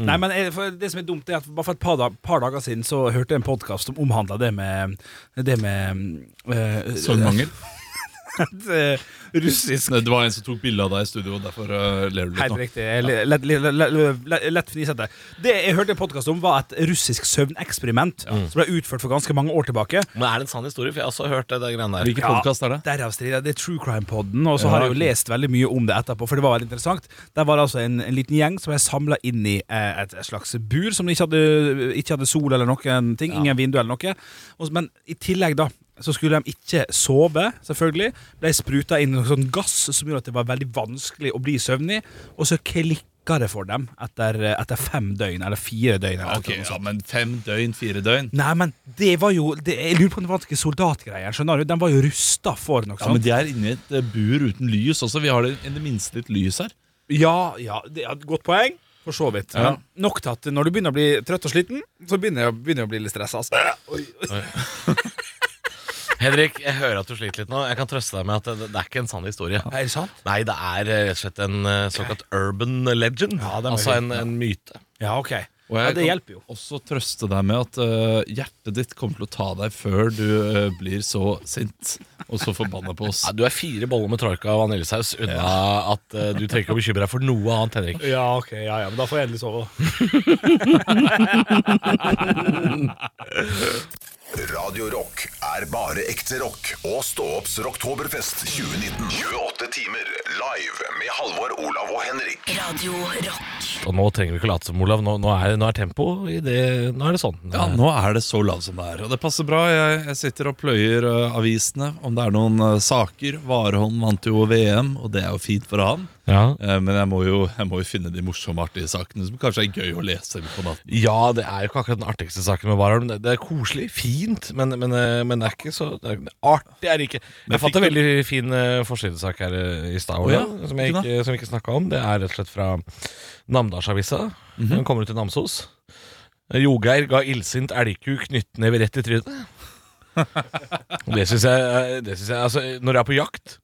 S5: Nei, men jeg, for det som er dumt, er at bare for et par, dag, par dager siden så hørte jeg en podkast som omhandla det med Det med eh,
S4: Sangmangel.
S5: eh, russisk
S4: Nei, Det var en som tok bilde av deg i studio, og derfor eh, ler du litt
S5: Helt
S4: nå.
S5: riktig. Jeg le- Lett, lett, lett, lett, lett fnisete. Det jeg hørte en podkast om, var et russisk søvneksperiment som ble utført for ganske mange år tilbake.
S6: Men er det en sann historie? For jeg har også hørt det der greiene der.
S4: Hvilken podkast er det?
S5: Derav strider jeg. det er True Crime-podden, og så
S4: Ja,
S5: har jeg
S4: ok.
S5: jo lest veldig mye om det etterpå, for det var veldig interessant. Der var det altså en, en liten gjeng som ble samla inn i eh, et, et slags bur som ikke hadde, ikke hadde sol eller noen ting, ingen vindu eller noe. Og, s- men i tillegg, da, så skulle de ikke sove, selvfølgelig. Ble spruta inn noe sånn gass som gjorde at det var veldig vanskelig å bli søvnig, og så klikka det for dem etter, etter fem døgn, eller fire døgn. Eller
S4: Ok, altså.
S5: noe
S4: ja,
S5: sånt.
S4: men Fem døgn, fire døgn.
S5: Nei, men det var jo det, Jeg lurer på om det var noen soldatgreier. Skjønner du? De var jo rusta for noe
S4: Ja,
S5: sånt.
S4: men De er inne i et eh, bur uten lys også. Vi har det, i det minste litt lys her.
S5: Ja, ja, det er et godt poeng. For så vidt.
S4: Ja.
S5: Men Nok til at når du begynner å bli trøtt og sliten, så begynner jeg, begynner jeg å bli litt stressa. Altså.
S6: Henrik, jeg hører at du sliter litt nå. Jeg kan trøste deg med at det, det er ikke en sann historie.
S5: Er det sant?
S6: Nei, det er eh, rett og slett en eh, såkalt urban legend.
S5: det er
S6: altså
S5: mulig.
S6: en, en myte.
S5: Ja, ok.
S4: Og jeg
S5: Ja, det
S4: kan
S5: hjelper jo.
S4: Også trøste deg med at eh, hjertet ditt kommer til å ta deg før du eh, blir så sint og så forbanna på oss.
S6: Ja, du er fire boller med troika og vaniljesaus unna at eh, du trenger ikke å bekymre deg for noe annet, Henrik.
S5: Ja, ok, ja, ja, men da får jeg endelig sove.
S1: Radio Radio Rock er bare ekte rock. Og stå opps Rocktoberfest 2019. 28 timer live med Halvor, Olav og Henrik.
S2: Radio Rock.
S6: Og nå trenger vi ikke late som, Olav. Nå, nå er, nå er tempo i det Nå er det sånn.
S4: Ja, nå er det så lav som det er, og det passer bra. Jeg, jeg sitter og pløyer ø, avisene om det er noen ø, saker. Warholm vant jo VM, og det er jo fint for han.
S6: Ja.
S4: Eh, men jeg må, jo, jeg må jo finne de morsomme, artige sakene som kanskje er gøy å lese på natten.
S6: Ja, det er jo ikke akkurat den artigste saken med Warholm. Det, det er koselig, fint, men, men, eh, men det er ikke så det er, Artig er det ikke.
S4: Men
S6: Jeg fant
S4: fikk
S6: en veldig fin eh, forsidesak her eh, i stad,
S4: Å ja,
S6: Olav, som, jeg
S4: hvilken
S6: ikke- som vi ikke snakka om. Det er rett og slett fra Namdalsavisa.
S4: Mhm.
S6: Den kommer ut i Namsos. Jogeir ga illsint elgkuk knyttneve rett i trynet. Og Det syns jeg, det synes jeg altså, Når jeg er på jakt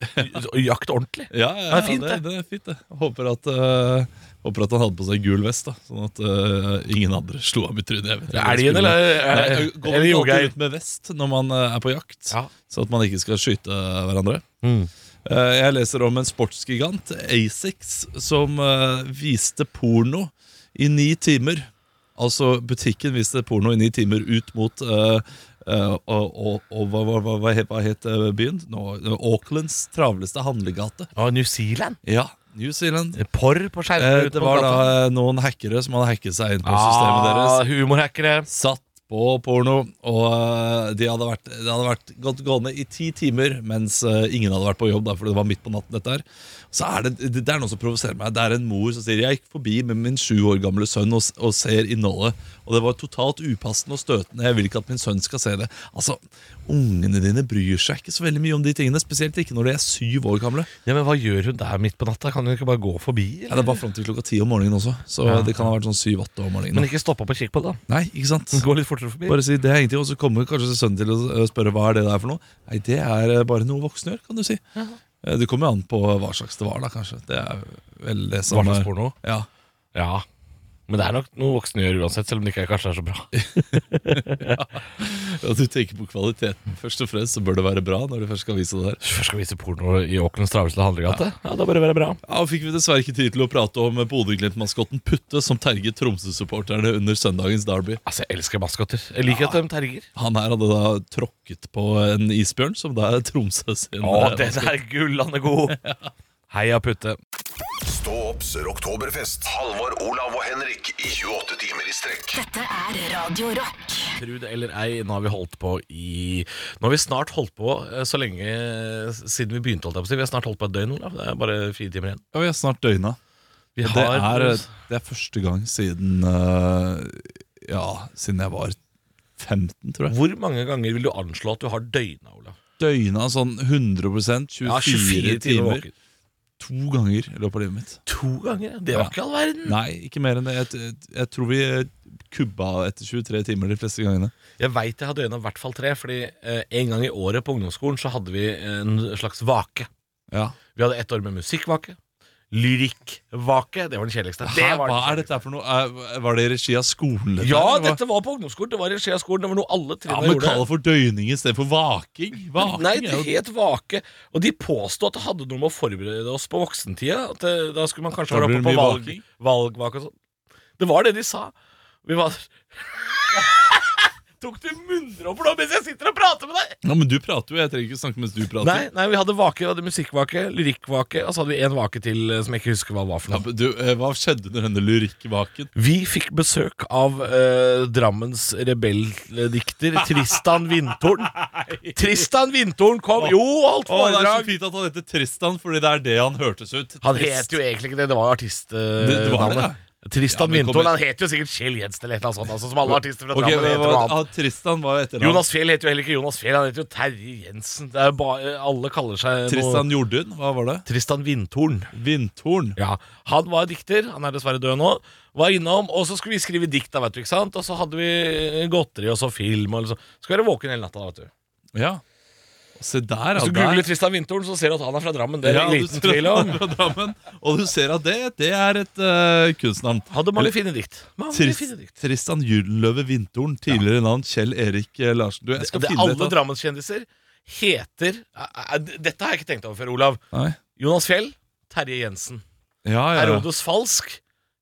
S6: Jakt ordentlig.
S4: Ja, ja,
S6: det er fint,
S4: ja,
S6: det.
S4: det, det er fint, det. Jeg Håper at, eh, håper at han hadde på seg gul vest, da sånn at eh, ingen andre slo ham i trynet. Jeg vet ikke
S6: Er
S4: om
S6: det en,
S4: skulle-
S6: eller- Eh, er-
S4: Nei, jeg Går
S6: eller
S4: vel
S6: Jogeir?
S4: alltid ut med vest når man eh, er på jakt, så at man ikke skal skyte hverandre.
S6: Mm.
S4: Eh, jeg leser om en sportsgigant, Asix, som eh, viste porno i ni timer. Altså, butikken viste porno i ni timer ut mot eh, eh, og, og, og hva, hva, hva, hva het- hva het eh, byen? Nå, Aucklands travleste handlegate.
S6: Og New Zealand?
S4: Ja, New Zealand.
S6: Porr på skjermen
S4: Eh,
S6: ute
S4: det
S6: på
S4: var da
S6: gata.
S4: eh, noen hackere som hadde hacket seg inn på systemet
S6: Ah,
S4: deres.
S6: Humorhackere.
S4: Satt på porno, og eh, de hadde vært, det hadde vært gått gående i ti timer mens eh, ingen hadde vært på jobb, da, fordi det var midt på natten. dette her. Så er det, det, det er noe som provoserer meg. Det er en mor som sier jeg gikk forbi med min sju år gamle sønn og, s- og ser innholdet, og det var totalt upassende og støtende. Jeg vil ikke at min sønn skal se det. Altså, Ungene dine bryr seg ikke så veldig mye om de tingene, spesielt ikke når de er syv år gamle.
S6: Ja, Men hva gjør hun der midt på natta? Kan hun ikke bare gå forbi?
S4: Ja, det er bare fram til klokka ti om morgenen også. Så
S6: Ja.
S4: det kan ha vært sånn syv-åtte om morgenen.
S6: Men ikke stopp opp og kikk på det, da.
S4: Nei, ikke sant?
S6: Gå litt fortere forbi.
S4: Bare si det er ingenting, og så kommer kanskje sønnen til å eh, spørre hva er det der for noe. Nei, det er eh, bare noe voksne gjør, kan du si. Eh, Det kommer jo an på hva slags det var, da, kanskje. Det er vel det som
S6: Hva slags
S4: er-
S6: porno?
S4: Ja.
S6: Ja. Men det er nok noe voksne gjør uansett, selv om det ikke er, kanskje er så bra.
S4: ja, du tenker på kvaliteten. Først og fremst så bør det være bra når du først skal vise det der.
S6: Først skal vise porno i Åkernes travleste handlegate. Ja. det bør være bra.
S4: Ja, og Fikk vi dessverre ikke tid til å prate om Bodø-Glimt-maskotten Putte, som terget Tromsø-supporterne under søndagens derby.
S6: Altså, Jeg elsker maskotter. Jeg liker at de terger.
S4: Han her hadde da tråkket på en isbjørn, som da er Tromsø sin
S6: Å,
S4: eh,
S6: den er gull, han er god! Heia Putte.
S1: Stå opps Rocktoberfest. Halvor, Olav og Henrik i 28 timer i strekk.
S2: Dette er Radio Rock.
S6: Tro det eller ei, nå har vi holdt på i Nå har vi snart holdt på eh, så lenge eh, siden vi begynte. holdt jeg på å si. Vi har snart holdt på et døgn, Olav. Det er bare fire timer igjen.
S4: Ja, vi er snart døgna.
S6: Vi
S4: Og
S6: har-
S4: det, er, det er første gang siden øh, Ja, siden jeg var 15, tror jeg.
S6: Hvor mange ganger vil du anslå at du har døgna, Olav?
S4: Døgna sånn 100 24,
S6: Ja, 24 timer
S4: timer.
S6: våken.
S4: To ganger i løpet av livet mitt.
S6: To ganger? ja. Det var ikke all verden.
S4: Nei, ikke mer enn det. Jeg, jeg, jeg tror vi eh, kubba etter 23 timer de fleste gangene.
S6: Jeg veit jeg har døgna i hvert fall tre, fordi eh, en gang i året på ungdomsskolen så hadde vi en slags vake.
S4: Ja.
S6: Vi hadde ett år med musikkvake. Lyrikkvake. Det var den kjedeligste.
S4: Hæ,
S6: Det var
S4: hva
S6: den
S4: er dette her for noe? Er- Var det i regi av skolen? dette
S6: ja,
S4: her, eller hva?
S6: dette var på ungdomsskolen. Det var i regi av skolen. Det var noe
S4: ja,
S6: alle trinnene
S4: men
S6: gjorde.
S4: kall det for døgning istedenfor vaking. vaking.
S6: Nei,
S4: er
S6: det
S4: jo-
S6: het vake. Og de påsto at det hadde noe med å forberede oss på voksentida. At det, da skulle man kanskje
S4: Da
S6: være
S4: blir det
S6: oppe på
S4: mye
S6: valg,
S4: vaking.
S6: valgvake og sånn. Det var det de sa. Vi var Tok du munndråper nå mens jeg sitter og prater med deg?
S4: Ja, men du prater jo, jeg trenger ikke snakke mens du prater.
S6: Nei, nei, vi hadde vake, vi hadde musikkvake, lyrikkvake, og så hadde vi en vake til eh, som jeg ikke husker hva var for
S4: Ja,
S6: noe.
S4: men du, eh, hva skjedde under denne lyrikkvaken?
S6: Vi fikk besøk av eh, Drammens rebelldikter Tristan Vindtorn. Tristan Vindtorn kom Jo,
S4: Å, det
S6: holdt
S4: er så
S6: foredrag!
S4: fint at han heter Tristan, fordi det er det han hørtes ut.
S6: Han het jo egentlig ikke det, det var artistnavnet.
S4: Det- det var det,
S6: Tristan
S4: Ja, men kom
S6: Vindtorn.
S4: igjen.
S6: Han het jo sikkert Kjell Jensen eller et eller annet sånt, altså, som alle artister fra
S4: Ok,
S6: Drammen
S4: men
S6: heter. noe
S4: hva-
S6: annet.
S4: ah, Tristan var jo etter ham.
S6: Jonas Fjell heter jo heller ikke Jonas Fjell, han heter jo Terje Jensen. Det er jo bare, alle kaller seg noe
S4: Tristan Jordun, hva var det?
S6: Tristan Vindtorn.
S4: Vindtorn.
S6: Ja, Han var dikter, han er dessverre død nå. Var innom, Og så skulle vi skrive dikt, da, vet du, ikke sant? og så hadde vi eh, godteri og så film. Og liksom. Skulle være våken hele natta. da, vet du
S4: Ja. Se der, ja.
S6: Hvis du
S4: der.
S6: googler Tristan Vindtorn, så ser du at han er fra Drammen. Det er
S4: Ja, du
S6: det
S4: ser
S6: liten
S4: at
S6: tvil om
S4: han er fra Drammen, Og du ser at det, det er et uh, kunstnavn.
S6: Hadde mange fine dikt. Mange
S4: Trist,
S6: fine dikt
S4: Tristan Gyldenløve Vindtorn, tidligere navn Kjell Erik eh, Larsen. Du, jeg skal
S6: det,
S4: finne
S6: Alle
S4: dette.
S6: Drammenskjendiser heter eh, eh, Dette har jeg ikke tenkt over før, Olav.
S4: Nei.
S6: Jonas Fjell, Terje Jensen.
S4: Ja, ja, ja.
S6: Herodes Falsk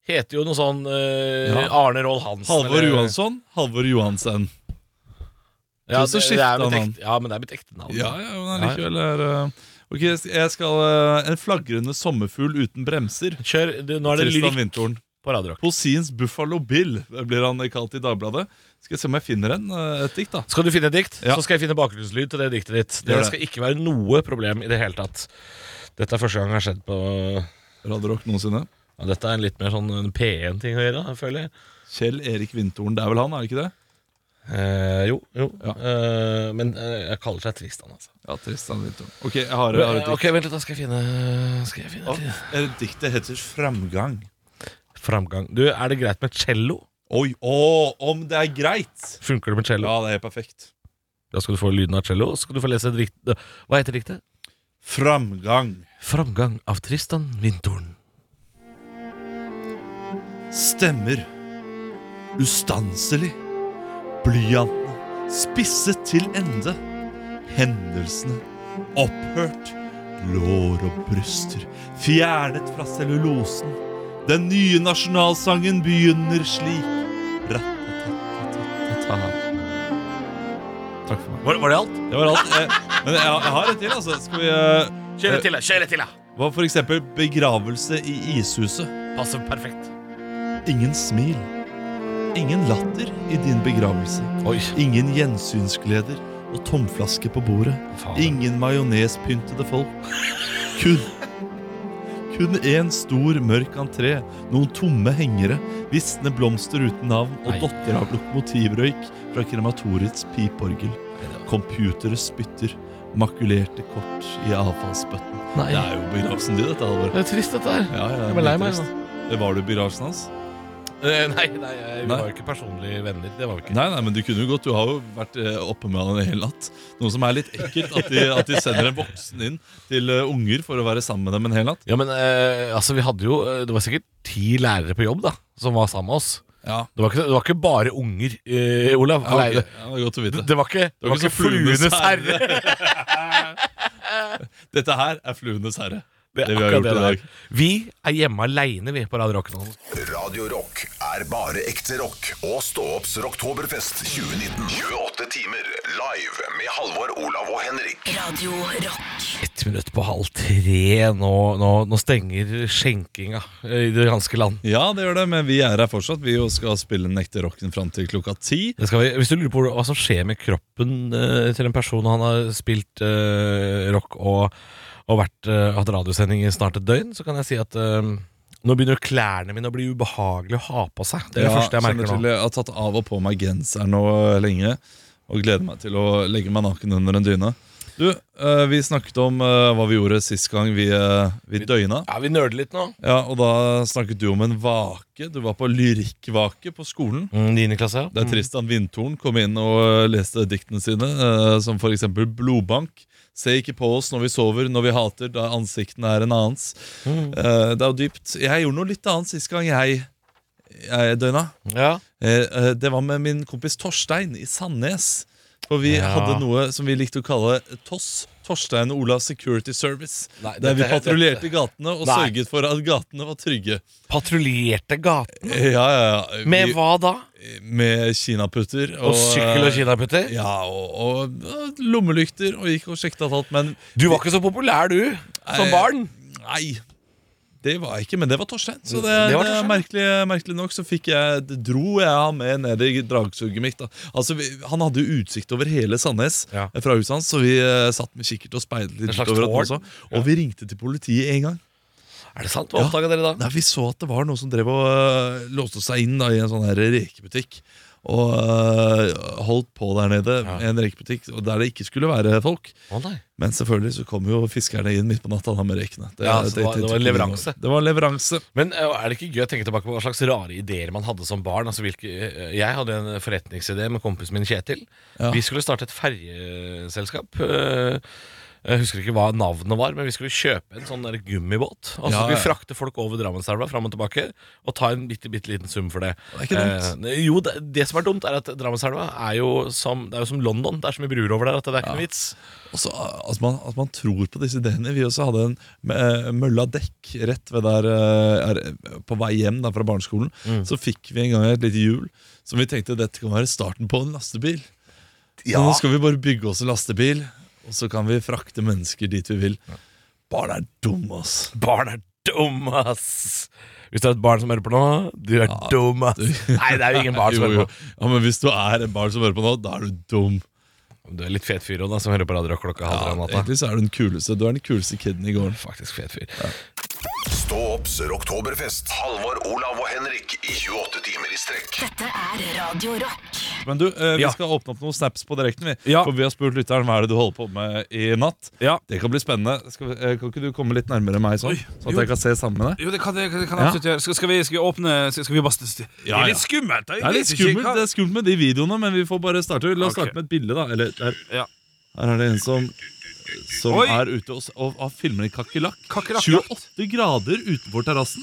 S6: heter jo noe sånn eh,
S4: Ja.
S6: Arne Roll Hansen.
S4: Halvor
S6: eller-
S4: Johansson, Halvor Johansen. Ja,
S6: Ja,
S4: så
S6: det- det
S4: skiftet han
S6: er mitt
S4: navn.
S6: ekte- ja, men det er mitt ekte navn.
S4: Ja, ja, men
S6: Ja, ja.
S4: allikevel er eh, Ok, jeg skal eh, En flagrende sommerfugl uten bremser.
S6: Kjør, nå er det lyrikk
S4: Vintoren.
S6: på Radio Rock.
S4: Posins Buffalo Bill eh, blir han kalt i Dagbladet. Skal jeg se om jeg finner en, eh, et dikt, da.
S6: Skal du finne et dikt,
S4: Ja.
S6: så skal jeg finne bakgrunnslyd til det diktet ditt. Det,
S4: Gjør det.
S6: skal ikke være noe problem i det hele tatt. Dette er første gang det har skjedd på
S4: Radio Rock noensinne.
S6: ja, Dette er litt mer sånn en P1-ting å gjøre, føler jeg.
S4: Kjell Erik Vintoren, det er vel han, er det ikke det?
S6: Eh, jo, jo. Eh, men eh, jeg kaller seg Tristan, altså.
S4: Ja, Tristan Vintoren. Ok, jeg har, jeg har et
S6: Men, eh,
S4: dikt.
S6: ok, Vent litt, da skal jeg finne, skal jeg finne et
S4: Ja, eh, diktet heter Framgang.
S6: Framgang. Du, er det greit med cello?
S4: Oi, å, om det er greit!
S6: Funker det med cello?
S4: Ja, det er helt perfekt.
S6: Da skal du få lyden av cello. Så skal du få lese et dikt Hva heter diktet?
S4: Framgang.
S6: Framgang av Tristan Vintoren.
S11: Stemmer. Ustanselig. Blyantene spisset til ende. Hendelsene opphørt. Lår og bryster fjernet fra cellulosen. Den nye nasjonalsangen begynner slik. Ratatatatata.
S4: Takk for meg.
S6: Var, var det alt?
S4: Det var alt. Eh, Men jeg, jeg har et til, altså. Skal vi eh,
S6: Kjør litt til, da. Kjør litt til, da.
S4: Hva for eksempel begravelse i ishuset?
S6: Passer perfekt.
S11: Ingen smil. Ingen latter i din begravelse.
S6: Oi.
S11: Ingen gjensynsgleder og tomflaske på bordet.
S6: Faen.
S11: Ingen majonespyntede folk. Kun kun én stor, mørk entré, noen tomme hengere, visne blomster uten navn og
S6: Nei.
S11: dotter av lokomotivrøyk fra krematoriets piporgel. Computere spytter, makulerte kort i avfallsbøtten.
S6: Nei.
S11: Det er jo begravelsen din, dette, Halvor.
S6: Det er trist, dette her.
S11: Ja, ja,
S6: Jeg ble lei meg
S11: trist.
S6: nå.
S4: Var du i begravelsen hans?
S6: Eh, Nei, nei, vi
S4: Nei.
S6: var jo ikke personlige venner. Det var vi ikke.
S4: Nei, nei, men du kunne jo godt. Du har jo vært eh, oppe med han en hel natt. Noe som er litt ekkelt, at de, at de sender en voksen inn til eh, unger for å være sammen med dem en hel natt.
S6: Ja, men eh, altså, vi hadde jo eh, Det var sikkert ti lærere på jobb da som var sammen med oss.
S4: Ja,
S6: Det var ikke, det var ikke bare unger, eh, Olav.
S4: ja, ok.
S6: Nei,
S4: ja
S6: det,
S4: Det er godt å vite.
S6: det var ikke, det var ikke fluenes herre.
S4: Dette her er Fluenes herre.
S6: Det
S4: Det,
S6: er
S4: vi har
S6: akkurat
S4: gjort i
S6: det
S4: dag.
S6: der. Vi er hjemme aleine, vi, på Radio Rock nå.
S1: Radio Rock er bare ekte rock, og stå opps Rocktoberfest 2019. 28 timer live med Halvor, Olav og Henrik.
S2: Radio Rock.
S6: Ett minutt på halv tre. Nå, nå, nå stenger skjenkinga eh, i det ganske land.
S4: Ja, det gjør det, men vi er her fortsatt. Vi jo skal spille den ekte rocken fram til klokka ti.
S6: Det skal vi, hvis du lurer på hva som skjer med kroppen eh, til en person når han har spilt eh, rock og, og vært, eh, hatt radiosending i snart et døgn, så kan jeg si at eh, nå begynner klærne mine å bli ubehagelige å ha på seg. Det er det første jeg merker
S4: kjenner
S6: nå.
S4: til, jeg har tatt av og på meg genseren nå eh, lenge, og gleder meg til å legge meg naken under en dyne. Du, eh, vi snakket om eh, hva vi gjorde sist gang vi, eh, vi døgna.
S6: Ja, Vi nerder litt nå.
S4: Ja, og da snakket du om en vake. Du var på lyrikkvake på skolen.
S6: Mm, 9. klasse, ja.
S4: Der Tristan Vindtorn kom inn og eh, leste diktene sine, eh, som for eksempel Blodbank. Se ikke på oss når vi sover, når vi hater, da ansiktene er en annens.
S6: Mm.
S4: Eh, Det er jo dypt. Jeg gjorde noe litt annet sist gang jeg, jeg døgna.
S6: ja.
S4: Eh, eh, Det var med min kompis Torstein i Sandnes. For vi
S6: Ja.
S4: hadde noe som vi likte å kalle TOSS. Torstein og Ola Security Service.
S6: Nei,
S4: der vi
S6: dette-
S4: patruljerte gatene og
S6: Nei.
S4: sørget for at gatene var trygge.
S6: Patruljerte gaten.
S4: Eh, Ja, ja, ja. Vi-
S6: Med hva da?
S4: Med kinaputter. eh,
S6: Og eh, sykkel og kinaputter?
S4: Ja, og, og, og lommelykter, og gikk og sjekket at alt. Men
S6: Du var ikke så populær, du, som
S4: Nei.
S6: barn.
S4: nei, det var jeg ikke. Men det var Torstein. Så det,
S6: Det var
S4: det er
S6: Torstein.
S4: merkelig, merkelig nok så fikk jeg, det dro jeg han med ned i dragsuget mitt. Da. Altså, vi, han hadde jo utsikt over hele Sandnes
S6: Ja.
S4: eh, fra huset hans, så vi eh, satt med kikkert og speilet
S6: En
S4: litt
S6: slags
S4: utover. Også,
S6: tårn.
S4: og vi ringte til politiet en gang.
S6: Er det sant? Hva oppdaga dere da?
S4: Nei, Vi så at det var noen som drev og øh, låste seg inn da, i en sånn her rekebutikk. Og øh, holdt på der nede,
S6: Ja.
S4: i en rekebutikk og der det ikke skulle være folk.
S6: Å nei.
S4: Men selvfølgelig så kom jo fiskerne inn midt på natta da, med rekene.
S6: Ja, så det var- det var en leveranse.
S4: Det var en leveranse.
S6: Men eh, er det ikke gøy å tenke tilbake på hva slags rare ideer man hadde som barn? Altså, hvilke, eh, jeg hadde en forretningsidé med kompisen min Kjetil.
S4: Ja.
S6: Vi skulle starte et ferjeselskap. eh, Jeg husker ikke hva navnet var, men vi skulle kjøpe en sånn der gummibåt. Og så
S4: Ja,
S6: skulle vi
S4: ja.
S6: frakte folk over Drammenselva fram og tilbake og ta en bitte, bitte liten sum for det.
S4: Det er ikke dumt.
S6: Eh, jo, det, det som er dumt, er at Drammenselva er jo som, det er jo som London. Det er så mye bruer over der at det er ikke noe vits.
S4: Og så, øh, at, man, at man tror på disse ideene. Vi også hadde en øh, mølla dekk rett ved der øh, er- på vei hjem da, fra barneskolen.
S6: Mm.
S4: Så fikk vi en gang et lite hjul som vi tenkte dette kan være starten på en lastebil. Så Nå skal vi bare bygge oss en lastebil, og så kan vi frakte mennesker dit vi vil. Barn er dum, ass.
S6: Barn er dum, ass. Hvis det er et barn som hører på nå, du er dum, ass. Nei, det er jo ingen barn som
S4: Jo,
S6: hører
S4: jo.
S6: på.
S4: Ja, men hvis du er en barn som hører på nå, da er du dum.
S6: Du er litt fet fyr også, da, som hører på Radio Rock klokka halv tre om natta.
S4: Egentlig så er du den kuleste. Du er den kuleste kiden i gården.
S6: Faktisk fet fyr.
S1: Stå opps Rocktoberfest. Halvor, Olav og Henrik i 28 timer i strekk.
S2: Dette er Radio Rock.
S4: Men du, eh, vi skal åpne opp noen snaps på direkten. Vi. For vi har spurt lytteren hva er det du holder på med i natt. Det kan bli spennende. Skal vi, eh, kan ikke du komme litt nærmere meg, sånn, sånn
S5: jo.
S4: at jeg kan se sammen med deg?
S5: Jo, det kan, det kan, det kan
S4: Ja.
S5: absolutt gjøre. Skal, skal, vi, skal vi åpne Skal, skal vi bare st- st- Det
S4: Ja,
S5: er
S4: ja.
S5: litt skummelt. da.
S4: Det er
S5: Jeg vet
S4: litt
S5: ikke
S4: skummelt,
S5: hva-
S4: det er skummelt med de videoene, men vi får bare starte. La oss
S5: Ok.
S4: starte med et bilde, da. Eller, der. Her er det en som som
S5: Oi.
S4: er ute og, s- og, og filmer en kakerlakk.
S5: Kakerlakk,
S4: 28 grader utenfor terrassen.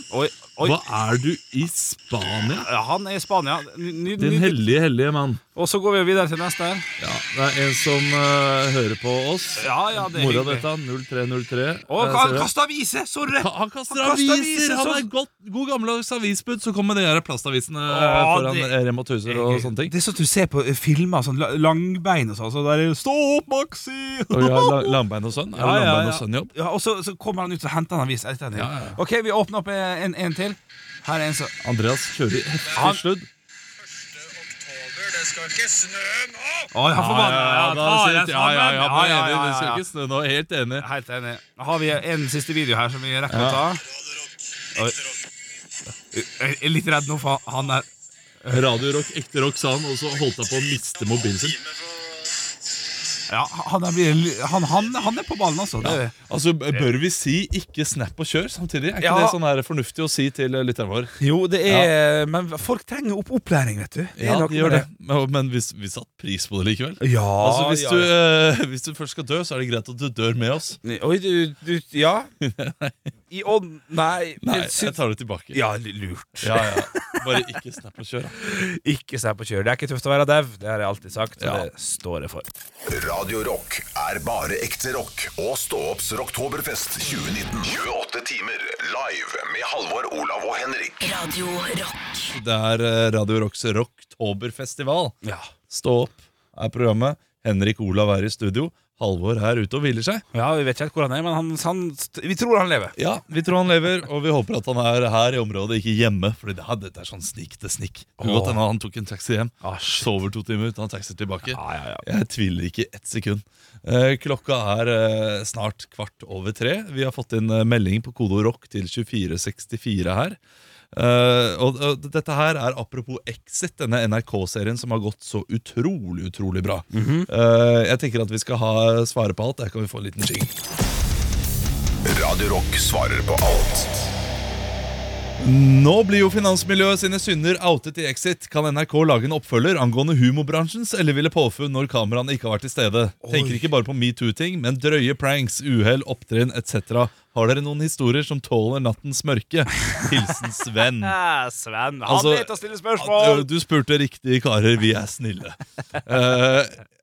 S4: Hva er du i Spania?
S5: Ja, han er i Spania. Ny- ny-
S4: Din
S5: ny-
S4: hellige, hellige mann.
S5: Og så går vi videre til neste her.
S4: Ja, det er en som eh, hører på oss.
S5: Ja, ja, det er
S4: Mora
S5: hyggelig.
S4: dette, 0303.
S5: Å,
S4: Eh, ser
S5: han
S4: du?
S5: kaster aviser! Sorry!
S4: Han kaster aviser! Han er godt, god gammeldags avisbud. Så kommer de her plastavisene eh,
S5: Å,
S4: foran
S5: det-
S4: eh, Rema 1000 og sånne ting.
S5: Det er sånn at du ser på eh, filmer, sånn la- langbein og sånn. Så der er det 'Stå opp, Maxi!'
S4: Og ja, la- Langbein og sønn? Er det Langbein og sønn-jobb?
S5: Ja, og så, så kommer han ut og henter en avis. etter den.
S4: Ja, ja, ja.
S5: Ok, vi åpner opp eh, en, en til. Her er en som
S4: Andreas kjører i heftig
S5: Han-
S4: sludd.
S8: Det skal ikke snø nå!
S5: Å, jeg er forbanna!
S4: ja,
S5: Ja,
S4: da
S5: ta
S4: sier-
S5: deg
S4: ja, ja,
S5: sammen!
S4: ja, bare
S5: Ja, ja,
S4: enig.
S5: ja,
S4: Det
S5: ja.
S4: skal ikke snø nå. Helt enig.
S5: Helt enig. Da har vi en siste video her som vi rekker
S4: Ja.
S5: å ta. Oi. Jeg er litt redd nå, for han er
S4: Radio Rock, ekte rock, sa han, og så holdt han på å miste mobilen sin.
S5: Ja, han er, blir- han, han, han er på ballen, altså. Det,
S4: Ja. Altså, b- Bør vi si 'ikke snap og kjør' samtidig? Er ikke
S5: Ja.
S4: det sånn her fornuftig å si til eh, lytteren vår?
S5: Jo, det er Men folk trenger opp opplæring, vet du. Det er
S4: Ja,
S5: noe
S4: de gjør
S5: med
S4: det. Men, men vi, s- vi satte pris på det likevel.
S5: Ja,
S4: altså, hvis,
S5: ja,
S4: Du,
S5: ja.
S4: eh, hvis du først skal dø, så er det greit at du dør med oss.
S5: Oi, du, du Ja. I ånd Nei.
S4: Nei, jeg tar det tilbake.
S5: Ja, lurt.
S4: Ja, ja. Bare ikke snap og kjør. da.
S5: Ikke se på kjøret. Det er ikke tøft å være dau. Det har jeg alltid sagt, og
S4: Ja.
S5: det står jeg for.
S1: Radio Rock er bare ekte rock. Og stå opps Rocktoberfest 2019. 28 timer live med Halvor, Olav og Henrik.
S2: Radio Rock.
S4: Det er eh, Radio Rocks Rocktoberfestival.
S5: Ja.
S4: Stå opp er programmet. Henrik Olav er i studio. Halvor er ute og hviler seg.
S5: Ja, Vi vet ikke helt hvor han er, men han, han, vi tror han lever.
S4: Ja, Vi tror han lever, og vi håper at han er her i området, ikke hjemme. Fordi det, her- dette er sånn snik til snik. Det kan
S5: Åh.
S4: godt hende han tok en taxi hjem,
S5: Ah, shit.
S4: sover to timer, tar en taxi tilbake.
S5: Ja, ja, ja.
S4: Jeg tviler ikke ett sekund. Eh, klokka er eh, snart kvart over tre. Vi har fått inn eh, melding på kode rock til 2464 her. Eh, og, og dette her er apropos Exit, denne NRK-serien som har gått så utrolig, utrolig bra.
S5: Mhm.
S4: Eh, jeg tenker at vi skal ha svare på alt. Der kan vi få en liten jingle.
S1: Radio Rock svarer på alt.
S4: Nå blir jo finansmiljøet sine synder outet i Exit. Kan NRK lage en oppfølger angående humorbransjens eller ville påfunn når kameraene ikke har vært til stede? Tenker ikke bare på metoo-ting, men drøye pranks, uhell, opptrinn etc. Har dere noen historier som tåler nattens mørke? Hilsen Sven.
S5: Sven, han
S4: Altså,
S5: vet å stille spørsmål!
S4: Du, du spurte riktig, karer. Vi er snille. Eh,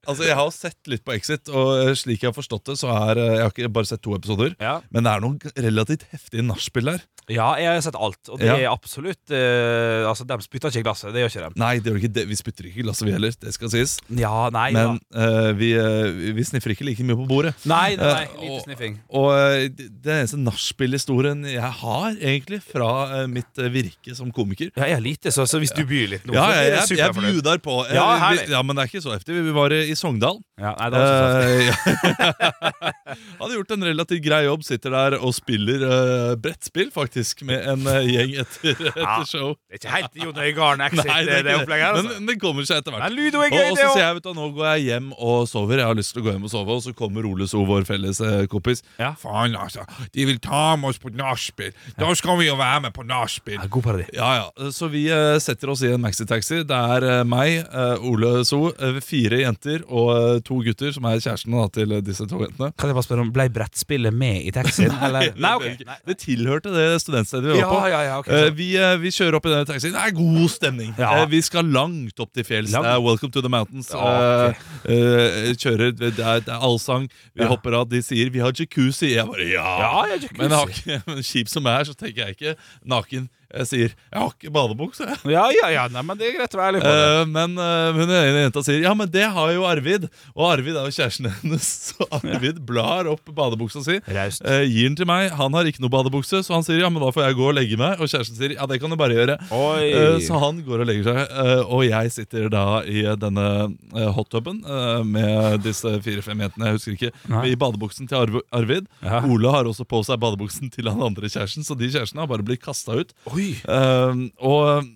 S4: altså, Jeg har jo sett litt på Exit, og eh, slik jeg har forstått det, så er eh, Jeg har ikke bare sett to episoder,
S5: Ja.
S4: men det er noen relativt heftige nachspiel der.
S5: Ja, jeg har sett alt, og det
S4: Ja.
S5: er absolutt eh, Altså, de spytter ikke i glasset. Det gjør ikke de.
S4: Nei, det gjør ikke det. vi spytter ikke i glasset, vi heller. Det skal sies.
S5: Ja, nei,
S4: Men
S5: da.
S4: eh, vi, eh, vi sniffer ikke like mye på bordet.
S5: Nei, nei, nei,
S4: Eh,
S5: lite
S4: og-
S5: sniffing.
S4: Og eh, det det eneste nachspiel-historien jeg har, egentlig, fra eh, mitt eh, virke som komiker
S5: Ja, jeg har lite, så, så hvis du byr litt nå,
S4: Ja,
S5: så blir
S4: jeg,
S5: jeg
S4: jeg, jeg
S5: superfornøyd.
S4: bjuder på. Eh,
S5: Ja,
S4: vi-
S5: herlig.
S4: ja, Men det er ikke så heftig. Vi var eh, i i Sogndal.
S5: Ja, nei, det var ikke så
S4: Eh, ja. Hadde gjort en relativt grei jobb. Sitter der og spiller eh, brettspill, faktisk, med en eh, gjeng etter,
S5: Ja.
S4: etter show.
S5: Det er ikke helt Jon Øigarden exit,
S4: Nei,
S5: det,
S4: er
S5: det
S4: ikke
S5: opplegget her. Altså.
S4: Men det kommer seg etter hvert.
S5: Men Ludo er
S4: Og,
S5: gøy,
S4: og
S5: det
S4: så sier
S5: òg!
S4: jeg, vet du, hva, nå går jeg hjem og sover. Jeg har lyst til å gå hjem og sove. Og så kommer Ole So, vår felles eh, kompis.
S5: Ja.
S4: Faen, altså. De vil ta med oss på nachspiel. Da skal vi jo være med på nachspiel.
S5: Ja, god parodi.
S4: Ja, ja. Så vi eh, setter oss i en maxitaxi. Det er eh, meg, eh, Ole So, eh, fire jenter og eh, to gutter, som er kjærestene da, til eh, disse to jentene.
S5: Kan jeg bare spørre om Ble brettspillet med i taxien, eller? Nei, ok. Nei.
S4: Det tilhørte det studentstedet vi var
S5: Ja,
S4: på.
S5: ja, ja, ok,
S4: Eh,
S5: så-
S4: vi, eh, vi kjører opp i den taxien. Det er god stemning.
S5: Ja.
S4: Eh, vi skal langt opp til fjells.
S5: Langt.
S4: Det er Welcome to the mountains.
S5: Ja, ok.
S4: Eh, eh, kjører, det er, det er allsang. Vi
S5: Ja.
S4: hopper av. De sier 'vi har jacuzzi'. Jeg bare ja.
S5: Ja, jeg har jacuzzi.
S4: Men, jeg har ikke- men kjip som jeg er, så tenker jeg ikke naken. Jeg sier 'jeg har ikke badebukse', jeg.
S5: Ja, ja, ja, nei, men det er greit å være ærlig på det.
S4: Eh, men eh, hun ene jenta sier Ja, men det har jo Arvid Og Arvid er jo kjæresten hennes Så Arvid blar opp badebuksa si eh, Gir den til meg, han har ikke noe badebukse Så han sier, ja, men da får jeg gå og legge meg Og kjæresten sier, ja, det kan du bare gjøre
S5: Oi.
S4: Eh, Så han går og legger seg eh, Og jeg sitter da i denne eh, hot-tuben eh, Med disse fire-fem jentene, jeg husker ikke
S5: Nei.
S4: I badebuksen til Arv Arvid
S5: Ja.
S4: Ole har også på seg badebuksen til han andre kjæresten Så de kjærestene har bare blitt kastet ut
S5: Eh, Oi.
S4: Ehm, og eh,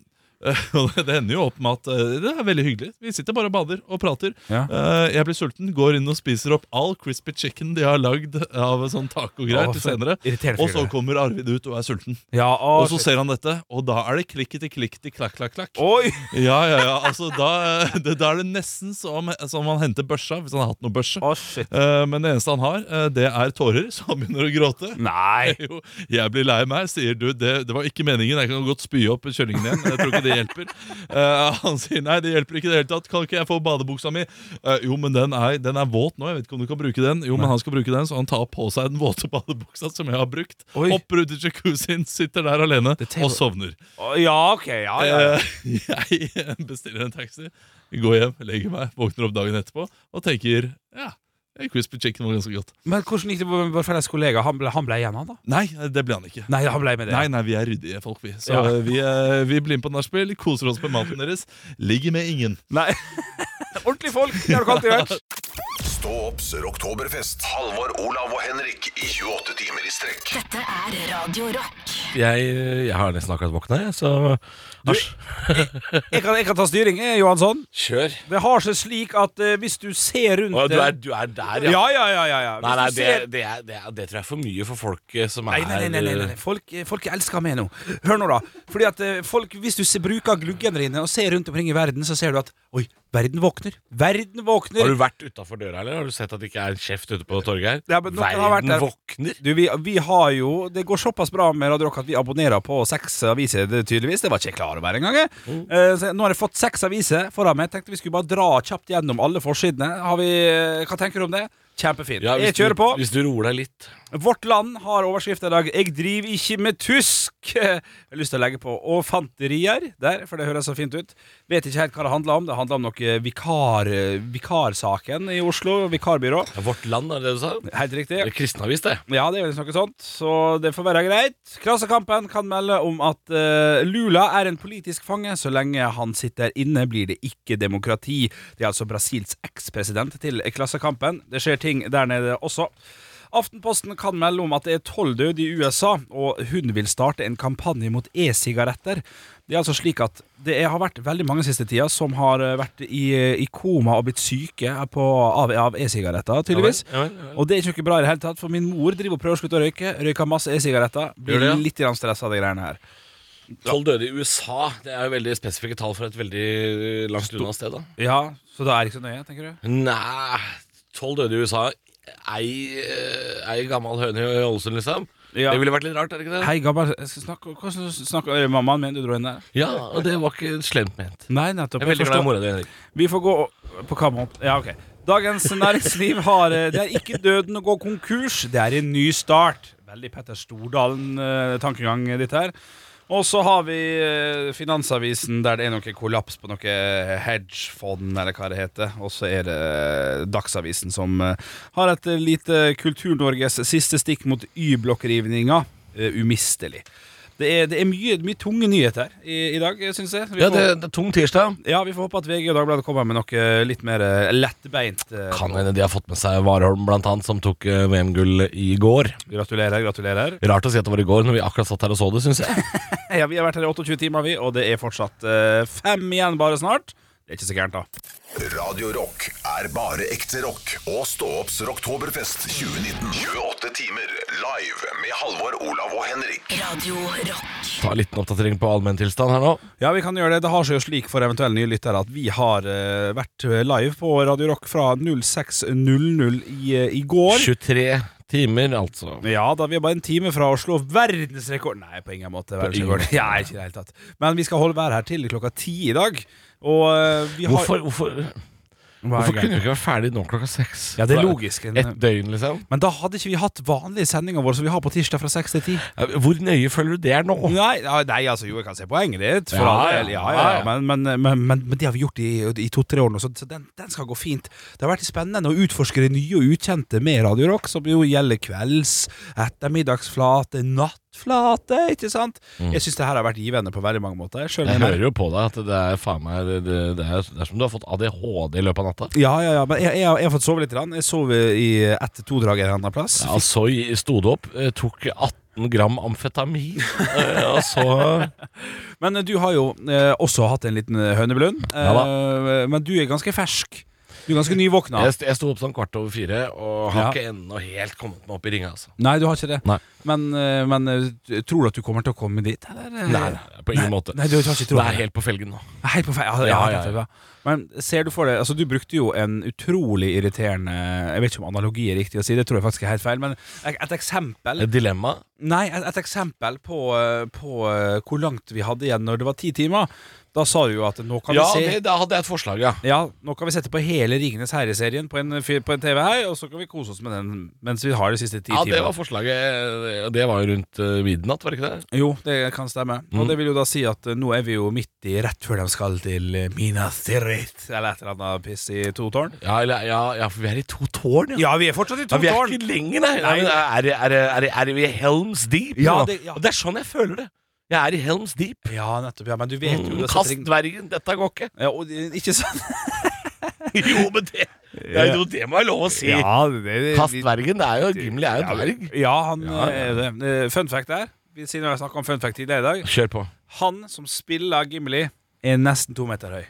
S4: og det ender jo opp med at eh, det er veldig hyggelig. Vi sitter bare og bader og prater.
S5: Ja.
S4: Eh, jeg blir sulten, går inn og spiser opp all crispy chicken de har lagd av sånn taco-greier
S5: Å,
S4: til
S5: for en
S4: senere.
S5: irriterende
S4: Og så
S5: fyr.
S4: kommer Arvid ut og er sulten.
S5: Ja, å,
S4: og så
S5: shit.
S4: ser han dette, og da er det klikketi klikketi klakk klakk klakk.
S5: Oi.
S4: Ja, ja, ja. Altså, da, eh, det, da er det nesten som, som han henter børsa, hvis han har hatt noe børse. Eh, men det eneste han har, eh, det er tårer, så han begynner å gråte.
S5: Nei
S4: jo, Jeg blir lei meg, sier du. Det, det var ikke meningen. Jeg kan godt spy opp kjøllingen igjen. men Jeg tror ikke det hjelper. Eh, han sier nei, det hjelper ikke i det hele tatt. Kan ikke jeg få badebuksa mi? Eh, jo, men den er, den er våt nå. Jeg vet ikke om du kan bruke den. Jo, men han skal bruke den, så han tar på seg den våte badebuksa som jeg har brukt. Hopper ut i jacuzzien, sitter der alene og sovner.
S5: Å, Ja, ok, ja, ja. ja.
S4: Eh, jeg bestiller en taxi, går hjem, legger meg, våkner opp dagen etterpå og tenker ja, crispy chicken var ganske godt.
S5: Men hvordan gikk det med vår felles kollega? Han ble, han ble igjen, han da?
S4: Nei, det ble han ikke.
S5: Nei, han ble med det.
S4: Nei, nei, vi er ryddige folk, vi. Så
S5: Ja.
S4: vi, eh, vi blir med på nachspiel, koser oss med maten deres. Ligger med ingen.
S5: Nei. Ordentlige folk! Det har du alltid vært.
S1: Stå opps Rocktoberfest. Halvor, Olav og Henrik i 28 timer i strekk.
S2: Dette er Radio Rock.
S6: Jeg, jeg har nesten akkurat våkna, jeg, så Asj.
S5: Jeg kan, jeg kan ta styring, eh, Johansson.
S6: Kjør.
S5: Det har seg slik at eh, hvis du ser rundt
S6: Å, du, er,
S5: deg-
S6: du er der,
S5: ja, ja, ja, ja, ja. Hvis
S6: Nei, nei,
S5: du
S6: det,
S5: ser-
S6: det, er, det, er, det tror jeg er for mye for folk eh, som er
S5: Nei, nei, nei, nei, nei, nei, nei. Folk, eh, folk elsker meg nå. Hør nå, da. Fordi at eh, folk, Hvis du se- bruker gluggene dine og ser rundt omkring i verden, så ser du at Oi, verden våkner. Verden våkner.
S6: eh, Har du vært utafor døra, eller har du sett at det ikke er en kjeft ute på torget her?
S5: Ja, men noen har vært
S6: Verden
S5: der.
S6: våkner.
S5: Du, vi, vi har jo Det går såpass bra med Radio Rock at vi abonnerer på seks aviser, det, tydeligvis. Det var ikke jeg klar over engang. jeg.
S6: Mm.
S5: Eh, så nå har jeg fått seks aviser foran meg. Tenkte vi skulle bare dra kjapt gjennom alle forsidene. Har vi, eh, hva tenker du om det? Kjempefint.
S6: Ja, hvis
S5: jeg kjører
S6: du-
S5: på.
S6: Hvis du roer deg litt.
S5: Vårt Land har overskrift i dag 'Jeg driver ikke med tusk'. Jeg har lyst til å legge på 'og fanterier' der, for det høres så fint ut. Vet ikke helt hva det handler om. Det handler om noe vikar, eh, vikarsaken i Oslo, vikarbyrå.
S6: Vårt Land, er det det du sa?
S5: Helt riktig.
S6: Det er kristenavis, det.
S5: Ja, det er vel noe sånt, så det får være greit. Klassekampen kan melde om at eh, Lula er en politisk fange. Så lenge han sitter inne, blir det ikke demokrati. Det er altså Brasils ekspresident til Klassekampen. Det skjer ting der nede også. Aftenposten kan melde om at det er tolv døde i USA, og hun vil starte en kampanje mot e-sigaretter. Det er altså slik at det er- har vært veldig mange siste tida som har eh, vært i, i koma og blitt syke på, av, av e-sigaretter, tydeligvis.
S6: Ja vel, ja vel, ja vel.
S5: Og det er ikke noe bra i det hele tatt, for min mor driver og prøver å slutte å røyke. Røyker masse e-sigaretter. Blir
S6: Gjør det, ja?
S5: litt grann stressa av de greiene her.
S6: Tolv døde i USA. Det er jo veldig spesifikke tall fra et veldig eh, langt unna sted, da.
S5: Ja, Så da er det ikke så nøye, tenker du?
S6: Nei, tolv døde i USA. Ei, eh, ei gammel høne i Ålesund, liksom.
S5: Ja.
S6: Det ville vært litt rart, er det ikke det?
S5: Hei, gammel, jeg skal snakke, hvordan snakker er det mammaen min du dro inn der?
S6: Ja, og det var ikke slemt ment.
S5: Nei, nettopp.
S6: Jeg er veldig glad i
S5: forstår.
S6: mora di, Henrik.
S5: Vi får gå på hva måte? Ja, ok. Dagens Næringsliv har eh, Det er ikke døden å gå konkurs, det er en ny start. Veldig Petter Stordalen-tankegang, dette her. Og så har vi eh, Finansavisen, der det er noe kollaps på noe hedgefond, eller hva det heter. Og så er det Dagsavisen, som eh, har et eh, lite Kultur-Norges siste stikk mot Y-blokkrivninga. Eh, Umistelig. Det er, det er mye, mye tunge nyheter i, i dag, syns jeg. Vi
S6: Ja,
S5: får-
S6: det, det er tung tirsdag.
S5: ja, vi får håpe at VG og Dagbladet kommer med noe litt mer eh, lettbeint. eh,
S6: Kan hende de har fått med seg Warholm, blant annet, som tok eh, VM-gull i går.
S5: Gratulerer, gratulerer.
S6: Rart å si at det var i går, når vi akkurat satt her og så det, syns jeg.
S5: Ja, Vi har vært her i 28 timer, vi, og det er fortsatt eh, fem igjen bare snart. Det er ikke så gærent, da.
S1: Radio Rock er bare ekte rock. Og stå opps Rocktoberfest 2019. 28 timer live med Halvor, Olav og Henrik.
S2: Radio Rock.
S6: Ta en liten oppdatering på allmenntilstand her nå.
S5: Ja, vi kan gjøre Det Det har seg jo slik for eventuelle nye lyttere at vi har eh, vært live på Radio Rock fra 06.00 i, eh, i går.
S6: 23 timer, altså.
S5: Ja, da vi er bare en time fra å slå verdensrekord Nei, på ingen måte. Verdensrekord.
S6: ingen-
S5: Ja, ikke i det hele tatt. Men vi skal holde være her til klokka ti i dag. Og eh, vi har
S6: Hvorfor, hvorfor
S5: Hva er greit?
S6: Hvorfor kunne vi ikke vært ferdig nå klokka seks?
S5: Ja, det er logisk.
S6: Et døgn, liksom.
S5: Men da hadde ikke vi hatt vanlige sendinger våre som vi har på tirsdag fra 6 til 10.
S6: Hvor nøye følger du det er nå?
S5: Nei, ja, nei altså jo, jeg kan se poenget ditt. For
S6: Ja,
S5: all del.
S6: ja,
S5: Ja, ja,
S6: ja,
S5: ja. Men, men, men, men, men det har vi gjort i, i to-tre år nå, så, så den, den skal gå fint. Det har vært spennende å utforske det nye og ukjente med Radio Rock, som jo gjelder kvelds, ettermiddagsflate, nattflate, ikke sant?
S6: Mm.
S5: Jeg syns det her har vært givende på veldig mange måter. selv
S6: Jeg
S5: om-
S6: hører jo på deg at det er faen meg Det, det, det, er, det er som du har fått ADHD i løpet av natta.
S5: Ja, ja, ja, men jeg, jeg, har- jeg har fått sove litt. grann. Jeg sov i ett til to drag en annen plass.
S6: Ja, så i- sto du opp, eh, tok 18 gram amfetamin, eh, og så
S5: Men eh, du har jo eh, også hatt en liten eh, høneblund. Eh,
S6: Ja Eh,
S5: men du er ganske fersk. Du er ganske nyvåkna.
S6: Jeg, st- jeg sto opp sånn kvart over fire og har
S5: Ja.
S6: ikke ennå helt kommet meg opp i ringa. Altså.
S5: Nei, du har ikke det.
S6: Nei.
S5: Men, eh, men eh, tror du at du kommer til å komme dit? Eller? eh,
S6: Nei, nei, på ingen måte.
S5: Nei, du har ikke
S6: det
S5: troen på
S6: er
S5: det.
S6: helt på felgen nå.
S5: Hei på feil. Ja,
S6: Ja,
S5: ja,
S6: ja, ja.
S5: nettopp, ja. Men ser du for deg Altså, du brukte jo en utrolig irriterende Jeg vet ikke om analogi er riktig å si, det tror jeg faktisk er helt feil, men et, et eksempel
S6: Et dilemma?
S5: Nei, et, et eksempel på, eh, på eh, hvor langt vi hadde igjen når det var ti timer. Da sa du jo at nå kan
S6: ja,
S5: vi se
S6: det, da hadde jeg et forslag, ja.
S5: Ja, nå kan vi sette på hele Ringenes herre-serien på, en fi- på en TV her, og så kan vi kose oss med den mens vi har de siste ti
S6: Ja,
S5: timene.
S6: Det var forslaget. Det var jo rundt eh, midnatt, var det ikke det?
S5: Jo, det kan stemme.
S6: Mm.
S5: Og det vil jo da si at eh, nå er vi jo midt i rett før de skal til eh, Minas Tirith, eller et eller annet piss i to tårn.
S6: Ja, eller, ja, ja for vi er i to tårn,
S5: Ja, vi er fortsatt i to
S6: Ja, vi er
S5: tårn.
S6: ikke lenger, nei. nei.
S5: Nei.
S6: men er, det- er, det- er, det- er det vi i Helms Deep?
S5: Ja,
S6: nå?
S5: det- ja.
S6: Og det er sånn jeg føler det. Jeg er i Helms Deep.
S5: Ja, nettopp. Ja, men du vet jo
S6: Mm,
S5: det
S6: Kast
S5: setter ing-
S6: dvergen, dette går ikke.
S5: ja, og, det- Ikke sant?
S6: jo, men det det, er jo, det må jeg lov å si.
S5: det,
S6: Kast dvergen. Det er jo, Gimli er jo en dverg.
S5: Ja, han er det. Eh, Fun fact der, vi- siden vi har snakket om fun fact tidligere i dag.
S6: Kjør på.
S5: Han som spiller Gimli, er nesten to meter høy.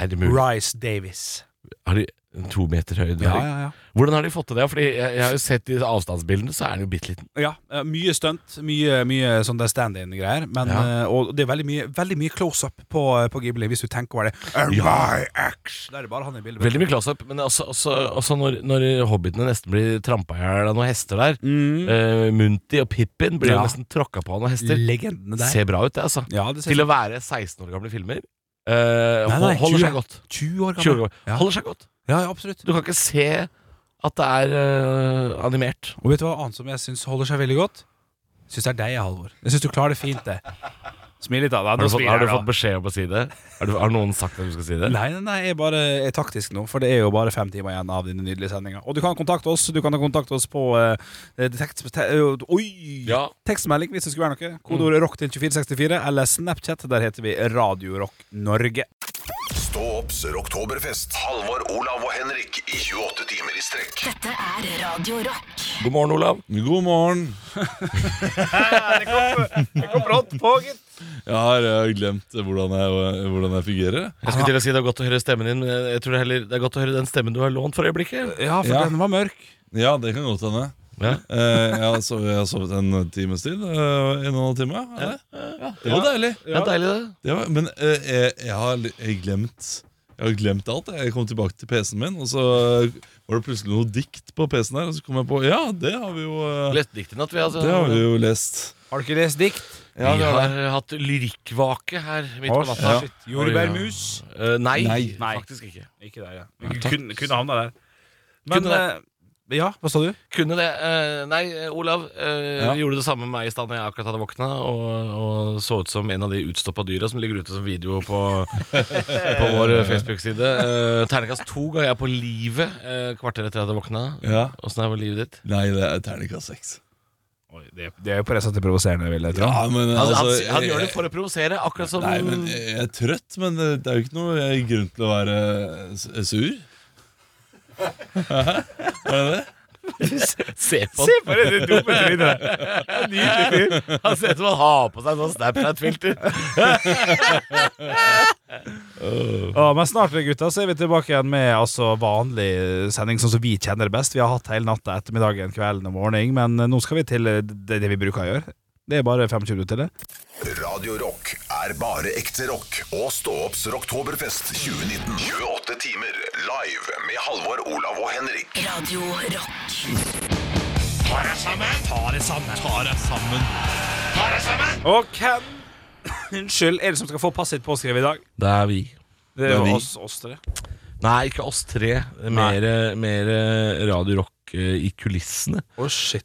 S6: Er det mulig?
S5: Rice Davis.
S6: Har de en to meter høy dverg?
S5: ja, ja.
S6: Hvordan har de fått til det? Fordi jeg, jeg har jo sett i avstandsbildene, så er han jo bitte liten.
S5: Ja, eh, mye stunt, mye, mye sånn der stand-in-greier. Men,
S6: Ja.
S5: eh, Og det er veldig mye, veldig mye close-up på, eh, på Ghibli, hvis du tenker over det. And my ex! Da er det bare han i bildet.
S6: Veldig mye close-up, men også, også, også når, når hobbitene nesten blir trampa i hjel av noen hester der.
S5: Mm.
S6: Eh, Munti og Pippin blir jo
S5: Ja.
S6: nesten tråkka på av noen hester.
S5: Legendene der.
S6: Ser bra ut, det, altså.
S5: Ja, det ser
S6: Til å være 16 år gamle filmer. eh,
S5: Nei, nei,
S6: hol- holder
S5: 20.
S6: seg godt.
S5: 20 år
S6: 20 år
S5: gammel.
S6: gammel. Holder seg godt.
S5: Ja, ja, absolutt.
S6: Du kan ikke se at det er eh, animert.
S5: Og vet du hva annet som jeg syns holder seg veldig godt? Jeg syns det er deg, Halvor. Jeg syns du klarer det fint, det. Smil litt, da.
S6: Har du, fått, har du fått beskjed om å si det? Har, du, har noen sagt at du skal si det?
S5: Nei, nei, nei, jeg bare er taktisk nå, for det er jo bare fem timer igjen av dine nydelige sendinger. Og du kan kontakte oss Du kan kontakte oss på eh, tekst, te, eh, Oi!
S6: Ja.
S5: Tekstmelding hvis det skulle være noe. Kodeordet rock til 2464, eller Snapchat. Der heter vi Radio Rock Norge.
S1: Stå opps rocktoberfest. Halvor, Olav og Henrik i 28 timer i strekk.
S2: Dette er Radio Rock.
S6: God morgen, Olav.
S4: God morgen.
S5: Det kom brått på, gitt.
S4: Jeg har eh, glemt hvordan jeg, eh, hvordan jeg fungerer.
S6: Jeg skulle til å si det er godt å høre stemmen din, men jeg tror heller det er godt å høre den stemmen du har lånt for øyeblikket.
S5: Ja, for
S4: Ja.
S5: den var mørk.
S4: Ja, det kan godt hende.
S6: Ja.
S4: Eh, jeg, har sovet, jeg har sovet en times tid. eh, en og en halv time. er det? Det var deilig.
S6: Det er deilig, det.
S4: Det var, men eh, jeg, jeg har li- jeg glemt Jeg har glemt alt. Jeg kom tilbake til PC-en min, og så var det plutselig noe dikt på PC-en her. Og så kom jeg på Ja, det har vi jo, eh,
S6: Lest dikt i natt, vi, altså.
S4: det har vi jo lest.
S5: Har du ikke lest dikt?
S4: Ja,
S6: vi
S4: det
S6: har
S4: har
S6: hatt lyrikkvake her midt på natta.
S4: Ja.
S5: Shit. Jordbærmus?
S6: Eh, nei,
S4: Nei.
S6: faktisk ikke.
S5: Ikke der, ja. Vi kunne, kunne havna der.
S6: Kunne
S5: Men eh, Ja, hva sa du?
S6: Kunne det. eh, nei, eh, Olav eh,
S4: Ja.
S6: gjorde det samme med meg i stad da jeg akkurat hadde våkna, og, og så ut som en av de utstoppa dyra som ligger ute som video på, på vår Facebook-side. Eh, terningkast to ga jeg på livet eh, kvarter etter jeg hadde våkna.
S4: Ja.
S6: Åssen er livet ditt?
S4: Nei, det er terningkast seks.
S5: Oi, det, det er jo på det settet provoserende, vil jeg tro.
S4: Ja, men
S6: Han,
S4: altså,
S6: han, han gjør det
S4: jeg-
S6: for å provosere, akkurat som
S4: Nei, men jeg jeg er trøtt, men det det er jo ikke noe eh, grunn til å være eh, s- sur. Hæ? Er det det?
S6: Se på
S5: Se på det, det dumme trynet! Nydelig fyr.
S6: Han ser ut som han har på seg sånn Snapchat-filter.
S5: Ja, men snart gutta, så er vi tilbake igjen med altså, vanlig sending sånn som vi kjenner det best. Vi har hatt hele natta, ettermiddagen, kvelden og morgenen, men eh, nå skal vi til eh, det, det vi bruker å gjøre. Det er bare 25 minutter til det.
S1: Radio Rock er bare ekte rock. Og stå opps rocktoberfest 2019. 28 timer live med Halvor, Olav og Henrik.
S2: Radio Rock.
S5: Og hvem Unnskyld, er det som skal få passet påskrevet i dag?
S6: Det er vi.
S5: Det er
S4: vi.
S5: jo oss, oss tre.
S6: Nei, ikke oss tre. Mer, mer eh, Radio Rock eh, i kulissene.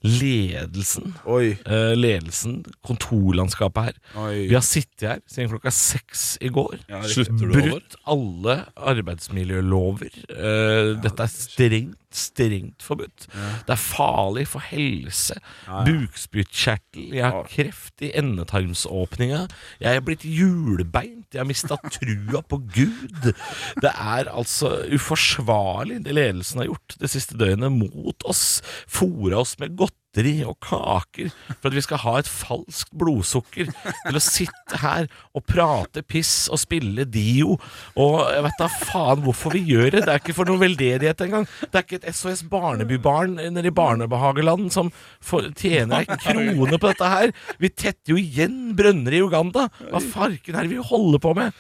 S6: Ledelsen. Eh, ledelsen. Kontorlandskapet her.
S5: Oi.
S6: Vi har sittet her siden klokka seks i går.
S5: Ja, riktig. Slutter du, Halvor?
S6: Brutt alle arbeidsmiljølover. Eh, Dette er strengt, strengt forbudt. Det er farlig for helse.
S12: Ja, ja.
S6: Bukspyttkjertel. Jeg har kreft i endetarmsåpninga. Jeg er blitt hjulbeint. Jeg har mista trua på Gud. Det er altså uforsvarlig, det ledelsen har gjort det siste døgnet mot oss. Fora oss med godteri. Og kaker, for at vi skal ha et falskt blodsukker til å sitte her og prate piss og spille Dio. Og jeg vet da faen hvorfor vi gjør det. Det er ikke for noe veldedighet engang. Det er ikke et SOS Barnebybarn nede i barnebehageland som får, tjener ei krone på dette her. Vi tetter jo igjen brønner i Uganda. Hva farken er det vi holder på med?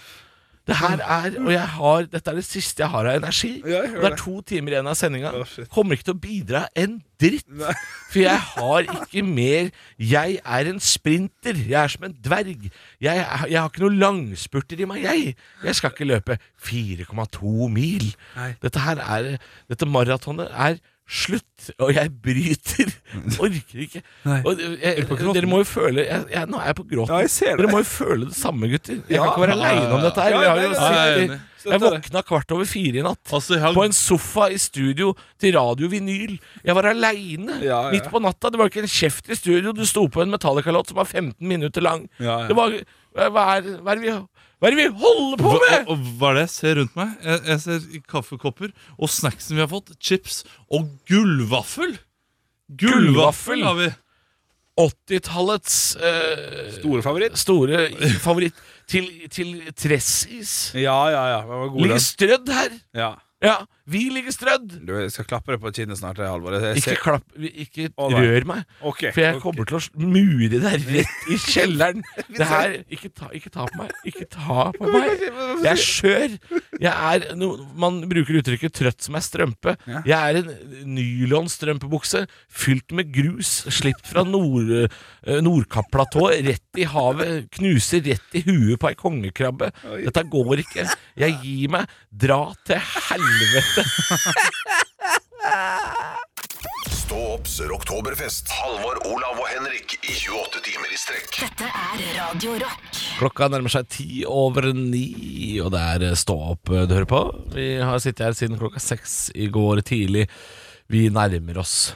S6: Det her er, og jeg har, Dette er det siste jeg har av energi.
S5: hører
S6: det er
S5: det.
S6: to timer igjen av sendinga. Kommer ikke til å bidra en dritt. For jeg har ikke mer Jeg er en sprinter. Jeg er som en dverg. Jeg, er- jeg har ikke noen langspurter i meg, jeg. Jeg skal ikke løpe 4,2 mil. Dette her er Dette maratonet er slutt, og jeg bryter. Orker ikke.
S5: Nei.
S6: Og jeg,
S5: Er du på gråten?
S6: dere må jo føle jeg, jeg, Nå er jeg på gråten. Dere må jo føle det samme, gutter. Jeg kan
S5: Ja.
S6: ikke være aleine om dette her.
S5: Ja,
S6: Vi har
S5: nei,
S6: jo
S5: nei, nei,
S6: sittet-
S5: nei, nei.
S6: jeg våkna kvart over fire i natt
S4: Altså,
S6: på en sofa i studio til Radio Vinyl. Jeg var aleine
S5: Ja, ja.
S6: midt på natta. Det var ikke en kjeft i studio. Du sto på en Metallica-låt som var 15 minutter lang.
S4: Ja, ja.
S6: Det var hva er, hva, er det vi, hva er det vi holder på med?!
S4: Og, og hva er det jeg ser rundt meg? Jeg, jeg ser kaffekopper og snacksen vi har fått. Chips og gullvaffel! Gullvaffel har vi.
S6: 80-tallets eh, Store favoritt. til, til tressis.
S5: Ja, ja, ja. Den var god,
S6: Ligger
S5: den.
S6: strødd her.
S5: Ja.
S6: Ja, vi ligger strødd.
S5: Du jeg skal klappe deg på kinnet snart, jeg, Halvor. Jeg
S6: Ikke
S5: ser-
S6: klapp Ikke
S5: eh, Å, nei.
S6: rør meg,
S5: Ok,
S6: for jeg
S5: ok.
S6: kommer til å sl- mure deg rett i kjelleren. Det her, ikke, ta, ikke ta på meg. Ikke ta på meg. Jeg er skjør. Jeg er no, man bruker uttrykket 'trøtt som ei strømpe'. Jeg er en nylonstrømpebukse fylt med grus, slipt fra nord, eh, Nordkapp-platået, rett i havet. Knuser rett i huet på ei kongekrabbe. Dette går ikke. Jeg gir meg. Dra til helvete.
S1: Stå opps rocktoberfest. Halvor, Olav og Henrik i 28 timer i strekk.
S2: Dette er Radio Rock.
S6: Klokka nærmer seg ti over ni, og det er eh, stå opp eh, du hører på. Vi har sittet her siden klokka seks i går tidlig. Vi nærmer oss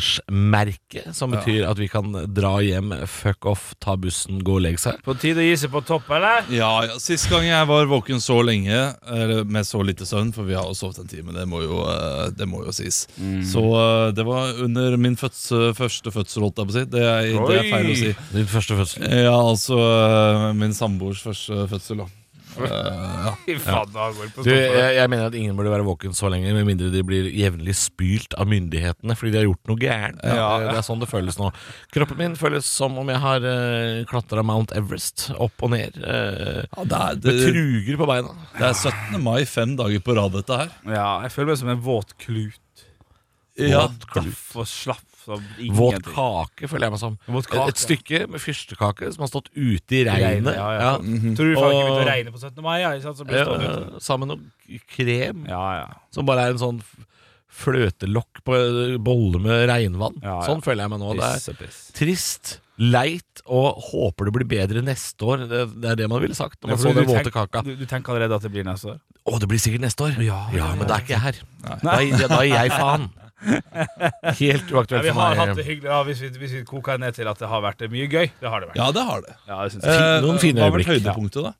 S6: 28-timersmerket, som
S5: Ja.
S6: betyr at vi kan dra hjem, fuck off, ta bussen, gå og legge seg.
S5: På tide å gi seg på topp, eller?
S4: Ja, ja, Sist gang jeg var våken så lenge, eller med så lite søvn, for vi har jo sovet en time, det må jo, eh, det må jo sies.
S5: Mm.
S4: Så eh, det var under min føds, eh, første fødsel, holdt jeg på å si. Det er, det er feil å si.
S6: Din første fødsel.
S4: Ja, altså eh, min samboers første fødsel, da. Eh,
S5: Fy faen, da går det på
S6: Du,
S5: toppen.
S6: jeg, jeg mener at ingen burde være våken så lenge, med mindre de blir jevnlig spylt av myndighetene fordi de har gjort noe gærent.
S4: Ja.
S6: Det, det er sånn det føles nå. Kroppen min føles som om jeg har uh, klatra Mount Everest opp og ned. eh, med truger på beina.
S4: Det er 17. mai, fem dager på rad, dette her.
S5: Ja, jeg føler meg som en våt klut.
S4: Ja.
S5: Våt Daff og slaff og ingenting.
S6: Våt kake, føler jeg meg som.
S5: Våt
S6: Et,
S5: kake.
S6: et stykke med fyrstekake som har stått ute i
S5: Regnet,
S6: regnet.
S5: ja, ja. Mm-hmm. Tror du faen ikke begynte å regne på 17. mai? Ja, ikke sant? Så blir det stående.
S6: Ja, sammen med noe krem som bare er en sånn f- fløtelokk på eh, bolle med regnvann.
S5: ja.
S6: Sånn føler jeg meg nå.
S5: Piss
S6: det
S5: og
S6: er
S5: piss.
S6: trist, leit og håper det blir bedre neste år. Det, det er det man ville sagt når
S5: Ja,
S6: man
S5: fordi
S6: så den
S5: du
S6: våte
S5: tenk-
S6: kaka.
S5: Du, du tenker allerede at det blir neste år?
S6: Å, det blir sikkert neste år. Ja, men da er ikke jeg her.
S5: Nei.
S6: Da, er- da er jeg faen. Helt uaktuelt
S5: Ja, vi
S6: for
S5: har
S6: meg.
S5: hatt det hyggelig da, hvis, vi, hvis vi koker ned til at det har vært mye gøy. Det har det vært.
S4: Ja, det har det.
S5: Ja, jeg synes
S4: Eh,
S5: det.
S4: Noen fine hva har vært øyeblikk. høydepunktet, da?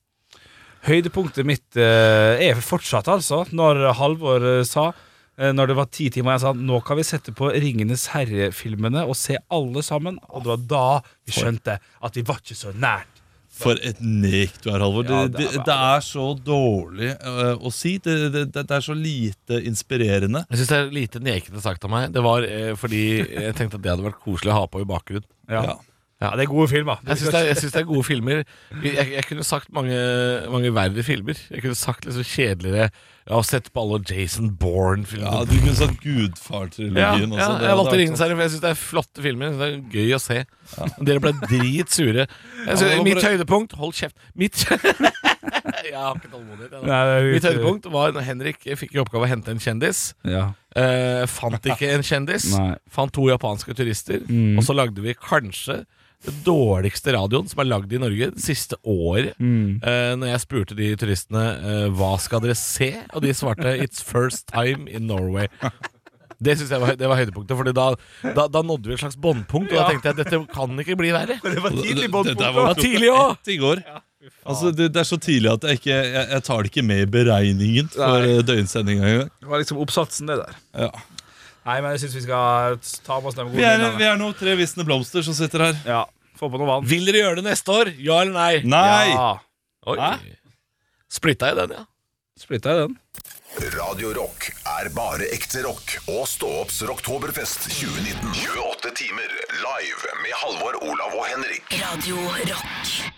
S5: Høydepunktet mitt eh, er fortsatt, altså, når Halvor eh, sa eh, når det var ti timer, jeg sa nå kan vi sette på Ringenes herre-filmene og se alle sammen. Og det var da vi skjønte at vi var ikke så nært.
S4: For et nek du er, Halvor.
S5: Ja,
S4: det,
S5: det er
S4: det, det er så dårlig eh, å si. Det, det, det det er så lite inspirerende.
S6: Jeg syns det er lite nekende sagt av meg. Det var eh, fordi jeg tenkte at det hadde vært koselig å ha på i bakgrunnen.
S5: Ja.
S6: Ja, det er gode filmer. Jeg syns det, er- jeg synes det er gode filmer. Jeg, jeg kunne sagt mange, mange verre filmer. Jeg kunne sagt litt så kjedeligere Jeg har sett på alle Jason Bourne-filmer.
S4: Ja, du kunne sagt Gudfar-trilogien
S6: ja,
S4: også,
S6: Ja,
S4: det
S6: jeg
S4: hadde
S6: valgte
S4: vært
S6: Ringenes herre, for jeg syns det er flotte filmer. Det er gøy å se. Dere ble dritsure. Jeg synes,
S4: Ja, men det var
S6: mitt
S4: bare-
S6: høydepunkt Hold kjeft. Mitt Jeg har ikke tålmodighet. jeg, da.
S5: Nei, det er jo
S6: Mitt
S5: ikke-
S6: høydepunkt var når Henrik fikk i oppgave å hente en kjendis.
S5: Ja.
S6: Eh, fant ikke en kjendis.
S5: Nei.
S6: Fant to japanske turister.
S5: Mm.
S6: Og så lagde vi kanskje den dårligste radioen som er lagd i Norge det siste året.
S5: Mm.
S6: Eh, når jeg spurte de turistene eh, hva skal dere se, og de svarte 'It's first time in Norway'. Det synes jeg var, høy- det var høydepunktet, Fordi da, da, da nådde vi et slags båndpunkt. Og da
S4: Ja.
S6: tenkte jeg dette kan ikke bli verre. Det var
S4: tidlig Det
S6: båndpunkt.
S4: der
S6: Det
S4: var
S6: var
S4: klokka
S6: tidlig også.
S4: ett i går. Altså, det, det er så tidlig at jeg, ikke, jeg, jeg tar det ikke med i beregningen for eh, døgnsendinga engang.
S5: Det var liksom oppsatsen, det der.
S4: Ja.
S5: Nei, men jeg syns vi skal ta med oss de gode
S4: Vi er,
S5: minnene.
S4: vi er nå tre visne blomster som sitter her.
S5: Ja, Få på noe vann.
S6: Vil dere gjøre det neste år? Ja eller nei?
S4: Nei!
S5: Ja.
S6: Oi. Splitta i den, ja.
S5: Splitta i den.
S1: Radio Rock er bare ekte rock. Og stå opps rocktoberfest 2019. 28 timer live med Halvor, Olav og Henrik.
S2: Radio Rock.